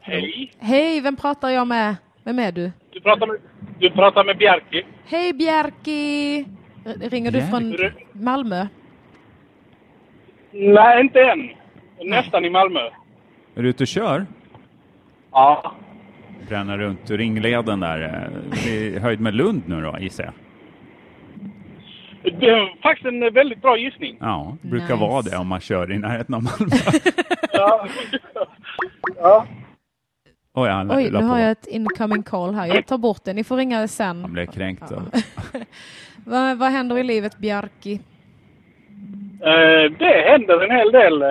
Speaker 6: Hej!
Speaker 1: Hej, vem pratar jag med? Vem är du?
Speaker 6: Du pratar med, du pratar med Bjarki.
Speaker 1: Hej Bjerki! R- Ringer du från
Speaker 6: Bjerki?
Speaker 1: Malmö?
Speaker 6: Nej, inte än. Nästan i Malmö.
Speaker 2: Är du ute och kör?
Speaker 6: Ja.
Speaker 2: Bränner runt ringleden där. eh, I höjd med Lund nu då, gissar jag.
Speaker 6: Det är faktiskt en väldigt bra gissning.
Speaker 2: Ja, det brukar
Speaker 1: Nice.
Speaker 2: vara det om man kör i närheten av Malmö.
Speaker 6: Ja.
Speaker 2: Oj, han
Speaker 1: Oj,
Speaker 2: la
Speaker 1: nu
Speaker 2: på.
Speaker 1: har jag ett incoming call här. Jag tar bort det. Ni får ringa
Speaker 2: Han
Speaker 1: sen.
Speaker 2: blev kränkt. av-
Speaker 1: Vad, vad händer i livet Bjerki?
Speaker 6: Eh, Det händer en hel del. eh,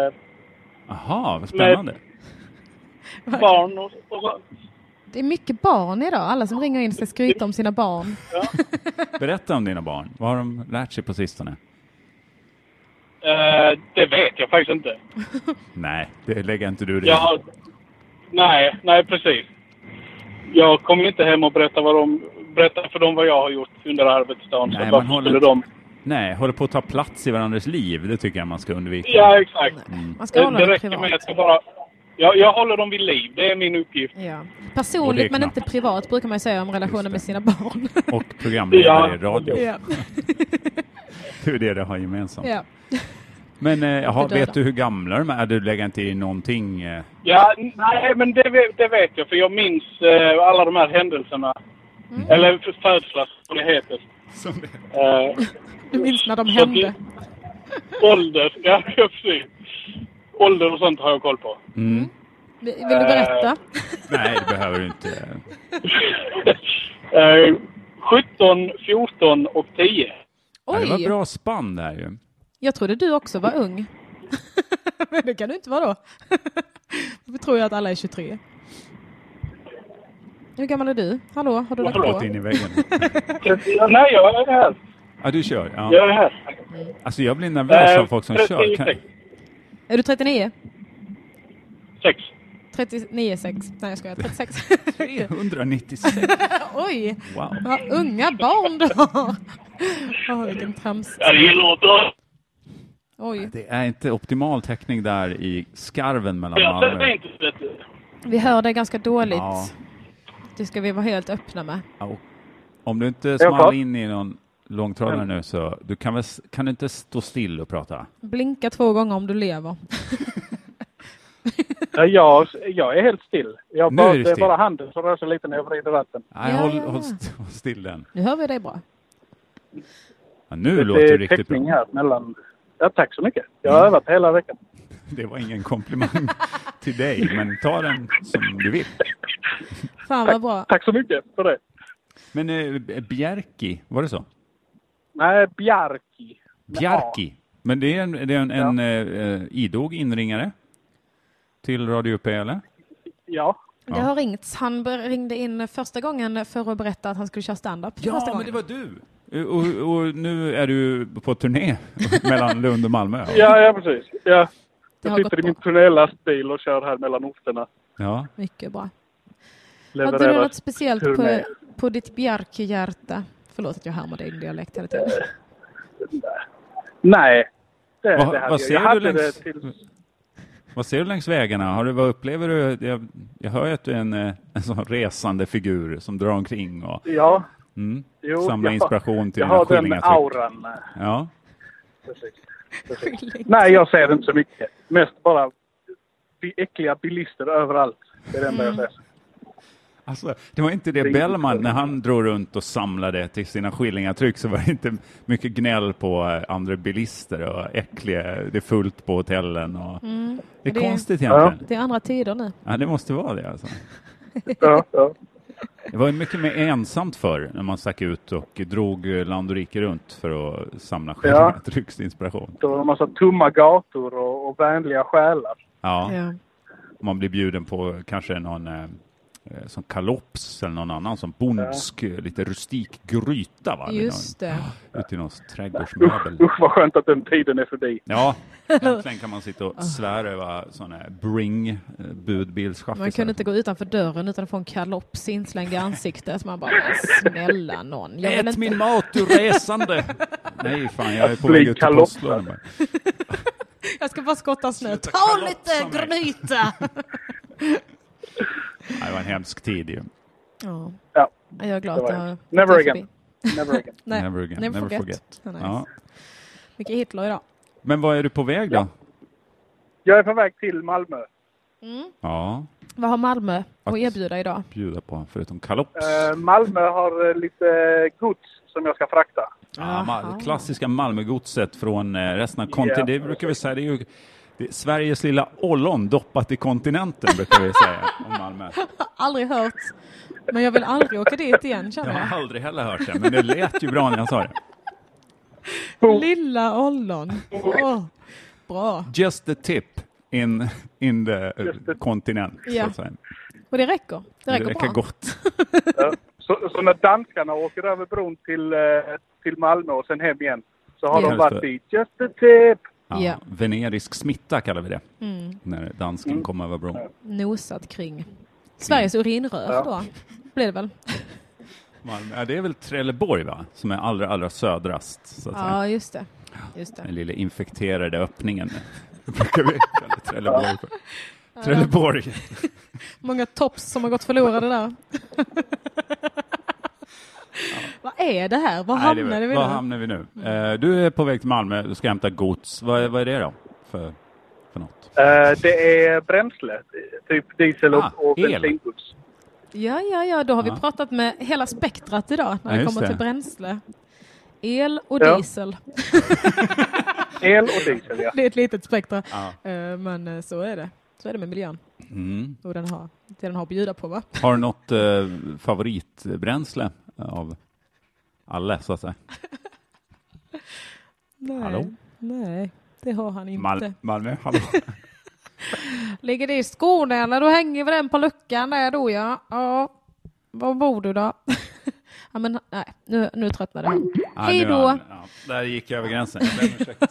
Speaker 2: Jaha, vad spännande.
Speaker 6: Barn och, och så.
Speaker 1: Det är mycket barn idag. Alla som ringer in ska skryta om sina barn.
Speaker 2: Berätta om dina barn. Vad har de lärt sig på sistone?
Speaker 6: Eh, Det vet jag faktiskt inte.
Speaker 2: Nej, det lägger inte du dig i.
Speaker 6: Jag, nej, nej precis. Jag kommer inte hem och berätta, vad de, berätta för dem vad jag har gjort under arbetsdagen.
Speaker 2: Nej,
Speaker 6: så
Speaker 2: man
Speaker 6: varför
Speaker 2: håller
Speaker 6: skulle
Speaker 2: inte-
Speaker 6: de...
Speaker 2: Nej, håller på att ta plats i varandras liv. Det tycker jag man ska undvika.
Speaker 6: Ja, exakt.
Speaker 2: Mm.
Speaker 1: Man ska
Speaker 6: Det,
Speaker 1: hålla
Speaker 6: det
Speaker 1: det
Speaker 6: räcker med
Speaker 1: privat.
Speaker 6: att jag bara... Jag, jag håller dem vid liv. Det är min uppgift.
Speaker 1: Ja.
Speaker 2: Och det är
Speaker 1: Personligt men
Speaker 2: knappt.
Speaker 1: inte privat brukar man ju säga om relationen med sina barn.
Speaker 2: Och programledare
Speaker 6: Ja.
Speaker 2: i radio.
Speaker 1: ja.
Speaker 2: Det är det det har gemensamt.
Speaker 1: Ja.
Speaker 2: Men eh, jaha,
Speaker 1: Det döda.
Speaker 2: vet du hur gamla de är? Du lägger inte i någonting? Eh,
Speaker 6: Ja, nej, men det, vet- det vet jag för jag minns eh, alla de här händelserna. Eller f- födslar, som det heter.
Speaker 2: som det.
Speaker 6: Eh,
Speaker 1: Du minns när de hände.
Speaker 6: ålder, ja precis. Ålder och sånt har jag koll på.
Speaker 1: Vill du berätta?
Speaker 2: Nej, det behöver du inte.
Speaker 6: Eh, 17, 14 och 10.
Speaker 2: Ja, Det var
Speaker 1: Oj,
Speaker 2: bra spann där ju.
Speaker 1: jag trodde du också var ung. Men det kan du inte vara då. Varför tror jag att alla är 23? Hur gammal är du? Hallå, har du lagt
Speaker 2: Gått
Speaker 1: på?
Speaker 2: in i väggen.
Speaker 6: nej, jag är här.
Speaker 2: Ja, du kör.
Speaker 6: Jag
Speaker 2: Ja.
Speaker 6: är här.
Speaker 2: Alltså, jag blir nervös
Speaker 6: Eh,
Speaker 2: av folk som
Speaker 6: 36.
Speaker 2: kör. Kan,
Speaker 1: Är du 39?
Speaker 6: Sex.
Speaker 1: 39 sex. Nej, jag skojar. 36.
Speaker 2: 396.
Speaker 1: Oj,
Speaker 2: Wow.
Speaker 1: vad unga barn du har. Åh, vilken trams.
Speaker 6: Ja, det låter...
Speaker 1: Oj,
Speaker 2: Det är inte optimal täckning där i skarven mellan
Speaker 6: Jag
Speaker 2: Malmö.
Speaker 6: tänkte vet du.
Speaker 1: vi hör dig ganska dåligt.
Speaker 2: Ja.
Speaker 1: Det ska vi vara helt öppna med.
Speaker 2: Au. Om du inte
Speaker 3: jag klar?
Speaker 2: small in i någon långtradare nu så du kan, väl, s- kan du inte stå still och prata?
Speaker 1: Blinka två gånger om du lever.
Speaker 6: Ja, jag, jag är helt still. Jag
Speaker 2: Nu
Speaker 6: bara,
Speaker 2: är du
Speaker 6: det är
Speaker 2: still.
Speaker 6: bara handen som rör sig lite när jag vrider ratten.
Speaker 2: Nej,
Speaker 1: Ja,
Speaker 2: håll,
Speaker 1: ja, ja.
Speaker 2: Håll, st- håll still den.
Speaker 1: Nu hör vi dig bra.
Speaker 2: Ja, nu låter det riktigt
Speaker 6: täckning
Speaker 2: bra. Mm.
Speaker 6: här mellan... Ja, tack så mycket. Jag har övat hela veckan.
Speaker 2: Det var ingen komplimang till dig, men ta den som du vill.
Speaker 1: Fan vad bra.
Speaker 6: Tack så mycket för det.
Speaker 2: Men eh, Bjerki, var det så?
Speaker 6: Nej, Bjarki.
Speaker 2: Bjarki. Men det är en, det är en, en eh, eh, idog inringare till Radio UP, eller?
Speaker 6: Ja.
Speaker 1: Det har ringts. Han ber- ringde in första gången för att berätta att han skulle köra stand-up. för första gången.
Speaker 2: var du! Eh, Och, och nu är du på turné mellan Lund och Malmö?
Speaker 6: Ja, ja precis. Ja.
Speaker 1: Det
Speaker 6: Jag
Speaker 1: har
Speaker 6: sitter i
Speaker 1: gått
Speaker 6: min
Speaker 1: bra.
Speaker 6: turnélastbil och kör här mellan orterna.
Speaker 2: ja.
Speaker 1: Mycket bra. Hade du
Speaker 6: Levererar.
Speaker 1: något speciellt på,
Speaker 6: turné.
Speaker 1: på ditt bjärkehjärta? Förlåt att jag härmar din dialekt hela tiden.
Speaker 6: Nej. Det,
Speaker 2: Vad-
Speaker 6: det hade
Speaker 2: vad
Speaker 6: jag.
Speaker 2: ser
Speaker 6: jag
Speaker 2: du
Speaker 6: hade
Speaker 2: längs-
Speaker 6: det tills...
Speaker 2: Vad ser du längs vägarna? Har du, vad upplever du? Jag, jag hör ju att du är en, eh, en sån resande figur som drar omkring och
Speaker 6: Ja.
Speaker 2: mm,
Speaker 6: Jo,
Speaker 2: samlar
Speaker 6: jag-
Speaker 2: inspiration till
Speaker 6: Jag
Speaker 2: dina
Speaker 6: har den
Speaker 2: skillingatryck.
Speaker 6: auran.
Speaker 2: Ja.
Speaker 6: Precis.
Speaker 1: Skilling.
Speaker 6: Nej, jag ser inte så mycket. Mest bara bi- äckliga bilister överallt. Det är det enda jag ser.
Speaker 2: Alltså, det var inte det Bellman, när han drog runt och samlade till sina skillingatryck så var det inte mycket gnäll på eh, andra bilister och äckliga, det är fullt på hotellen. Och...
Speaker 6: Mm.
Speaker 2: Det är
Speaker 1: det-
Speaker 2: konstigt egentligen.
Speaker 1: Det är andra tider nu.
Speaker 2: Ja, det måste vara det alltså.
Speaker 6: Ja, ja.
Speaker 2: Det var ju mycket mer ensamt förr när man stack ut och drog eh, land och rike runt för att samla skillingatrycksinspiration.
Speaker 6: Det var en massa tomma gator och, och vänliga själar.
Speaker 2: Ja.
Speaker 1: Ja.
Speaker 2: man blir bjuden på kanske någon eh, eh, som kalops eller någon annan som bondsk, eh, lite rustik gryta va? Vid
Speaker 1: Just
Speaker 2: någon,
Speaker 1: det.
Speaker 2: Ute i någons trädgårdsmöbel.
Speaker 6: Usch, usch vad skönt att den tiden är förbi.
Speaker 2: Ja, äntligen kan man sitta
Speaker 1: Ah.
Speaker 2: och svära över sådana här bring eh, budbilschaffisar.
Speaker 1: Man kunde inte gå utanför dörren utan att få en kalops inslängd i ansiktet. Man bara, "Men snälla någon. Jag vill
Speaker 2: Ät min
Speaker 1: inte...
Speaker 2: mat, du resande! Nej, fan, jag är på
Speaker 6: Bli
Speaker 2: väg ut till
Speaker 6: kalopsare.
Speaker 2: postlådan. bara.
Speaker 1: Jag ska bara skotta snö.
Speaker 2: Sluta
Speaker 1: Ta
Speaker 2: kalopsa
Speaker 1: lite
Speaker 2: mig."
Speaker 1: gryta!
Speaker 2: Nej, Det var en hemsk tid ju.
Speaker 1: ja.
Speaker 6: Ja,
Speaker 1: Jag är glad
Speaker 6: Det
Speaker 1: att
Speaker 6: var
Speaker 1: jag
Speaker 6: hemskt. Never
Speaker 1: att jag är
Speaker 6: again.
Speaker 1: förbi.
Speaker 6: never again.
Speaker 1: Nej,
Speaker 2: Never again,
Speaker 1: Never
Speaker 2: never
Speaker 1: forget.
Speaker 2: forget.
Speaker 1: Ja, nice.
Speaker 2: Ja.
Speaker 1: Mycket Hitler idag.
Speaker 2: Men vad är du på väg då?
Speaker 6: Jag är på väg till Malmö.
Speaker 2: Ja,
Speaker 1: Vad har Malmö
Speaker 2: Att-
Speaker 1: att erbjuda idag?
Speaker 2: bjuda på, förutom kalops.
Speaker 6: Eh, Malmö har eh, lite gods som jag ska frakta.
Speaker 2: Ja,
Speaker 1: Aha.
Speaker 2: ma- klassiska Malmögodset från eh, resten av kontinenten. Det brukar vi säga, det är ju det är Sveriges lilla ollon doppat i kontinenten, brukar vi säga om Malmö.
Speaker 1: Aldrig hört. Men jag vill aldrig åka dit igen
Speaker 2: Jag
Speaker 1: känner jag.
Speaker 2: har aldrig heller hört det, men det lät ju bra när jag sa det.
Speaker 1: Lilla ollon. Åh, Bra.
Speaker 2: Just the tip in, in the eh, kontinent, så
Speaker 1: Ja.
Speaker 2: att säga.
Speaker 1: Och det räcker. Det
Speaker 2: Det
Speaker 1: räcker,
Speaker 2: räcker
Speaker 1: bra.
Speaker 2: gott.
Speaker 6: Ja. Så, så när danskarna åker över bron till, eh, till Malmö och sen hem igen så har
Speaker 1: Ja.
Speaker 6: de varit i just a tip.
Speaker 2: Ja,
Speaker 1: Ja. Mm.
Speaker 2: Venerisk smitta kallar vi det, när dansken kom över bron.
Speaker 1: Nosat kring.
Speaker 6: Mm.
Speaker 1: Sveriges urinrör då. Blir det väl?
Speaker 2: Malmö. Ja, det är väl Trelleborg, va? Som är allra, allra södrast, så att säga.
Speaker 1: Ja, just det. Just det.
Speaker 2: Den lilla infekterade öppningen. brukar vi kalla Trelleborg för. Trelleborg.
Speaker 1: Många tops som har gått förlorade där. Vad är det här? Var
Speaker 2: Nej, det är-
Speaker 1: hamnade vi
Speaker 2: Var
Speaker 1: nu?
Speaker 2: hamnar vi nu? Eh, du är på väg till Malmö, du ska hämta gods. Vad, är- vad är det då för, för något?
Speaker 6: Eh, det är bränsle, typ diesel och,
Speaker 2: Ah,
Speaker 6: och
Speaker 2: el.
Speaker 6: bensingods.
Speaker 1: Ja, ja, ja, då har
Speaker 2: Ja.
Speaker 1: vi pratat med hela spektrat idag
Speaker 2: Ja,
Speaker 1: när det
Speaker 2: just
Speaker 1: kommer
Speaker 2: det.
Speaker 1: till bränsle. El och
Speaker 6: Ja.
Speaker 1: diesel.
Speaker 6: El och diesel, ja.
Speaker 1: Det är ett litet spektra. Eh, Men eh, så är det. Så är det med miljön. Och den har, det den har att bjuda på va?
Speaker 2: Mm. Har du något eh, favoritbränsle av alla, så att säga?
Speaker 1: Nej.
Speaker 2: Hallå?
Speaker 1: Nej, det har han inte.
Speaker 2: Mal- Malmö, hallå?
Speaker 1: Ligger det i Skåne eller då hänger väl den på luckan där då ja. ja. Var bor du då? Ja, men, nej, nu, nu tröttnade han.
Speaker 2: Ja,
Speaker 1: Hej
Speaker 2: nu
Speaker 1: då.
Speaker 2: har han- Ja, där gick jag över gränsen. Jag ber om ursäkt.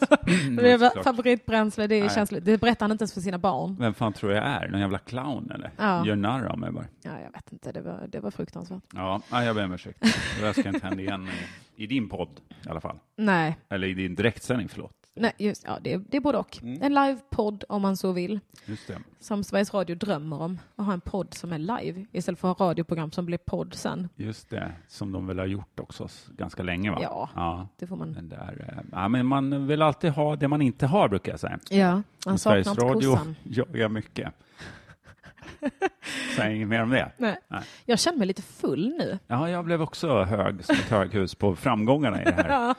Speaker 2: Mm,
Speaker 1: Det är väl
Speaker 2: såklart.
Speaker 1: favoritbränsle, det är
Speaker 2: Nej.
Speaker 1: känsligt. Det berättar han inte ens för sina barn.
Speaker 2: Vem fan tror jag är? Någon jävla clown eller?
Speaker 1: Ja.
Speaker 2: Gör narr av mig bara.
Speaker 1: Ja, jag vet inte, det var, det var fruktansvärt.
Speaker 2: Ja, nej, jag ber om ursäkt. Det där ska inte hända igen eh, i, i din podd i alla fall.
Speaker 1: Nej,
Speaker 2: Eller i din direktsändning, förlåt.
Speaker 1: nej just, ja, det, det är både och.
Speaker 2: Mm.
Speaker 1: En livepodd om man så vill,
Speaker 2: Just det.
Speaker 1: som Sveriges Radio drömmer om. Att ha en podd som är live istället för att ha radioprogram som blir podd sen.
Speaker 2: Just det, som de väl har gjort också s- ganska länge va?
Speaker 1: Ja.
Speaker 2: ja.
Speaker 1: Det får man.
Speaker 2: Den där, eh, ja men man vill alltid ha det man inte har brukar jag säga.
Speaker 1: Ja, man saknar
Speaker 2: Sveriges
Speaker 1: inte
Speaker 2: Radio
Speaker 1: kossan.
Speaker 2: jagar mycket. Säg inget mer om det.
Speaker 1: Nej.
Speaker 2: Nej.
Speaker 1: Jag känner mig lite full nu.
Speaker 2: Ja, jag blev också hög som ett höghus på framgångarna i det här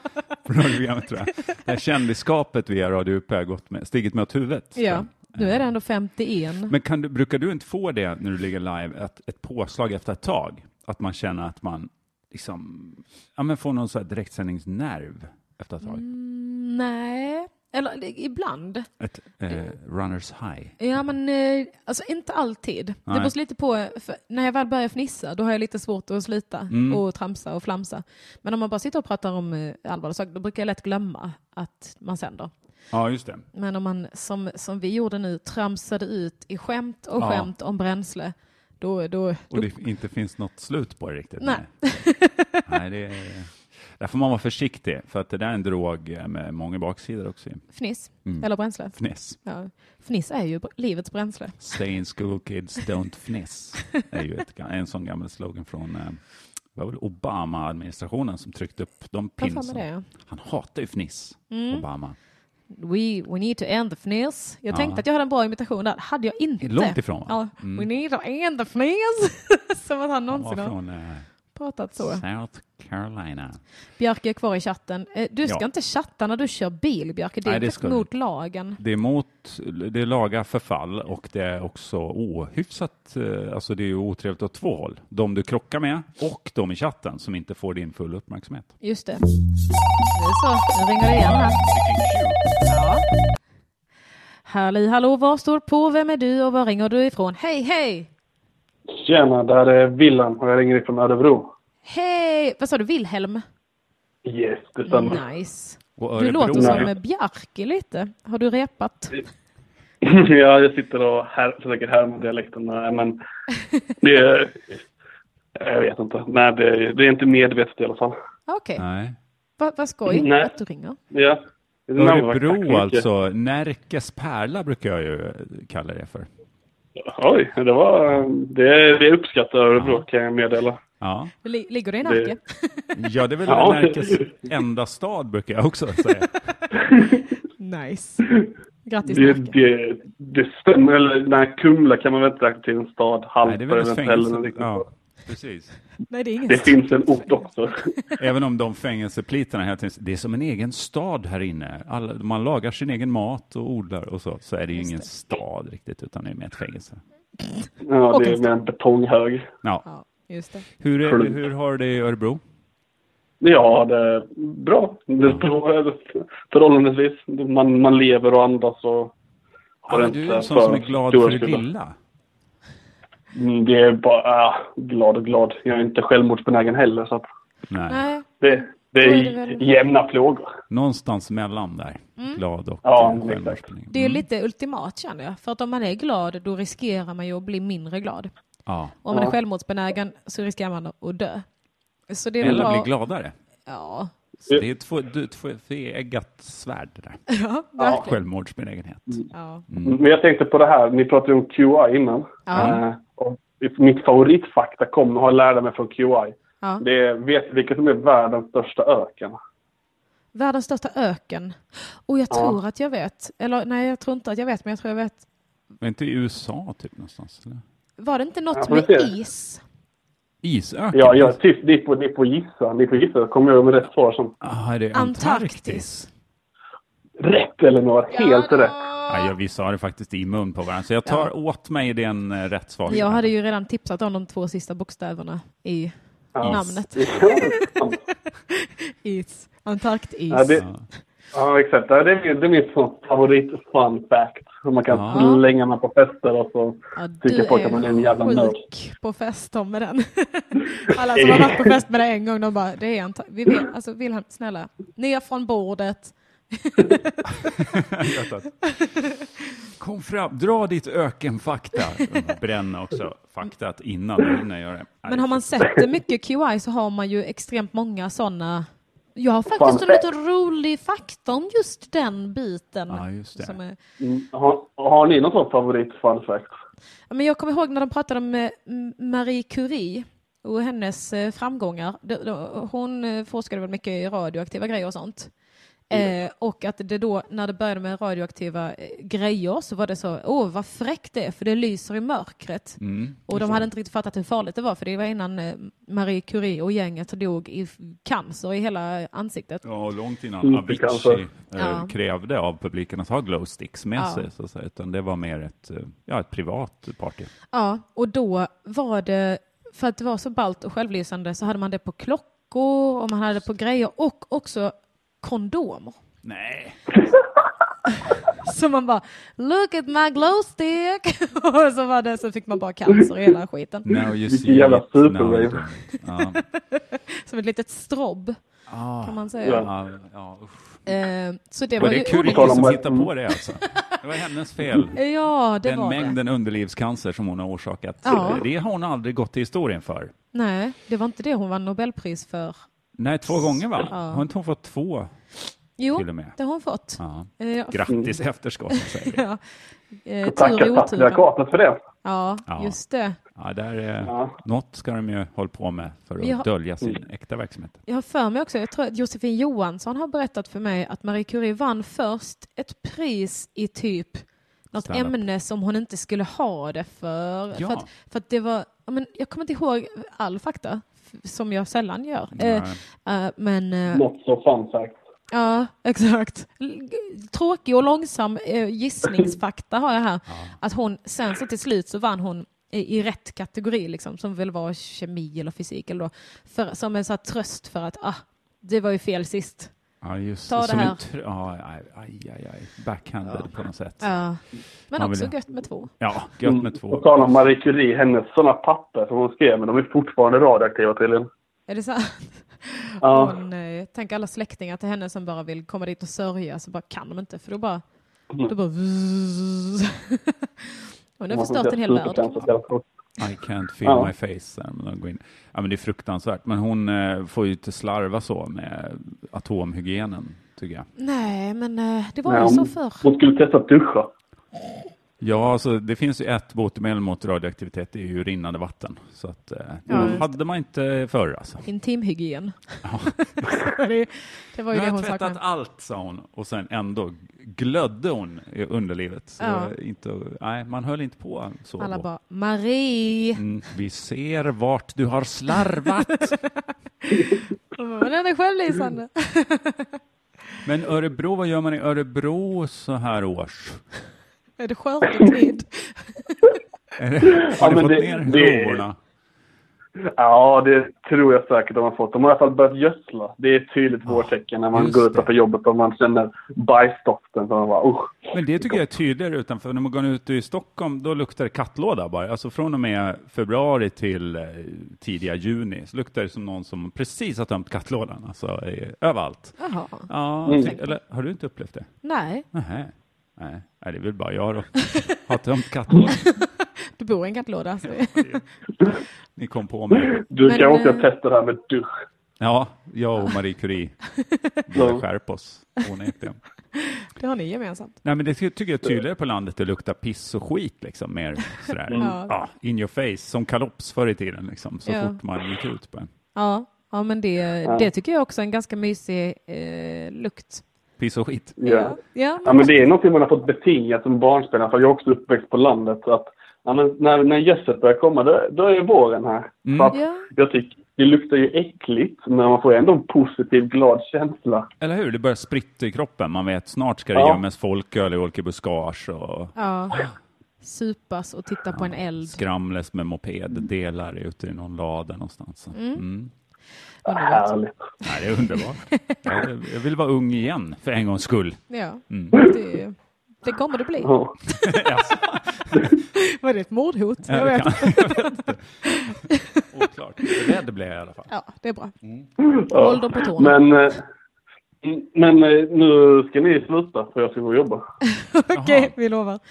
Speaker 2: programmet tror jag. Det här kändisskapet via Radio UP har gått med, stigit mig åt huvudet. tror
Speaker 1: Ja,
Speaker 2: jag.
Speaker 1: nu är det ändå 51.
Speaker 2: Men kan du, brukar du inte få det när du ligger live, att ett påslag efter ett tag? Att man känner att man liksom, ja, men får någon så här direktsändningsnerv efter ett tag?
Speaker 1: Mm. Nej, eller det- ibland.
Speaker 2: Ett eh, runners high?
Speaker 1: Ja, men eh, alltså inte alltid.
Speaker 2: Nej.
Speaker 1: Det beror lite på. För när jag väl börjar fnissa, då har jag lite svårt att slita
Speaker 2: Mm.
Speaker 1: och tramsa och flamsa. Men om man bara sitter och pratar om eh, allvarliga saker, då brukar jag lätt glömma att man sänder.
Speaker 2: Ja, just det.
Speaker 1: Men om man, som, som vi gjorde nu, tramsade ut i skämt och
Speaker 2: Ja.
Speaker 1: skämt om bränsle, då... då, då
Speaker 2: Och det inte finns något slut på det riktigt?
Speaker 1: Nej.
Speaker 2: Nej, det är, där får man vara försiktig, för att det där är en drog med många baksidor också. Mm.
Speaker 1: fniss, eller bränsle.
Speaker 2: Fniss.
Speaker 1: Ja. Fniss är ju br- livets bränsle.
Speaker 2: Stay in school kids, don't fniss. är ju ett, en sån gammal slogan från eh, det var väl Obama-administrationen som tryckte upp de
Speaker 1: Vad fan
Speaker 2: pinsarna.
Speaker 1: är det, Mm. ja.
Speaker 2: Han hatar ju fniss, Obama.
Speaker 1: We, we need to end the fniss. Jag tänkte att jag hade en bra imitation där. Hade jag inte.
Speaker 2: Långt ifrån, va?
Speaker 1: Ja. We need to end the fniss. Som att han
Speaker 2: Han var
Speaker 1: någonsin har
Speaker 2: från eh,
Speaker 1: pratat så.
Speaker 2: South Carolina.
Speaker 1: Björke är kvar i chatten. Eh, Du ska
Speaker 2: Ja.
Speaker 1: inte chatta när du kör bil, Björke. Det är
Speaker 2: Nej, det
Speaker 1: faktiskt
Speaker 2: ska du
Speaker 1: mot lagen.
Speaker 2: Det är mot, det är laga förfall och det är också ohyfsat, eh, alltså det är ju otrevligt åt två håll. De du krockar med och de i chatten som inte får din fulla uppmärksamhet.
Speaker 1: Just det. Nu så, nu ringer det igen här. Ja. Halli hallå, var står på? Vem är du och var ringer du ifrån? Hej, hej!
Speaker 6: Tjena, det här är Willan och jag ringer ifrån Örebro.
Speaker 1: Hej! Vad sa du, Wilhelm?
Speaker 6: Yes, detsamma.
Speaker 1: Nice.
Speaker 2: Och
Speaker 1: Du
Speaker 2: Örebro-
Speaker 1: låter som eh, Bjarke lite. Har du repat?
Speaker 6: ja, jag sitter och här, försöker härma dialekten. Nej, men det är... Jag vet inte. Nej, det är, det är inte medvetet i alla fall.
Speaker 1: Okej,
Speaker 2: Nej.
Speaker 1: vad vad skoj
Speaker 6: Nej.
Speaker 1: att du ringer.
Speaker 6: Ja. Det är namnvakt. Tack
Speaker 2: Örebro
Speaker 6: så
Speaker 2: alltså, Närkes pärla brukar jag ju eh, kalla det för.
Speaker 6: mycket. Oj, det var... Det, det uppskattar Örebro kan jag meddela.
Speaker 2: Ja,
Speaker 1: Li- Ligger det i Närke?
Speaker 2: ja det är väl
Speaker 6: Ja.
Speaker 2: Närkes enda stad brukar jag också säga.
Speaker 1: Nice. Grattis
Speaker 6: Det,
Speaker 1: Närke.
Speaker 6: det, det stämmer. Eller nej, Kumla kan man väl inte räkna till en stad.
Speaker 2: Nej,
Speaker 6: Hallsberg
Speaker 2: det är
Speaker 6: är
Speaker 2: väl ett
Speaker 6: inte heller en
Speaker 2: fängelse.
Speaker 6: riktig
Speaker 2: Ja,
Speaker 6: stad.
Speaker 2: precis.
Speaker 1: Nej, det är ingen
Speaker 6: Det finns en ort också.
Speaker 2: Även om de fängelseplitarna hela tiden, det är som en egen stad här inne. Alla, man lagar sin egen mat och odlar och så, så är det ju ingen stad riktigt, utan det är mer ett fängelse.
Speaker 6: Ja,
Speaker 1: Och
Speaker 6: det
Speaker 1: en
Speaker 6: är med en betonghög.
Speaker 2: Ja.
Speaker 1: Ja, just det.
Speaker 2: Hur, är,
Speaker 6: Klump.
Speaker 2: hur har det i Örebro?
Speaker 6: Ja, det är bra. Det är bra förhållandevis. Man, man lever och andas och
Speaker 2: Ja,
Speaker 6: har
Speaker 2: men
Speaker 6: inte
Speaker 2: du är en
Speaker 6: för
Speaker 2: sån som är glad
Speaker 6: stora
Speaker 2: för det
Speaker 6: skulder.
Speaker 2: lilla.
Speaker 6: Mm, Det är bara ah, glad och glad. Jag är inte självmordsbenägen heller. Så att
Speaker 2: Nej.
Speaker 1: Nej,
Speaker 6: det, det
Speaker 1: Då är
Speaker 6: är
Speaker 1: det väl-
Speaker 6: jämna plågor.
Speaker 2: Någonstans mellan där, glad och
Speaker 6: Ja,
Speaker 2: eh,
Speaker 6: exakt.
Speaker 2: självmordsbenägen.
Speaker 6: Mm.
Speaker 1: det är lite ultimat känner jag. För att om man är glad, då riskerar man ju att bli mindre glad.
Speaker 2: Ja.
Speaker 1: Och om man är självmordsbenägen så riskerar man att dö. Så det är väl
Speaker 2: Eller bli
Speaker 1: bra.
Speaker 2: gladare.
Speaker 1: Ja,
Speaker 2: Så det är ett två- du- två- tveeggat svärd det där.
Speaker 1: ja verkligen.
Speaker 2: Självmordsbenägenhet.
Speaker 6: Mm.
Speaker 1: Ja.
Speaker 2: Mm.
Speaker 6: Men jag tänkte på det här. Ni pratade om QI innan.
Speaker 1: Ja.
Speaker 6: Eh, och mitt favoritfakta kommer har jag lärt mig från QI.
Speaker 1: Ja.
Speaker 6: Det är, vet ni vilket som är världens största öken?
Speaker 1: Världens största öken. Och jag tror att jag vet. Eller nej, jag tror inte att jag vet, men jag tror jag vet.
Speaker 2: Men inte i USA typ någonstans? Eller?
Speaker 1: Var det inte något
Speaker 6: får vi
Speaker 1: med
Speaker 6: se.
Speaker 1: is?
Speaker 2: Isöken?
Speaker 6: Ja, ja typ, ni får, ni får gissa. Ni får gissa. Kommer jag med rätt svar som
Speaker 2: Ah, är det Antarktis?
Speaker 1: Antarktis.
Speaker 6: rätt eller något? Helt rätt.
Speaker 2: Ja, jag, vi sa det faktiskt i mun på varandra, så jag tar åt mig den eh, rätt svar.
Speaker 1: Jag hade ju redan tipsat om de två sista bokstäverna i namnet.
Speaker 6: Ja,
Speaker 1: Is. Antarktis.
Speaker 6: det, Ja, exakt. Ja, Det är min, det är min sån favorit fun fact. Hur man kan
Speaker 2: Ja.
Speaker 6: slänga mig på fester och så
Speaker 1: Ja,
Speaker 6: tycker
Speaker 1: du
Speaker 6: folk att man är en jävla nörd.
Speaker 1: sjuk på fest Tom med den. Alla som har varit på
Speaker 6: Eh.
Speaker 1: fest med dig en gång, de bara, det är han. Vi vet, alltså Wilhelm, snälla, ner från bordet.
Speaker 2: Hjärtat. Kom fram, dra ditt ökenfakta. Bränna också faktat innan du hinner göra det.
Speaker 1: Men har man sett mycket QI så har man ju extremt många sådana. Jag har faktiskt en
Speaker 6: Fun fact.
Speaker 1: lite rolig fakta om just den biten.
Speaker 2: Ja, just det.
Speaker 1: Som är,
Speaker 6: Mm. Har, har ni någon sån favorit fun fact?
Speaker 1: Ja, men jag kommer ihåg när de pratade om eh, M- Marie Curie och hennes eh, framgångar. De- de- Hon eh, forskade väl mycket i radioaktiva grejer och sånt. Eh, och att det då, när det började med radioaktiva eh, grejer så var det så, åh vad fräckt det är för det lyser i mörkret. och de hade inte riktigt fattat hur farligt det var för det var innan eh, Marie Curie och gänget dog i f- cancer i hela ansiktet.
Speaker 2: Ja, långt innan
Speaker 6: Mm,
Speaker 2: Avicii
Speaker 6: kanske.
Speaker 2: eh,
Speaker 1: Ja.
Speaker 2: krävde av publiken att ha glowsticks med
Speaker 1: Ja.
Speaker 2: sig, så att säga, utan det var mer ett, eh, ja, ett privat party.
Speaker 1: Ja, och då var det, för att det var så ballt och självlysande så hade man det på klockor och man hade det på grejer och också kondomer.
Speaker 2: Nej,
Speaker 1: Så man bara “Look at my glow stick!” och så, var det, så fick man bara cancer i hela skiten.
Speaker 2: now you see
Speaker 6: Vilken jävla
Speaker 2: it, now you
Speaker 6: superwave.
Speaker 2: don't. Ja,
Speaker 1: Som ett litet strobb
Speaker 2: ah,
Speaker 1: kan man säga.
Speaker 6: Ja.
Speaker 2: ja, ja, usch.
Speaker 1: Eh, så det var,
Speaker 2: Var det
Speaker 1: ju...
Speaker 2: Curie
Speaker 6: På tal om
Speaker 2: som
Speaker 6: vad-
Speaker 2: hittade på det alltså? Det var hennes fel.
Speaker 1: Ja, det
Speaker 2: Den
Speaker 1: var det.
Speaker 2: mängden underlivscancer som hon har orsakat,
Speaker 1: Ja.
Speaker 2: eh, det har hon aldrig gått till historien för.
Speaker 1: Nej, det var inte det hon vann Nobelpris för.
Speaker 2: Nej, två gånger va?
Speaker 1: Ja.
Speaker 2: Har inte hon fått två?
Speaker 1: Jo,
Speaker 2: Till och med.
Speaker 1: det har hon fått.
Speaker 2: Ja.
Speaker 1: Eh,
Speaker 2: Grattis efterskott, säger vi.
Speaker 1: ja. eh, tur i
Speaker 6: Tacka
Speaker 1: oturen.
Speaker 6: patriarkatet för det.
Speaker 1: Ja,
Speaker 2: Ja.
Speaker 1: just det.
Speaker 2: Ja, där, eh,
Speaker 6: Ja. Mm.
Speaker 2: Något ska de ju hålla på med för att
Speaker 1: Vi har-
Speaker 2: dölja sin äkta verksamhet.
Speaker 1: Jag har för mig också, jag tror att Josefin Johansson har berättat för mig att Marie Curie vann först ett pris i typ något
Speaker 2: Standup.
Speaker 1: ämne som hon inte skulle ha det för.
Speaker 2: Ja.
Speaker 1: För, att, för att det var, ja, men jag kommer inte ihåg all fakta, f- som jag sällan gör.
Speaker 2: Nej.
Speaker 1: Eh, eh, men eh,
Speaker 6: Något så fun fact.
Speaker 1: ja, exakt. L- Tråkig och långsam eh, gissningsfakta har jag här. Att hon sen så till slut så vann hon i i rätt kategori, liksom, som väl var kemi eller fysik, eller då, för, som en så här tröst för att ah, det var ju fel sist.
Speaker 2: Ja, just
Speaker 1: Ta det
Speaker 2: som en
Speaker 1: här.
Speaker 2: tr- ja, aj, aj, aj, aj. Backhanded på något sätt. Ja,
Speaker 1: Ja. Men
Speaker 2: Man vill
Speaker 1: också
Speaker 2: ju-
Speaker 1: gött med två.
Speaker 2: gött med två.
Speaker 6: Mm. På tal om Marie Curie, hennes sådana papper som hon skrev, men de är fortfarande radioaktiva tydligen.
Speaker 1: Är det sant?
Speaker 6: Ja.
Speaker 1: Hon, eh, tänk alla släktingar till henne som bara vill komma dit och sörja, så bara kan de inte, för då bara... Då bara Hon har förstört en hel värld.
Speaker 2: I can't feel
Speaker 6: Ja.
Speaker 2: my face. där, men de går in. Ja, men det är fruktansvärt. Men hon eh, får ju inte slarva så med atomhygienen, tycker jag.
Speaker 1: Nej, men eh, det var
Speaker 6: Nej,
Speaker 1: ju så
Speaker 6: hon,
Speaker 1: förr.
Speaker 6: hon skulle testa att duscha.
Speaker 2: Ja, alltså, det finns ju ett botemedel mot radioaktivitet, det är ju rinnande vatten. Så att, eh,
Speaker 1: Ja,
Speaker 2: det
Speaker 1: just
Speaker 2: hade man inte förr alltså.
Speaker 1: Intimhygien. det, det var
Speaker 2: Nu
Speaker 1: ju det hon
Speaker 2: har jag tvättat
Speaker 1: saknade.
Speaker 2: allt, sa hon. Och sen ändå glödde hon i underlivet. Så
Speaker 1: Ja.
Speaker 2: inte, nej, man höll inte på så.
Speaker 1: Alla
Speaker 2: då.
Speaker 1: bara Marie!
Speaker 2: Mm, vi ser vart du har slarvat. Mm.
Speaker 1: Men den är självlysande.
Speaker 2: Men Örebro, vad gör man i Örebro så här års?
Speaker 1: Är det skördetid?
Speaker 2: Är det, har
Speaker 6: Ja,
Speaker 2: du
Speaker 6: men
Speaker 2: fått
Speaker 6: det-
Speaker 2: ner
Speaker 6: det-
Speaker 2: råorna?
Speaker 6: Ja, det tror jag säkert de har fått. De har i alla fall börjat gödsla. Det är ett tydligt vårtecken när man
Speaker 2: just
Speaker 6: går
Speaker 2: det.
Speaker 6: utanför jobbet och man känner bajsdoften. Så man bara usch.
Speaker 2: Men det tycker jag är tydligare utanför. När man går ut i Stockholm, då luktar det kattlåda bara. Alltså från och med februari till eh, tidiga juni så luktar det som någon som precis har tömt kattlådan. Alltså eh, överallt.
Speaker 1: Jaha.
Speaker 2: Ja,
Speaker 6: Mm.
Speaker 2: jag tänkte, eller har du inte upplevt det?
Speaker 1: Nej,
Speaker 2: Nähä. Nej, Nej, det är väl bara jag då. Har tömt kattlådan.
Speaker 1: du bor i en kattlåda. så-
Speaker 2: Ni kom på mig.
Speaker 6: Du
Speaker 1: Men,
Speaker 6: kan också
Speaker 1: eh,
Speaker 6: testa det här med dusch.
Speaker 2: Ja, jag och Marie Curie borde skärpa oss onekligen.
Speaker 1: Det har ni gemensamt.
Speaker 2: Nej, men det ty- tycker jag är tydligare på landet. Det luktar piss och skit liksom mer sådär.
Speaker 1: Ja.
Speaker 2: Ja, in your face, som kalops förr i tiden liksom. Så
Speaker 1: Ja.
Speaker 2: fort man gick ut på en.
Speaker 1: Ja, ja men det, det tycker jag också är en ganska mysig eh, lukt.
Speaker 2: Piss och skit.
Speaker 6: Ja.
Speaker 1: Ja,
Speaker 6: ja, men det är någonting man har fått betingat som barnsben. För jag är också uppväxt på landet. Så att, ja, men när, när gödset börjar komma, då, då är våren här.
Speaker 2: Mm.
Speaker 6: Så att,
Speaker 1: Ja.
Speaker 6: Jag tycker det luktar ju äckligt, men man får ändå en positiv, glad känsla.
Speaker 2: Eller hur? Det börjar spritta i kroppen. Man vet snart ska det
Speaker 6: Ja.
Speaker 2: gömmas folköl i olika buskage och
Speaker 1: Alltså. ja. Supas och titta på en eld.
Speaker 2: skramles med mopeddelar ute i någon lada någonstans. Mm.
Speaker 1: Underbart.
Speaker 6: Härligt.
Speaker 2: Ja, det är underbart. Jag, jag vill vara ung igen, för en gångs skull.
Speaker 1: Ja,
Speaker 2: Mm.
Speaker 1: det, det kommer det bli.
Speaker 6: Ja.
Speaker 1: Var det ett mordhot?
Speaker 2: Ja,
Speaker 1: Jag
Speaker 2: det
Speaker 1: vet.
Speaker 2: kan- jag vet inte. Oklart. Rädd blev jag i alla fall.
Speaker 1: Ja, det är bra.
Speaker 6: Ja.
Speaker 1: Håll dem på tårna.
Speaker 6: Men, eh, m- men eh, nu ska ni sluta för jag ska gå och jobba.
Speaker 1: Okej, vi lovar. Tack,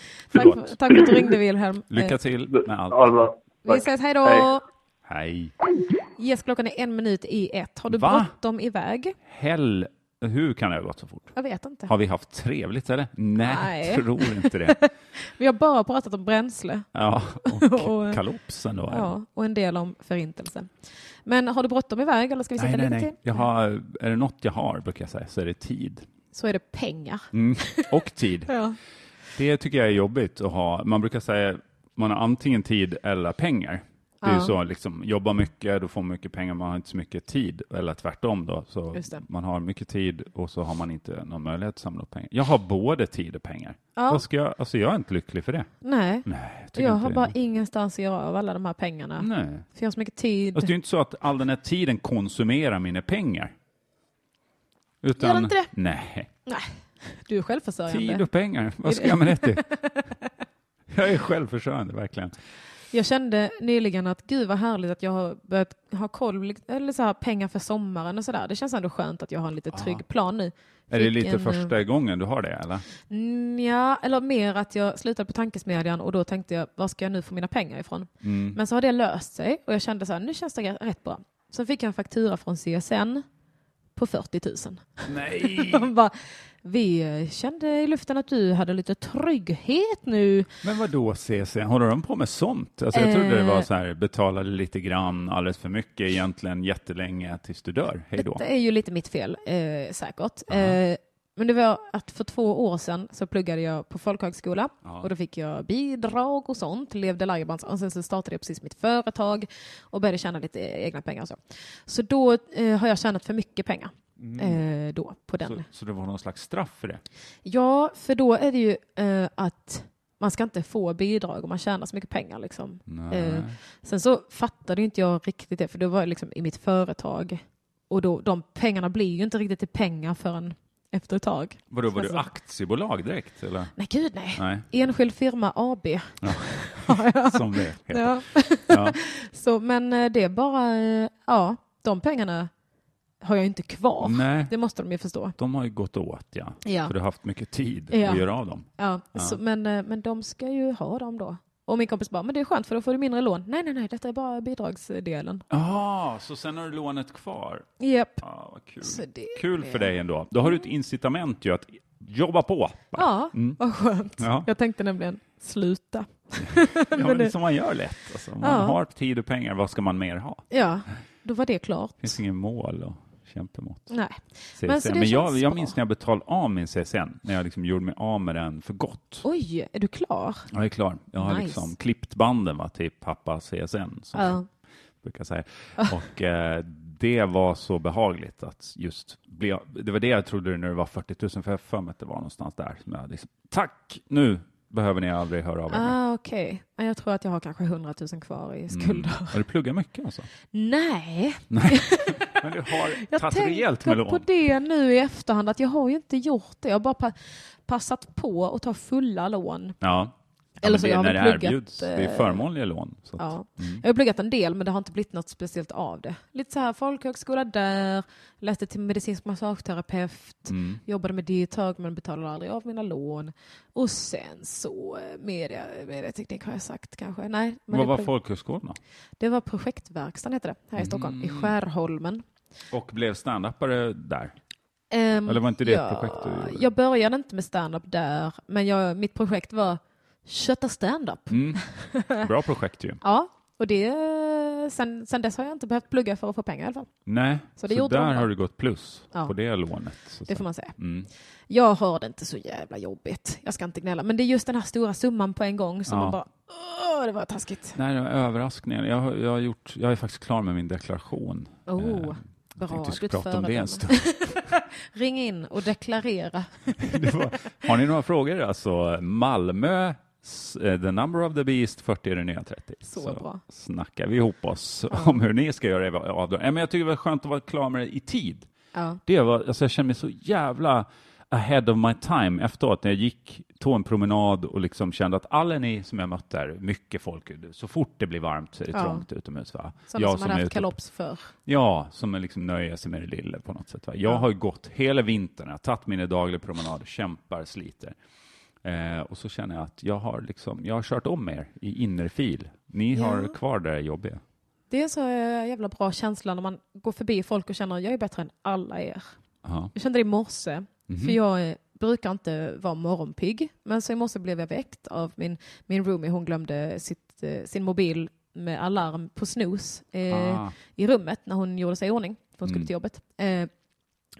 Speaker 2: Förlåt.
Speaker 1: tack för att du ringde Wilhelm.
Speaker 2: Lycka
Speaker 1: Eh,
Speaker 2: till med allt.
Speaker 6: Ja, det var-
Speaker 1: Vi ses, hej då!
Speaker 6: Hej.
Speaker 2: Hej.
Speaker 1: Yes, klockan är en minut i ett. Har du
Speaker 2: Va?
Speaker 1: bråttom iväg?
Speaker 2: Hell, hur kan det ha gått så fort?
Speaker 1: Jag vet inte.
Speaker 2: Har vi haft trevligt eller? Nej,
Speaker 1: Nej.
Speaker 2: tror inte det.
Speaker 1: Vi har bara pratat om bränsle
Speaker 2: Ja,
Speaker 1: Och, eh,
Speaker 2: och kalopsen då.
Speaker 1: ja, och en del om förintelsen. Men har du bråttom iväg eller ska vi
Speaker 2: Nej,
Speaker 1: sitta
Speaker 2: nej,
Speaker 1: lite
Speaker 2: nej.
Speaker 1: till?
Speaker 2: Jag har, är det något jag har, brukar jag säga, så är det tid.
Speaker 1: Så är det pengar.
Speaker 2: Mm. Och tid.
Speaker 1: Ja.
Speaker 2: Det tycker jag är jobbigt att ha. Man brukar säga man har antingen tid eller pengar. Det är ju
Speaker 1: Ja.
Speaker 2: så, liksom, jobba mycket, då får man mycket pengar, man har inte så mycket tid. Eller tvärtom då, så
Speaker 1: Just det.
Speaker 2: man har mycket tid och så har man inte någon möjlighet att samla upp pengar. Jag har både tid och pengar.
Speaker 1: Ja.
Speaker 2: Vad ska jag, alltså jag är inte lycklig för det.
Speaker 1: Nej,
Speaker 2: Nej, jag tycker
Speaker 1: jag
Speaker 2: inte
Speaker 1: har
Speaker 2: det. Mm.
Speaker 1: bara ingenstans att göra av alla de här pengarna.
Speaker 2: Nej.
Speaker 1: För jag har så mycket tid.
Speaker 2: Alltså, det är ju inte så att all den här tiden konsumerar mina pengar. Utan,
Speaker 1: Gör det inte det?
Speaker 2: Nej,
Speaker 1: Nej, du är självförsörjande.
Speaker 2: tid och pengar, vad ska jag med det till? Jag är självförsörjande, verkligen.
Speaker 1: Jag kände nyligen att gud vad härligt att jag har börjat ha koll, eller så här, pengar för sommaren och sådär. Det känns ändå skönt att jag har en lite trygg plan nu.
Speaker 2: Är det
Speaker 1: Fick
Speaker 2: lite
Speaker 1: en, eh,
Speaker 2: första gången du har det, eller?
Speaker 1: Mm, Ja, eller mer att jag slutade på tankesmedjan och då tänkte jag, var ska jag nu få mina pengar ifrån? Men så har det löst sig och jag kände så här, nu känns det rätt- rätt bra. Sen fick jag en faktura från CSN på 40 000.
Speaker 2: Nej!
Speaker 1: De bara, vi kände i luften att du hade lite trygghet nu.
Speaker 2: Men vad då CSN, håller de på med sånt? Alltså, jag trodde det
Speaker 1: Eh.
Speaker 2: var så här, betalade lite grann, alldeles för mycket egentligen, jättelänge tills du dör, hej då.
Speaker 1: Det är ju lite mitt fel eh, säkert. Eh, men det var att för två år sedan så pluggade jag på folkhögskola och då fick jag bidrag och sånt, levde lajbans och sen så startade jag precis mitt företag och började tjäna lite egna pengar och så. Så då eh, har jag tjänat för mycket pengar. Eh, då på den.
Speaker 2: Mm. Så, så det var någon slags straff
Speaker 1: Eh.
Speaker 2: för det?
Speaker 1: Ja, för då är det ju eh, att man ska inte få bidrag om man tjänar så mycket pengar. Liksom. Eh, sen så fattade ju inte jag riktigt det, för det var jag liksom i mitt företag. Och då, de pengarna blir ju inte riktigt till pengar förrän efter ett tag.
Speaker 2: Vadå, var du
Speaker 1: Alltså-
Speaker 2: aktiebolag direkt, eller?
Speaker 1: Nej, gud nej.
Speaker 2: Nej,
Speaker 1: Enskild firma AB.
Speaker 2: som det heter.
Speaker 1: Ja.
Speaker 2: Ja.
Speaker 1: så, men eh, det är bara, eh, ja, de pengarna har jag inte kvar.
Speaker 2: Nej.
Speaker 1: Det måste de ju förstå.
Speaker 2: De har ju gått åt, ja.
Speaker 1: Ja.
Speaker 2: För du har haft mycket tid
Speaker 1: Ja.
Speaker 2: att göra av dem.
Speaker 1: Ja, Så, men, eh, men de ska ju ha dem då. Och min kompis bara, men det är skönt för då får du mindre lån. Nej, nej, nej, detta är bara bidragsdelen.
Speaker 2: Ja, Ah, så sen har du lånet kvar.
Speaker 1: Japp.
Speaker 2: Ja, vad kul.
Speaker 1: Så det
Speaker 2: Kul för dig ändå. Då har du ett incitament ju att jobba på.
Speaker 1: Ja, vad skönt.
Speaker 2: Mm. Ja.
Speaker 1: Jag tänkte nämligen sluta.
Speaker 2: Ja, men
Speaker 1: men
Speaker 2: det är
Speaker 1: det-
Speaker 2: som man gör lätt. Alltså, man
Speaker 1: Ja.
Speaker 2: har tid och pengar, vad ska man mer ha?
Speaker 1: Ja, då var det klart.
Speaker 2: Det finns ingen mål att kämpa mot.
Speaker 1: Nej.
Speaker 2: CSN.
Speaker 1: Men så det
Speaker 2: Men, jag,
Speaker 1: känns
Speaker 2: jag
Speaker 1: bra.
Speaker 2: minns när jag betalade av min CSN, när jag liksom gjorde mig av med den för gott.
Speaker 1: Oj, är du klar?
Speaker 2: Jag är klar. Jag har
Speaker 1: Nice.
Speaker 2: liksom klippt banden va, till pappa CSN, som
Speaker 1: Ja.
Speaker 2: brukar säga. Och eh, det var så behagligt att just bli, det var det jag trodde när det var 40 000, för jag har för mig att det var någonstans där. Som jag liksom, Tack! Nu behöver ni aldrig höra av er. mer.
Speaker 1: Ah, Okej, Men jag tror att jag har kanske 100 000 kvar
Speaker 2: Mm.
Speaker 1: i skulder.
Speaker 2: Har du pluggat mycket alltså?
Speaker 1: Nej,
Speaker 2: Men du har
Speaker 1: jag
Speaker 2: tagit rejält med
Speaker 1: tänker på
Speaker 2: lån.
Speaker 1: det nu i efterhand att jag har ju inte gjort det. Jag har bara pa- passat på att ta fulla lån.
Speaker 2: Ja. Ja,
Speaker 1: Eller
Speaker 2: men
Speaker 1: så
Speaker 2: det är
Speaker 1: jag har
Speaker 2: när
Speaker 1: väl
Speaker 2: det
Speaker 1: pluggat,
Speaker 2: erbjuds. Det är
Speaker 1: eh,
Speaker 2: förmånliga lån. Så att,
Speaker 1: Ja.
Speaker 2: Mm.
Speaker 1: Jag har pluggat en del men det har inte blivit något speciellt av det. Lite så här folkhögskola där, läste till medicinsk massageterapeut,
Speaker 2: Mm.
Speaker 1: jobbade med det ett tag men betalade aldrig av mina lån. Och sen så eh, media, medieteknik har jag sagt kanske. Nej, men
Speaker 2: Vad
Speaker 1: det,
Speaker 2: var
Speaker 1: plugg-
Speaker 2: folkhögskolan då?
Speaker 1: det var projektverkstan heter det, här i Stockholm,
Speaker 2: Mm.
Speaker 1: i Skärholmen.
Speaker 2: Och blev standupare där?
Speaker 1: Ehm,
Speaker 2: Eller var inte det ett
Speaker 1: ja,
Speaker 2: projekt du gjorde?
Speaker 1: Jag började inte med stand-up där, men jag, mitt projekt var kötta stand-up. Eh.
Speaker 2: Bra projekt ju.
Speaker 1: Ja, och det, eh, sen, sen dess har jag inte behövt plugga för att få pengar i alla fall.
Speaker 2: Nej, så,
Speaker 1: Så det gjorde
Speaker 2: där
Speaker 1: de, va?
Speaker 2: har du gått plus
Speaker 1: Ja.
Speaker 2: på det lånet. Så
Speaker 1: Det
Speaker 2: att
Speaker 1: får man säga.
Speaker 2: Mm.
Speaker 1: Jag har det inte så jävla jobbigt. Jag ska inte gnälla. Men det är just den här stora summan på en gång som
Speaker 2: Ja.
Speaker 1: man bara, åh, det var taskigt.
Speaker 2: Nej, det var överraskningar. Jag, har- jag, har gjort, jag är faktiskt klar med min deklaration.
Speaker 1: Oh,
Speaker 2: Eh, Jag
Speaker 1: bra.
Speaker 2: tänkte vi
Speaker 1: Du är
Speaker 2: skulle
Speaker 1: ett
Speaker 2: prata om det en
Speaker 1: föredöme.
Speaker 2: stund.
Speaker 1: Ring in och deklarera.
Speaker 2: Det var, har ni några frågor? Alltså Malmö S- eh, The Number of the Beast, 40 är det nya 30.
Speaker 1: Så bra.
Speaker 2: snackar vi ihop oss om hur ni ska göra er avdrag. Eh, Men jag tycker det var skönt att vara klar med det i tid.
Speaker 1: Ja.
Speaker 2: Det var, alltså jag kände mig så jävla ahead of my time efteråt när jag gick, tog en promenad och liksom kände att alla ni som jag mötte där, mycket folk, så fort det blir varmt så är det
Speaker 1: Ja.
Speaker 2: trångt utomhus. Va?
Speaker 1: Sådana
Speaker 2: Jag
Speaker 1: som hade haft
Speaker 2: är typ- ute-
Speaker 1: kalops för.
Speaker 2: Ja, som är liksom nöjer sig med det lilla på något sätt. Va? Jag har ju gått hela vintern, jag har tagit mina dagliga promenader, kämpar, sliter. Eh, och så känner jag att jag har, liksom, jag har kört om er i innerfil. Ni
Speaker 1: Ja.
Speaker 2: har kvar det där jobbiga.
Speaker 1: Det är så eh, jävla bra känsla när man går förbi folk och känner jag är bättre än alla er.
Speaker 2: Ja.
Speaker 1: Jag kände det i morse,
Speaker 2: Mhm.
Speaker 1: för
Speaker 2: Mm-hmm.
Speaker 1: jag eh, brukar inte vara morgonpigg. Men så i morse blev jag väckt av min, min roomie. Hon glömde sitt, eh, sin mobil med alarm på snus eh,
Speaker 2: Ah,
Speaker 1: i rummet när hon gjorde sig i ordning, för hon skulle
Speaker 2: Mm.
Speaker 1: till jobbet. Eh,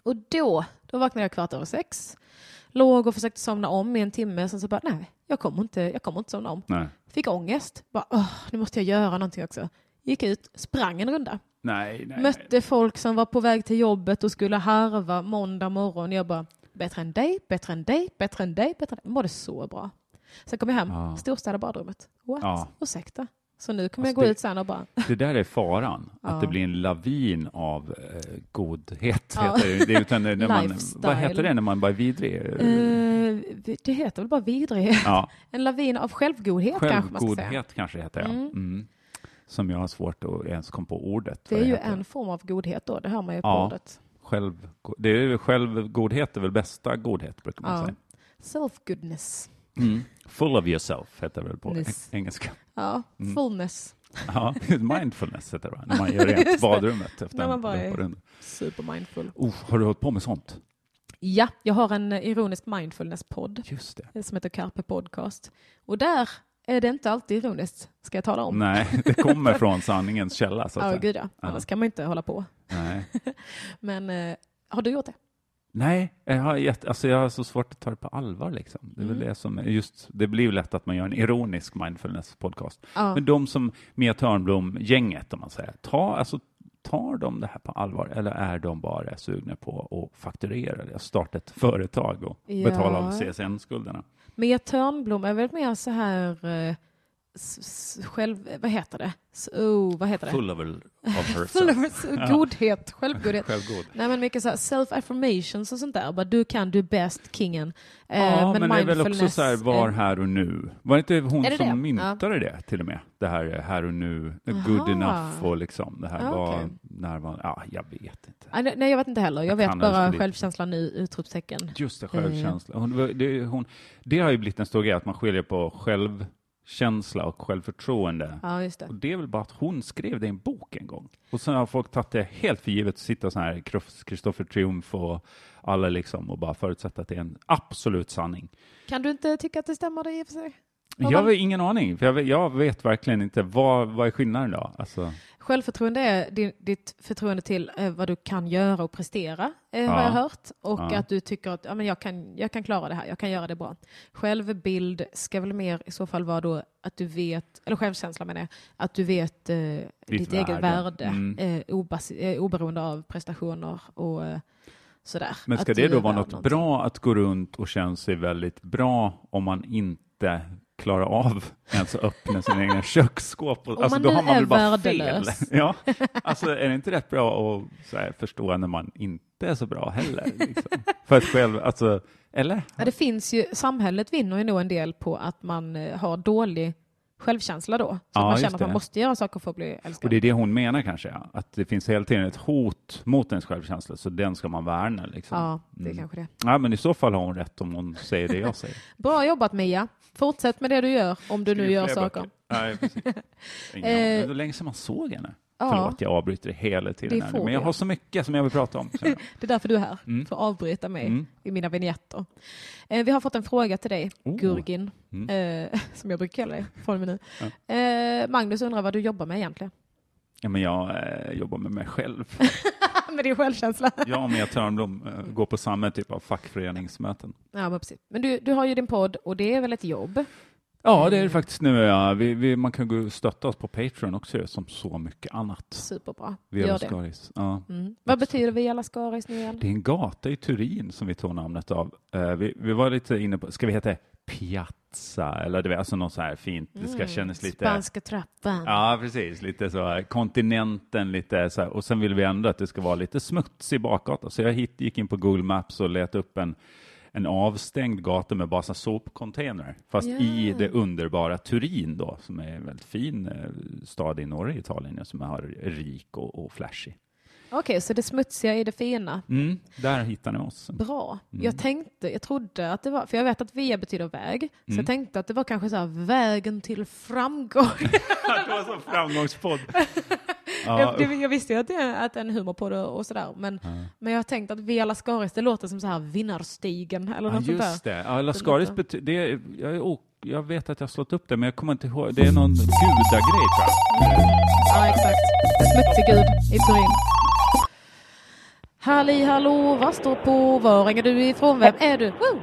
Speaker 1: och då, då vaknade jag kvart över sex. Låg och försökte somna om i en timme, sen så bara nej, jag kommer inte, jag kommer inte somna om.
Speaker 2: nej.
Speaker 1: Fick ångest. Bara, åh, nu måste jag göra någonting också. Gick ut, sprang en runda.
Speaker 2: Nej, nej.
Speaker 1: Mötte folk som var på väg till jobbet och skulle harva måndag morgon. Jag bara, bättre än dig, bättre än dig, bättre än dig, bättre än dig. Jag mådde så bra. Sen kom jag hem,
Speaker 2: Ja.
Speaker 1: storstädade badrummet. What?
Speaker 2: Ja.
Speaker 1: Ursäkta. Så nu kommer
Speaker 2: Alltså,
Speaker 1: jag gå
Speaker 2: det-
Speaker 1: ut sen och bara,
Speaker 2: Det där är faran,
Speaker 1: Ja.
Speaker 2: att det blir en lavin av eh, godhet.
Speaker 1: Ja.
Speaker 2: Heter det. Det, är utan det- när man,
Speaker 1: Lifestyle.
Speaker 2: vad heter det när man bara är vidrig?
Speaker 1: eh, det heter väl bara vidrighet?
Speaker 2: ja,
Speaker 1: En lavin av självgodhet kanske man ska säga.
Speaker 2: självgodhet kanske det heter, ja.
Speaker 1: Mm.
Speaker 2: Mm. Som jag har svårt att ens komma på ordet.
Speaker 1: Det
Speaker 2: vad
Speaker 1: är ju
Speaker 2: heter.
Speaker 1: en form av godhet då, det hör man ju på
Speaker 2: Ja.
Speaker 1: ordet.
Speaker 2: Själv, det är ju självgodhet är väl bästa godhet, brukar man
Speaker 1: Ja.
Speaker 2: säga.
Speaker 1: Self-goodness.
Speaker 2: Mm. Full of yourself heter det väl på
Speaker 1: Nyss.
Speaker 2: eng- engelska.
Speaker 1: Ja,
Speaker 2: Mm.
Speaker 1: fullness.
Speaker 2: Ja, mindfulness heter det, va? när man gör rent badrummet efter
Speaker 1: När man
Speaker 2: en
Speaker 1: bara är-
Speaker 2: lumparrunda.
Speaker 1: Supermindful.
Speaker 2: Oh, har du hållit på med sånt?
Speaker 1: Ja, jag har en eh, ironisk mindfulness-podd. eh,
Speaker 2: Just det.
Speaker 1: som heter Carpe Podcast. Och där är det inte alltid ironiskt, ska jag tala om.
Speaker 2: Nej, det kommer från sanningens källa. Så att
Speaker 1: Ja,
Speaker 2: säga.
Speaker 1: gud ja. Annars kan man inte hålla på.
Speaker 2: Nej.
Speaker 1: Men eh, har du gjort det?
Speaker 2: Nej, jag har, jätte, alltså jag har så svårt att ta det på allvar. Liksom. Det, är väl
Speaker 1: Mm.
Speaker 2: det, som, är just, det blir ju lätt att man gör en ironisk mindfulness-podcast.
Speaker 1: Ja.
Speaker 2: Men de som, Mia Törnblom-gänget, om man säger, ta, alltså, tar de det här på allvar eller är de bara sugna på att fakturera, eller starta ett företag och
Speaker 1: Ja.
Speaker 2: betala av CSN-skulderna?
Speaker 1: Mia Törnblom är väl mer så här eh, s- s- själv... eh, Vad heter det? S- Oh, vad heter det?
Speaker 2: Full of, of
Speaker 1: Full
Speaker 2: herself.
Speaker 1: of godhet, självgodhet.
Speaker 2: Självgod.
Speaker 1: Nej men mycket så här self-affirmations och sånt där. Bara, du kan, du är bäst, kingen. Eh,
Speaker 2: Ja, men, det är väl också
Speaker 1: mindfulness,
Speaker 2: så här, var
Speaker 1: eh,
Speaker 2: här och nu. Var inte hon
Speaker 1: Är det
Speaker 2: som
Speaker 1: det?
Speaker 2: myntade det till och med? Det här eh, här och nu, eh, good
Speaker 1: Aha.
Speaker 2: enough och liksom det här
Speaker 1: Ja,
Speaker 2: var
Speaker 1: okej.
Speaker 2: när man, ja, jag vet inte.
Speaker 1: ah, Nej, jag vet inte heller. Jag,
Speaker 2: Jag
Speaker 1: vet
Speaker 2: kan alltså
Speaker 1: bara
Speaker 2: lite.
Speaker 1: självkänsla nu, utropstecken.
Speaker 2: Just det, självkänsla. Hon, var- det, hon, det har ju blivit en stor grej, att man skiljer på självkänsla och självförtroende.
Speaker 1: Ja, just det.
Speaker 2: Och det är väl bara att hon skrev det i en bok en gång. Och sen har folk tagit det helt för givet, sitta så här, Kristoffer Triumf och alla liksom, och bara förutsätta att det är en absolut sanning.
Speaker 1: Kan du inte tycka att det stämmer det i och för sig? Vad
Speaker 2: Jag
Speaker 1: var-
Speaker 2: har ingen aning, för jag vet, jag vet verkligen inte vad, vad är skillnaden då? Alltså,
Speaker 1: Självförtroende är din, ditt förtroende till eh, vad du kan göra och prestera, eh, har
Speaker 2: Ja.
Speaker 1: jag hört. Och
Speaker 2: Ja.
Speaker 1: att du tycker att ja, men jag, kan, jag kan klara det här, jag kan göra det bra. Självbild ska väl mer i så fall vara då att du vet, eller självkänsla menar jag, att du vet eh, ditt,
Speaker 2: värde.
Speaker 1: eget värde
Speaker 2: Mm.
Speaker 1: eh, obas, eh, oberoende av prestationer och eh, sådär.
Speaker 2: men ska
Speaker 1: Att
Speaker 2: det
Speaker 1: du
Speaker 2: då
Speaker 1: är
Speaker 2: vara
Speaker 1: värd
Speaker 2: något
Speaker 1: någonting.
Speaker 2: bra att gå runt och känna sig väldigt bra om man inte klarar av ens att öppna sina egna köksskåp? Och,
Speaker 1: Om
Speaker 2: alltså,
Speaker 1: man
Speaker 2: då
Speaker 1: nu
Speaker 2: har man väl
Speaker 1: är
Speaker 2: bara
Speaker 1: värdelös.
Speaker 2: fel. Ja, alltså, är det inte rätt bra att så här, förstå när man inte är så bra heller? Liksom? För att själv, alltså, eller?
Speaker 1: Ja, det finns ju, samhället vinner ju nog en del på att man eh, har dålig självkänsla då. Så
Speaker 2: Ja,
Speaker 1: att man
Speaker 2: just
Speaker 1: känner att man
Speaker 2: det.
Speaker 1: måste göra saker för att bli älskad.
Speaker 2: Och det är det hon menar kanske, ja. att det finns hela tiden ett hot mot ens självkänsla, så den ska man värna. Liksom.
Speaker 1: Ja, det är
Speaker 2: Mm.
Speaker 1: kanske det.
Speaker 2: Ja, men i så fall har hon rätt om hon säger det jag säger.
Speaker 1: Bra jobbat Mia. Fortsätt med det du gör om du nu gör saker.
Speaker 2: Nej, precis. Ingen
Speaker 1: Eh,
Speaker 2: aning. Men Det var länge sedan man såg henne.
Speaker 1: ja.
Speaker 2: Förlåt, jag avbryter hela tiden.
Speaker 1: Det
Speaker 2: Här,
Speaker 1: får
Speaker 2: nu, men jag
Speaker 1: vi.
Speaker 2: har så mycket som jag vill prata om. känner jag.
Speaker 1: Det är därför du är här,
Speaker 2: Mm.
Speaker 1: för att avbryta mig i mina vignetter. Eh, vi har fått en fråga till dig,
Speaker 2: Oh.
Speaker 1: Gurgin, eh, som jag brukar kalla dig från och med nu. Eh, Magnus undrar vad du jobbar med egentligen.
Speaker 2: Ja, men jag eh, jobbar med mig själv.
Speaker 1: med din självkänsla.
Speaker 2: Jag och Mia Törnblom eh, går på samma typ av fackföreningsmöten.
Speaker 1: Ja, men, precis. men du, du har ju din podd och det är väl ett jobb?
Speaker 2: Ja, det är det faktiskt nu. Ja. Vi, vi, man kan gå och stötta oss på Patreon också som så mycket annat.
Speaker 1: Superbra.
Speaker 2: Vela
Speaker 1: Gör det.
Speaker 2: Skaris. Ja.
Speaker 1: Mm. Vad betyder Vela Skaris nu igen?
Speaker 2: Det är en gata i Turin som vi tog namnet av. Eh, vi, vi var lite inne på, ska vi heta Piazza? Eller det var alltså något så här fint, det ska kännas lite...
Speaker 1: Spanska trappan.
Speaker 2: Ja, precis. Lite så här, kontinenten lite så här. Och sen vill vi ändå att det ska vara lite smutsig bakgata. Så jag hit, gick in på Google Maps och letade upp en, en avstängd gata med bara så här sopcontainer. Fast
Speaker 1: Ja.
Speaker 2: i det underbara Turin då, som är en väldigt fin eh, stad i norra Italien ja, som är rik och, och flashig.
Speaker 1: Okej, så det smutsiga är det fina.
Speaker 2: Mm, där hittar ni oss.
Speaker 1: Bra.
Speaker 2: Mm.
Speaker 1: Jag tänkte, jag trodde att det var, för jag vet att via betyder väg, så
Speaker 2: Mm.
Speaker 1: jag tänkte att det var kanske så här vägen till framgång.
Speaker 2: det var så framgångspodd.
Speaker 1: jag, det, jag visste ju att det är att en humor på det och sådär, men, men jag tänkte att Vela Skaris, det låter som så här vinnarstigen eller
Speaker 2: Ja,
Speaker 1: något sånt där.
Speaker 2: just det. Ja, Lascaris bety- det är, jag, är o- jag vet att jag har slått upp det, men jag kommer inte ihåg. Det är någon gudagrej, tror jag.
Speaker 1: Ja, exakt. En smutsig gud i Turin. Halli hallå, vad står på? Var ringer du ifrån? Vem är du? Woo!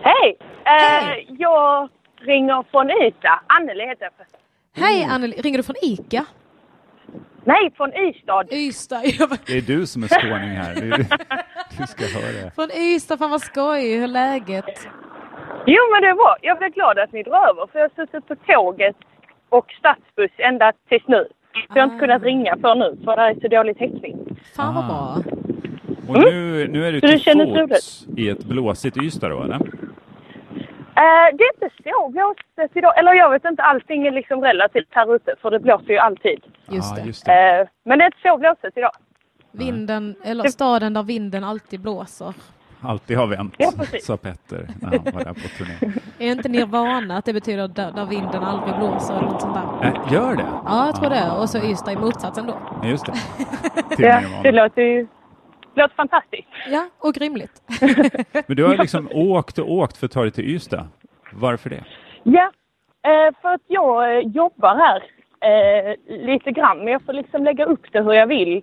Speaker 7: Hej! Eh,
Speaker 1: Hej.
Speaker 7: jag ringer från Ystad. Anneli heter jag.
Speaker 1: Hej
Speaker 2: Mm.
Speaker 1: Anneli, ringer du från ICA?
Speaker 7: Nej, från Ystad.
Speaker 1: Ystad. Jag bara,
Speaker 2: Det är du som är skåning här. Du- Du ska höra.
Speaker 1: Från Ystad, fan vad skoj. Hur är läget?
Speaker 7: Jo, men det är bra. Jag blir glad att ni drar över för jag har suttit på tåget och stadsbuss ända tills nu. Så jag har
Speaker 1: Ah.
Speaker 7: inte kunnat ringa för nu för det är så dålig täckning.
Speaker 1: Fan vad
Speaker 2: Ah.
Speaker 1: bra.
Speaker 2: Och nu, nu är du
Speaker 7: Så du
Speaker 2: till
Speaker 7: Mm. känner
Speaker 2: fots i ett blåsigt Ystad då, eller?
Speaker 7: Eh, det är inte så blåsigt idag. Eller jag vet inte, allting är liksom relativt här ute för det blåser ju alltid.
Speaker 1: Just
Speaker 2: Ja,
Speaker 1: det.
Speaker 2: just det.
Speaker 7: Eh, men det är inte så blåsigt idag.
Speaker 1: Vinden, eller staden där vinden alltid blåser.
Speaker 2: Alltid har vänt,
Speaker 7: Ja, precis.
Speaker 2: sa Petter när han var där på turné.
Speaker 1: Är inte Nirvana att det betyder där, där vinden aldrig blåser eller något sånt där?
Speaker 2: Äh, gör det?
Speaker 1: Ja, jag tror det. Och så Ystad i motsatsen då.
Speaker 2: Ja, just det. Till
Speaker 7: Det, det
Speaker 2: Nirvana.
Speaker 7: låter ju låter fantastiskt.
Speaker 1: Ja, och rimligt.
Speaker 2: Men du har liksom åkt och åkt för att ta dig till Ystad. Varför det?
Speaker 7: Ja, eh, för att jag eh, jobbar här eh, lite grann. Men jag får liksom lägga upp det hur jag vill.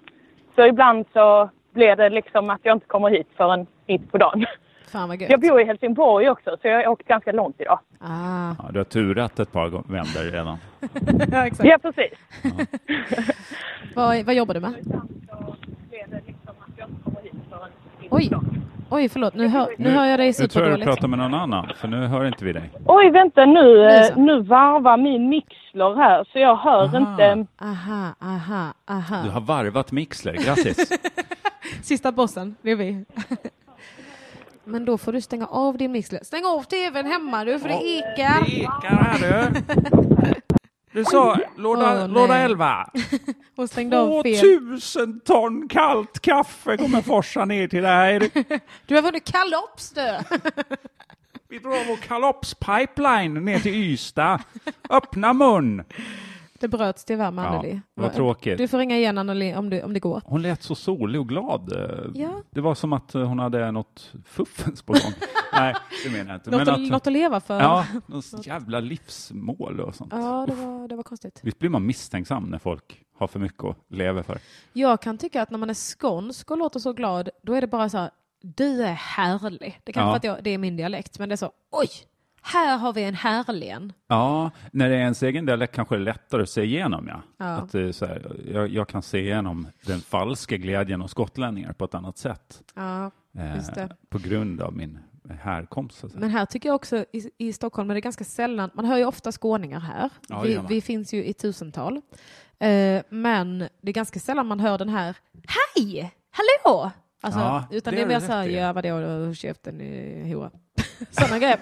Speaker 7: Så ibland så blir det liksom att jag inte kommer hit förrän mitt på dagen.
Speaker 1: Fan vad
Speaker 7: Jag
Speaker 1: gött.
Speaker 7: bor i Helsingborg också, så jag har åkt ganska långt idag.
Speaker 1: Ah,
Speaker 2: Ja, du har turat ett par gång- vändor redan.
Speaker 1: ja, exakt.
Speaker 7: Ja, precis.
Speaker 1: Vad, vad jobbar du med? Oj, oj förlåt. Nu hör, nu hör jag dig
Speaker 2: Nu tror jag du
Speaker 1: superdåligt.
Speaker 2: pratar med någon annan, för nu hör inte vi dig.
Speaker 7: Oj, vänta nu. eh,
Speaker 1: Nu så.
Speaker 7: Nu varvar min mixler här, så jag hör
Speaker 2: Aha.
Speaker 7: inte.
Speaker 1: Aha, aha,
Speaker 2: Du
Speaker 1: aha.
Speaker 2: har varvat mixler, grattis!
Speaker 1: Sista bossen, det är vi. Men då får du stänga av din mixler. Stäng av tvn hemma du, för det är ICA.
Speaker 2: här du! Du sa
Speaker 1: Åh, nej.
Speaker 2: 11.
Speaker 1: Hon stängde av
Speaker 2: typ-
Speaker 1: fel.
Speaker 2: 2000 ton kallt kaffe kommer forsa ner till dig.
Speaker 1: Du har vunnit kalops du!
Speaker 2: Vi drar vår kalopspipeline ner till Ystad. Öppna mun!
Speaker 1: Det bröts tyvärr med
Speaker 2: Ja,
Speaker 1: Anneli.
Speaker 2: vad
Speaker 1: Va-
Speaker 2: tråkigt.
Speaker 1: Du får ringa igen Anneli om, du, om det går.
Speaker 2: Hon lät så solig och glad. Eh,
Speaker 1: Ja.
Speaker 2: Det var som att eh, hon hade något fuffens på gång. Nej, det menar jag inte.
Speaker 1: Något, att,
Speaker 2: att,
Speaker 1: något att leva för.
Speaker 2: ja, något jävla livsmål och sånt.
Speaker 1: Ja, det, var, det var konstigt.
Speaker 2: Visst blir man misstänksam när folk har för mycket att leva för?
Speaker 1: Jag kan tycka att när man är skånsk och låter så glad, då är det bara så här, du är härlig. Det kanske
Speaker 2: Ja.
Speaker 1: för att jag, det är min dialekt, men det är så, oj, här har vi en härlig en.
Speaker 2: Ja, när det är ens egen dialekt kanske det är lättare att se igenom. Ja.
Speaker 1: Ja.
Speaker 2: Att det är så här, jag, jag kan se igenom den falska glädjen hos gotlänningar på ett annat sätt eh,
Speaker 1: Ja, just det.
Speaker 2: på grund av min härkomst. Så att säga.
Speaker 1: Men här tycker jag också i, i Stockholm är det ganska sällan, man hör ju ofta skåningar här.
Speaker 2: Ja, det
Speaker 1: vi,
Speaker 2: gör man.
Speaker 1: vi finns ju i tusental. Eh, men det är ganska sällan man hör den här Hej! Hallå! Alltså,
Speaker 2: Ja,
Speaker 1: utan
Speaker 2: det
Speaker 1: det är
Speaker 2: har
Speaker 1: mer
Speaker 2: du
Speaker 1: så här,
Speaker 2: rätt i.
Speaker 1: ja vadå, då, käften eh, hora. Sådana grejer.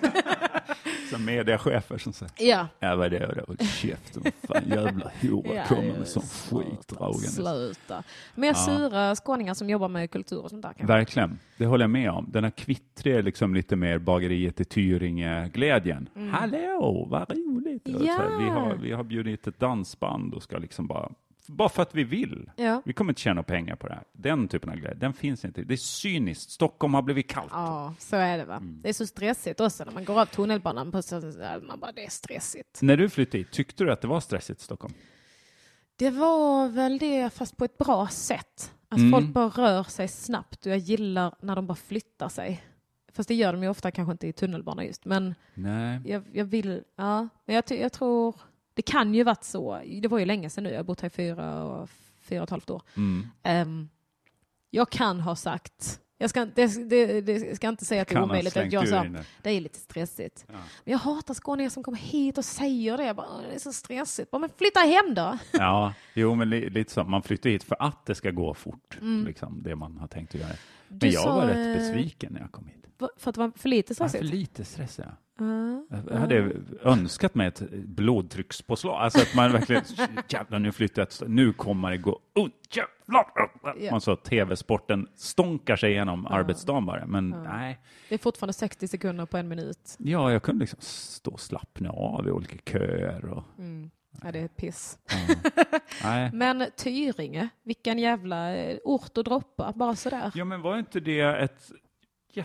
Speaker 2: Som mediachefer som säger
Speaker 1: ja.
Speaker 2: Ja, vad är det då? Håll käften, vad fan jävla hora
Speaker 1: Ja,
Speaker 2: kommer
Speaker 1: ja,
Speaker 2: med sån
Speaker 1: sluta,
Speaker 2: skit dragande.
Speaker 1: Sluta. Mer sura skåningar som jobbar med kultur och sånt där. kanske.
Speaker 2: Verkligen, det håller jag med om. Den här kvittriga, liksom lite mer bageriet i Tyringe-glädjen.
Speaker 1: Mm.
Speaker 2: Hallå, vad roligt! Och så här, vi, har, vi har bjudit ett dansband och ska liksom bara, bara för att vi vill.
Speaker 1: Ja.
Speaker 2: Vi kommer inte tjäna pengar på det här. Den typen av glädje, den finns inte. Det är cyniskt. Stockholm har blivit kallt.
Speaker 1: Ja, så är det va. Det är så stressigt också när man går av tunnelbanan. På, så, man bara, det är stressigt.
Speaker 2: När du flyttade hit, tyckte du att det var stressigt i Stockholm?
Speaker 1: Det var väl det, fast på ett
Speaker 2: Mm.
Speaker 1: bra sätt. Att folk bara rör sig snabbt och jag gillar när de bara flyttar sig. Fast det gör de ju ofta kanske inte i tunnelbana just. Men
Speaker 2: Nej.
Speaker 1: jag, jag vill, ja. Men jag, ty- jag tror, det kan ju varit så. Det var ju länge sedan nu, jag har bott här i fyra, och- fyra och ett halvt år.
Speaker 2: Mm.
Speaker 1: Ehm, jag kan ha sagt, jag ska, inte- det, det, det jag ska inte säga att det är
Speaker 2: Kan ha
Speaker 1: omöjligt att
Speaker 2: slängt
Speaker 1: jag
Speaker 2: ur
Speaker 1: sa,
Speaker 2: in det.
Speaker 1: det är lite stressigt. Men jag hatar skåningar som kommer hit och säger det. Jag bara, "Åh, det är så stressigt. Bara, men flytta hem då!
Speaker 2: Ja, jo, men li, lite så. Man flyttar hit för att det ska gå fort, liksom, det man har tänkt att göra. Men
Speaker 1: Mm. Du
Speaker 2: jag
Speaker 1: sa,
Speaker 2: var
Speaker 1: eh,
Speaker 2: rätt besviken när jag kom hit.
Speaker 1: Va- För att det var för lite
Speaker 2: Jag var för
Speaker 1: stressigt.
Speaker 2: lite stressig. ja.
Speaker 1: Ja.
Speaker 2: Jag hade önskat mig ett blodtryckspåslag, alltså att man verkligen, jävlar nu flyttar jag, ett st- nu kommer det gå, oh, jävlar!
Speaker 1: Ja.
Speaker 2: Man sa att tv-sporten stonkar sig igenom arbetsdagen bara, men nej.
Speaker 1: Det är fortfarande 60 sekunder på en minut.
Speaker 2: Ja, jag kunde liksom stå och slappna av i olika köer och,
Speaker 1: Mm. Ja, det är piss.
Speaker 2: nej.
Speaker 1: Men Tyringe, vilken jävla eh, ort att droppa, bara sådär.
Speaker 2: Ja, men var inte det ett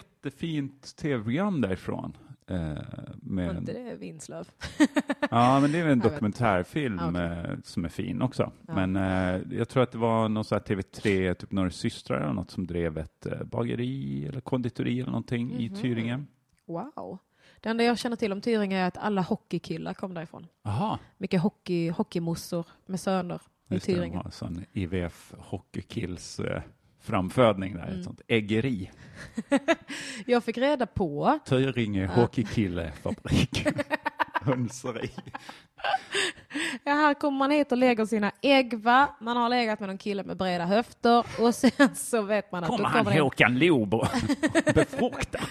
Speaker 2: jättefint tv-program därifrån? Eh,
Speaker 1: Var
Speaker 2: med,
Speaker 1: inte det Vinslöv?
Speaker 2: Ja, men det är väl en
Speaker 1: Jag vet.
Speaker 2: dokumentärfilm
Speaker 1: Ah, okej.
Speaker 2: eh, som är fin också. Men eh, jag tror att det var någon så här TV3, typ några systrar eller något som drev ett eh, bageri eller konditori eller någonting i
Speaker 1: Mhm.
Speaker 2: Tyringen.
Speaker 1: Wow. Det enda jag känner till om Tyringe är att alla hockeykillar kom därifrån.
Speaker 2: Jaha,
Speaker 1: Mycket hockey, hockeymossor med söner i
Speaker 2: just det, de
Speaker 1: Tyringe.
Speaker 2: har en sån IVF Hockeykills eh, framfödning där,
Speaker 1: Mm.
Speaker 2: ett sånt äggeri.
Speaker 1: Jag fick reda på,
Speaker 2: Tyringe Hockeykillefabrik. Hönseri.
Speaker 1: ja, här kommer man hit och lägger sina ägg va? Man har legat med någon kille med breda höfter och sen så vet man att
Speaker 2: Kommer
Speaker 1: då
Speaker 2: han
Speaker 1: kommer det en
Speaker 2: Håkan Loob och befruktar?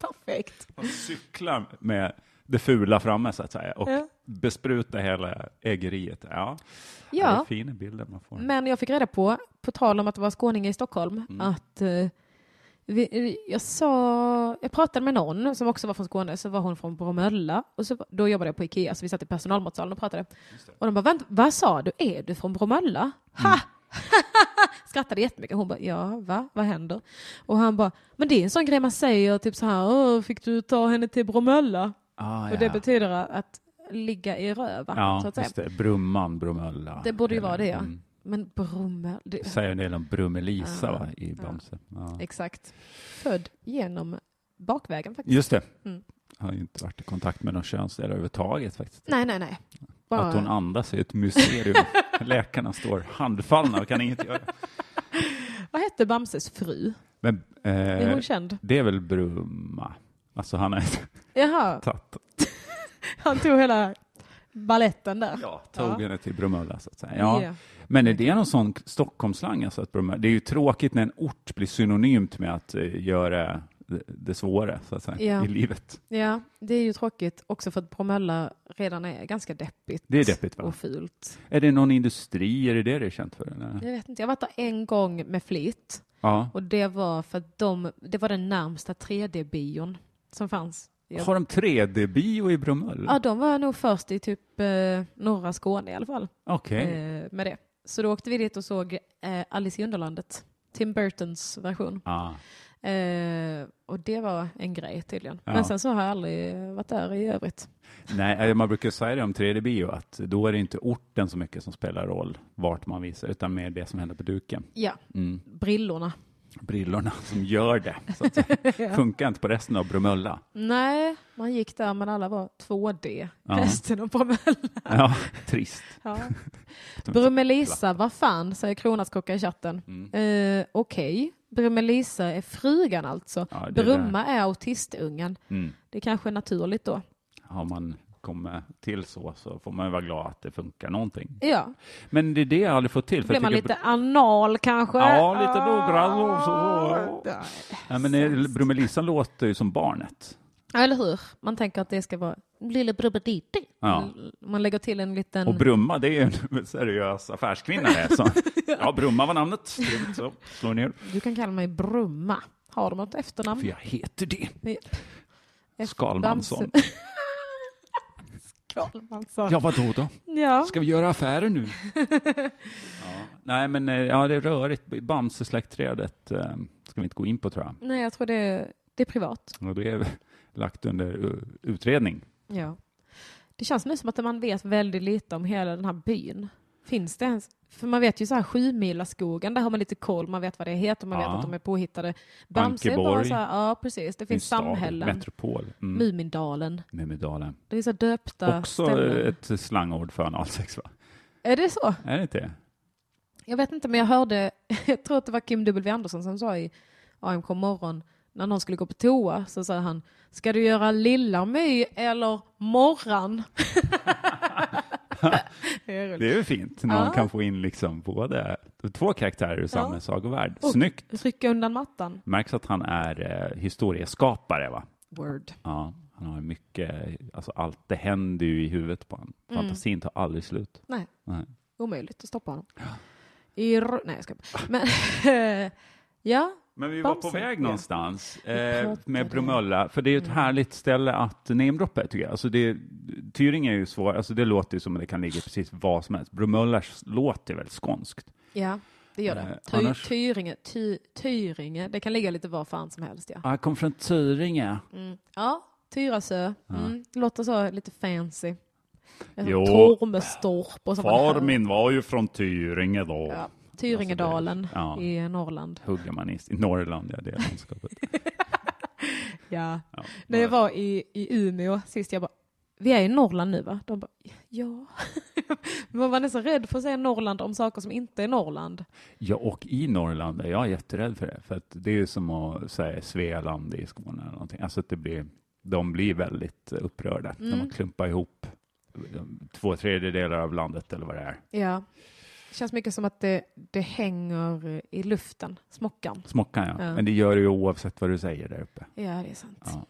Speaker 1: perfekt.
Speaker 2: De cyklar med det fula framme så att säga och
Speaker 1: Ja.
Speaker 2: besprutar hela äggeriet. Ja. Ja. Det är
Speaker 1: Ja,
Speaker 2: fina bilder man får.
Speaker 1: men jag fick reda på, på tal om att det var skåningar i Stockholm,
Speaker 2: Mm.
Speaker 1: att eh, vi, jag sa, jag pratade med någon som också var från Skåne, så var hon från Bromölla och så, då jobbade jag på Ikea, så vi satt i personalmatsalen och pratade. Och de bara, vänta, vad sa du, är du från
Speaker 2: Mm.
Speaker 1: Bromölla? Ha! Skrattade jättemycket. Hon bara, ja, va? Vad händer? Och han bara, men det är en sån grej man säger, typ så här, "Åh, fick du ta henne till Bromölla?
Speaker 2: ah,
Speaker 1: Och det betyder att ligga i röva, så
Speaker 2: Ja,
Speaker 1: att säga.
Speaker 2: just det. Brumman, Bromölla.
Speaker 1: Det borde ju vara det, ja.
Speaker 2: Mm.
Speaker 1: Men Bromölla, det,
Speaker 2: Säger en del om Brummelisa
Speaker 1: Ja.
Speaker 2: va, i Bamse. Ja.
Speaker 1: Ah. Exakt. Född genom bakvägen faktiskt.
Speaker 2: Just det.
Speaker 1: Mm.
Speaker 2: Jag har ju inte varit i kontakt med någon könsdel överhuvudtaget faktiskt.
Speaker 1: Nej, nej, nej. Bara...
Speaker 2: Att hon andas är ett mysterium. Läkarna står handfallna och kan inget göra.
Speaker 1: Vad hette Bamses fru?
Speaker 2: Men,
Speaker 1: Är hon
Speaker 2: eh,
Speaker 1: känd?
Speaker 2: det är väl Brumma? Alltså han har
Speaker 1: Jaha,
Speaker 2: tagit
Speaker 1: han tog hela baletten där.
Speaker 2: Ja, tog
Speaker 1: Ja.
Speaker 2: henne till Bromölla så att säga. Ja.
Speaker 1: Ja.
Speaker 2: Men är det någon sån Stockholmsslang? Alltså att Bromölla, det är ju tråkigt när en ort blir synonymt med att eh, göra det, det svåra så att säga,
Speaker 1: Ja.
Speaker 2: i livet.
Speaker 1: Ja, det är ju tråkigt också för att Bromölla redan är ganska deppigt.
Speaker 2: Det är deppigt, va?
Speaker 1: Och fult.
Speaker 2: Är det någon industri? Är det det det är känt för? Eller?
Speaker 1: Jag vet inte, jag har varit där en gång med flit
Speaker 2: Ja.
Speaker 1: och det var för att de, det var den närmsta 3D-bion som fanns. Jag,
Speaker 2: Har de 3D-bio i Bromölla?
Speaker 1: ja, de var nog först i typ eh, norra Skåne i alla fall.
Speaker 2: Okej.
Speaker 1: eh, med det. Så då åkte vi dit och såg eh, Alice i Underlandet, Tim Burtons version.
Speaker 2: Ah.
Speaker 1: Eh, och det var en grej tydligen.
Speaker 2: Ja.
Speaker 1: Men sen så har jag aldrig varit där i övrigt.
Speaker 2: Nej, eh, man brukar säga det om 3D-bio, att då är det inte orten så mycket som spelar roll vart man visar, utan mer det som händer på duken.
Speaker 1: Ja,
Speaker 2: Mm.
Speaker 1: brillorna.
Speaker 2: Brillorna som gör det. Så att säga. Funkar inte på resten av Bromölla.
Speaker 1: Nej, man gick där men alla var 2D.
Speaker 2: Ja.
Speaker 1: Resten av Bromölla.
Speaker 2: Ja, trist.
Speaker 1: Ja. Brummelisa, vad fan, säger Kronärtskocka i chatten.
Speaker 2: Mm.
Speaker 1: Eh, Okej, Brummelisa är frugan alltså.
Speaker 2: Ja, det Mm. är
Speaker 1: Brumma är autistungen. Det är kanske är naturligt då.
Speaker 2: Har man kommit till så, så får man ju vara glad att det funkar någonting.
Speaker 1: Ja.
Speaker 2: Men det är det jag aldrig fått till.
Speaker 1: Då blir
Speaker 2: jag
Speaker 1: man
Speaker 2: tycker-
Speaker 1: lite anal kanske?
Speaker 2: Ja, lite noggrann och så.
Speaker 1: Ja.
Speaker 2: Ja, men eh, Brummelisa låter ju som barnet.
Speaker 1: Eller hur? Man tänker att det ska vara lille brubbedidi.
Speaker 2: Ja.
Speaker 1: Man lägger till en liten...
Speaker 2: Och Brumma, det är ju en seriös affärskvinna. Det, så. Ja, Brumma var namnet. Trevligt, Så slår ner.
Speaker 1: Du kan kalla mig Brumma. Har de något
Speaker 2: För
Speaker 1: efternamn?
Speaker 2: jag heter det.
Speaker 1: Efter-
Speaker 2: Skalmansson.
Speaker 1: Bamse. Skalmansson.
Speaker 2: Ja, vadå då?
Speaker 1: Ja.
Speaker 2: Ska vi göra affärer nu? Ja, nej, men eh, ja, det är rörigt. Bamse-släktträdet eh, ska vi inte gå in på, tror jag.
Speaker 1: Nej, jag tror det är, det är privat.
Speaker 2: Och det är lagt under eh, utredning.
Speaker 1: Ja. Det känns nu som att man vet väldigt lite om hela den här byn. Finns det ens? För man vet ju så här Sjumilaskogen, där har man lite koll, man vet vad det heter, man
Speaker 2: Ja.
Speaker 1: vet att de är påhittade. Bamse är bara
Speaker 2: Ankeborg.
Speaker 1: så här, ja precis, det finns
Speaker 2: En stad,
Speaker 1: samhällen,
Speaker 2: Metropol. Mm.
Speaker 1: Mumindalen,
Speaker 2: Mumidalen.
Speaker 1: det är så döpta
Speaker 2: Också
Speaker 1: ställen.
Speaker 2: ett slangord för analsex, va?
Speaker 1: Är det så?
Speaker 2: Är det inte det?
Speaker 1: Jag vet inte, men jag hörde, jag tror att det var Kim W Andersson som sa i AMK morgon, när någon skulle gå på toa så sa han, ska du göra lilla my eller morran? det är roligt.
Speaker 2: Det är ju fint. Någon kan få in liksom både två karaktärer ur samma
Speaker 1: Ja.
Speaker 2: sagovärld.
Speaker 1: Och-
Speaker 2: Snyggt.
Speaker 1: Rycka undan mattan.
Speaker 2: Märks att han är eh, historieskapare, va?
Speaker 1: Word.
Speaker 2: Ja, han har mycket, alltså allt det händer ju i huvudet på honom.
Speaker 1: Mm.
Speaker 2: Fantasin tar aldrig slut.
Speaker 1: Nej.
Speaker 2: Nej.
Speaker 1: Omöjligt att stoppa honom. I r- Nej, jag ska Men ja,
Speaker 2: Men vi var på
Speaker 1: Bamse,
Speaker 2: väg
Speaker 1: ja.
Speaker 2: någonstans
Speaker 1: Vi
Speaker 2: eh,
Speaker 1: pratade. Mm.
Speaker 2: med Bromölla, för det är ju ett härligt ställe att namedroppa tycker jag. Alltså det, Tyring är ju svår, alltså det låter ju som att det kan ligga precis vad som helst. Bromöllas låter väl skånskt?
Speaker 1: ja, det gör det.
Speaker 2: Eh,
Speaker 1: Ty,
Speaker 2: annars-
Speaker 1: Tyringe, ty, Tyringe, det kan ligga lite var fan som helst. Ja,
Speaker 2: Ah, jag kom från Tyringe.
Speaker 1: Mm. ja Tyresö. Mm. Det låter så lite fancy.
Speaker 2: Jo.
Speaker 1: Tormestorp och sånt.
Speaker 2: Far min var ju från Tyringe då.
Speaker 1: Ja. Tyringedalen
Speaker 2: Alltså det är-
Speaker 1: i Norrland.
Speaker 2: Hugger man i, i Norrland, ja det är landskapet.
Speaker 1: Ja.
Speaker 2: Ja.
Speaker 1: När jag var i, i Umeå sist, jag bara, vi är i Norrland nu va? De bara, ja. Man var nästan rädd för att säga Norrland om saker som inte är Norrland.
Speaker 2: Ja, och i Norrland är jag jätterädd för det. För att det är ju som att säga Svealand i Skåne eller någonting. Alltså att det blir, de blir väldigt upprörda när
Speaker 1: Mm.
Speaker 2: man klumpar ihop eh, två tredjedelar av landet eller vad det är.
Speaker 1: Ja. Det känns mycket som att det, det hänger i luften, smockan.
Speaker 2: Smockan ja.
Speaker 1: Ja.
Speaker 2: Men det gör det ju oavsett vad du säger där uppe.
Speaker 1: Ja, det är sant.
Speaker 2: Ja.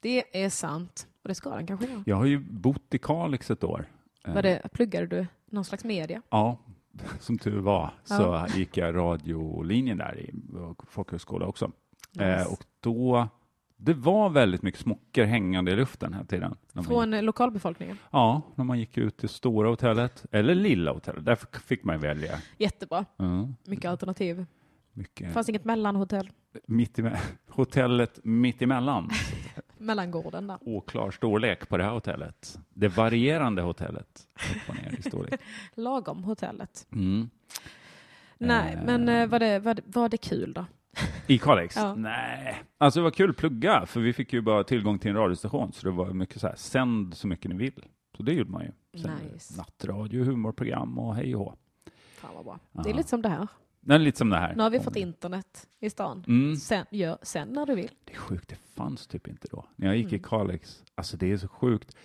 Speaker 1: Det är sant. Och det ska den kanske vara.
Speaker 2: Jag har ju bott i Kalix ett år. Eh,
Speaker 1: Var det, pluggade du någon slags media?
Speaker 2: Ja, som tur var så
Speaker 1: Ja.
Speaker 2: gick jag radiolinjen där i och folkhögskola också.
Speaker 1: Nice.
Speaker 2: Eh, och då, det var väldigt mycket smockor hängande i luften hela tiden. när man
Speaker 1: Från eh, lokalbefolkningen?
Speaker 2: Ja, när man gick ut till stora hotellet eller lilla hotellet. Där fick- fick man välja.
Speaker 1: Jättebra.
Speaker 2: Mm,
Speaker 1: Mycket alternativ.
Speaker 2: mycket.
Speaker 1: Fanns inget mellanhotell?
Speaker 2: Mitt eme- hotellet mittemellan.
Speaker 1: Mellangården där.
Speaker 2: Oklar storlek på det här hotellet. Det varierande hotellet. Upp och ner i storlek.
Speaker 1: Lagom hotellet.
Speaker 2: Mm.
Speaker 1: Nej, men eh, var det, var, det, var det kul då?
Speaker 2: I Kalix?
Speaker 1: Ja.
Speaker 2: Nej. Alltså det var kul att plugga, för vi fick ju bara tillgång till en radiostation, så det var mycket så här, sänd så mycket ni vill. Så det gjorde man ju. Sen
Speaker 1: Nice.
Speaker 2: Nattradio, humorprogram och hej och hå.
Speaker 1: Fan vad bra. Det är lite som det här.
Speaker 2: Men lite som det här.
Speaker 1: Nu har vi fått internet i stan.
Speaker 2: Mm.
Speaker 1: Sen, gör, sen när du vill.
Speaker 2: Det är sjukt, det fanns typ inte då. När jag gick
Speaker 1: Mm.
Speaker 2: i Kalix, alltså det är så sjukt.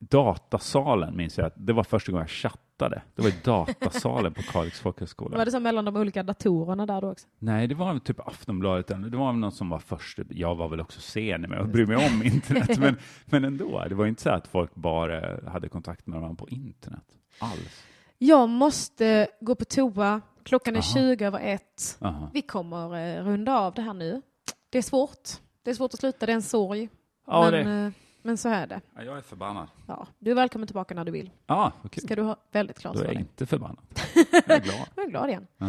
Speaker 2: Datasalen minns jag, att det var första gången jag chattade. Det var i datasalen på Kalix folkhögskola.
Speaker 1: Var det så mellan de olika datorerna där då också?
Speaker 2: Nej, det var väl typ Aftonbladet, eller det var väl någon som var först. Jag var väl också sen med att bry mig om internet, men, men ändå. Det var inte så att folk bara hade kontakt med varandra på internet alls.
Speaker 1: Jag måste gå på toa. Klockan är
Speaker 2: Aha.
Speaker 1: 20 över ett.
Speaker 2: Aha.
Speaker 1: Vi kommer eh, runda av det här nu. Det är svårt. Det är svårt att sluta, det är en sorg.
Speaker 2: Ja,
Speaker 1: men,
Speaker 2: det.
Speaker 1: eh, men så är det.
Speaker 2: Ja, jag är förbannad.
Speaker 1: Ja, du är välkommen tillbaka när du vill.
Speaker 2: Ja, vad kul.
Speaker 1: Ska du ha väldigt klart
Speaker 2: Då är
Speaker 1: för
Speaker 2: jag
Speaker 1: dig.
Speaker 2: inte förbannad. Jag är glad.
Speaker 1: Jag är glad igen.
Speaker 2: Ja.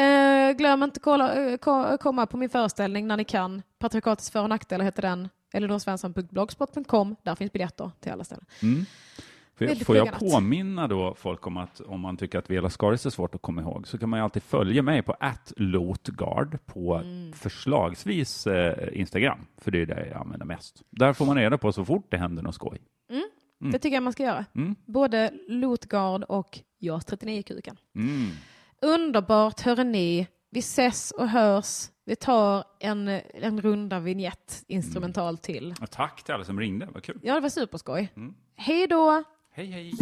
Speaker 1: Eh, glöm inte kolla, eh, ko- komma på min föreställning när ni kan. Patriarkatets för och nackdelar heter den. Eleonorsvensson.blogspot.com. Där finns biljetter till alla ställen.
Speaker 2: För
Speaker 1: Vill du
Speaker 2: får jag
Speaker 1: plugga något?
Speaker 2: påminna då folk om att om man tycker att Vela Skaris är svårt att komma ihåg så kan man ju alltid följa mig på @lotgard på förslagsvis eh, Instagram, för det är det jag använder mest. Där får man reda på så fort det händer något skoj.
Speaker 1: Det tycker jag man ska göra.
Speaker 2: Mm.
Speaker 1: Både Lotgard och JAS 39-kuken.
Speaker 2: Mm.
Speaker 1: Underbart, hörni. Vi ses och hörs. Vi tar en, en runda vignett instrumental
Speaker 2: Mm.
Speaker 1: till.
Speaker 2: Och tack till alla som ringde, vad kul.
Speaker 1: Ja, det var superskoj. Hej då!
Speaker 2: Hej, hej.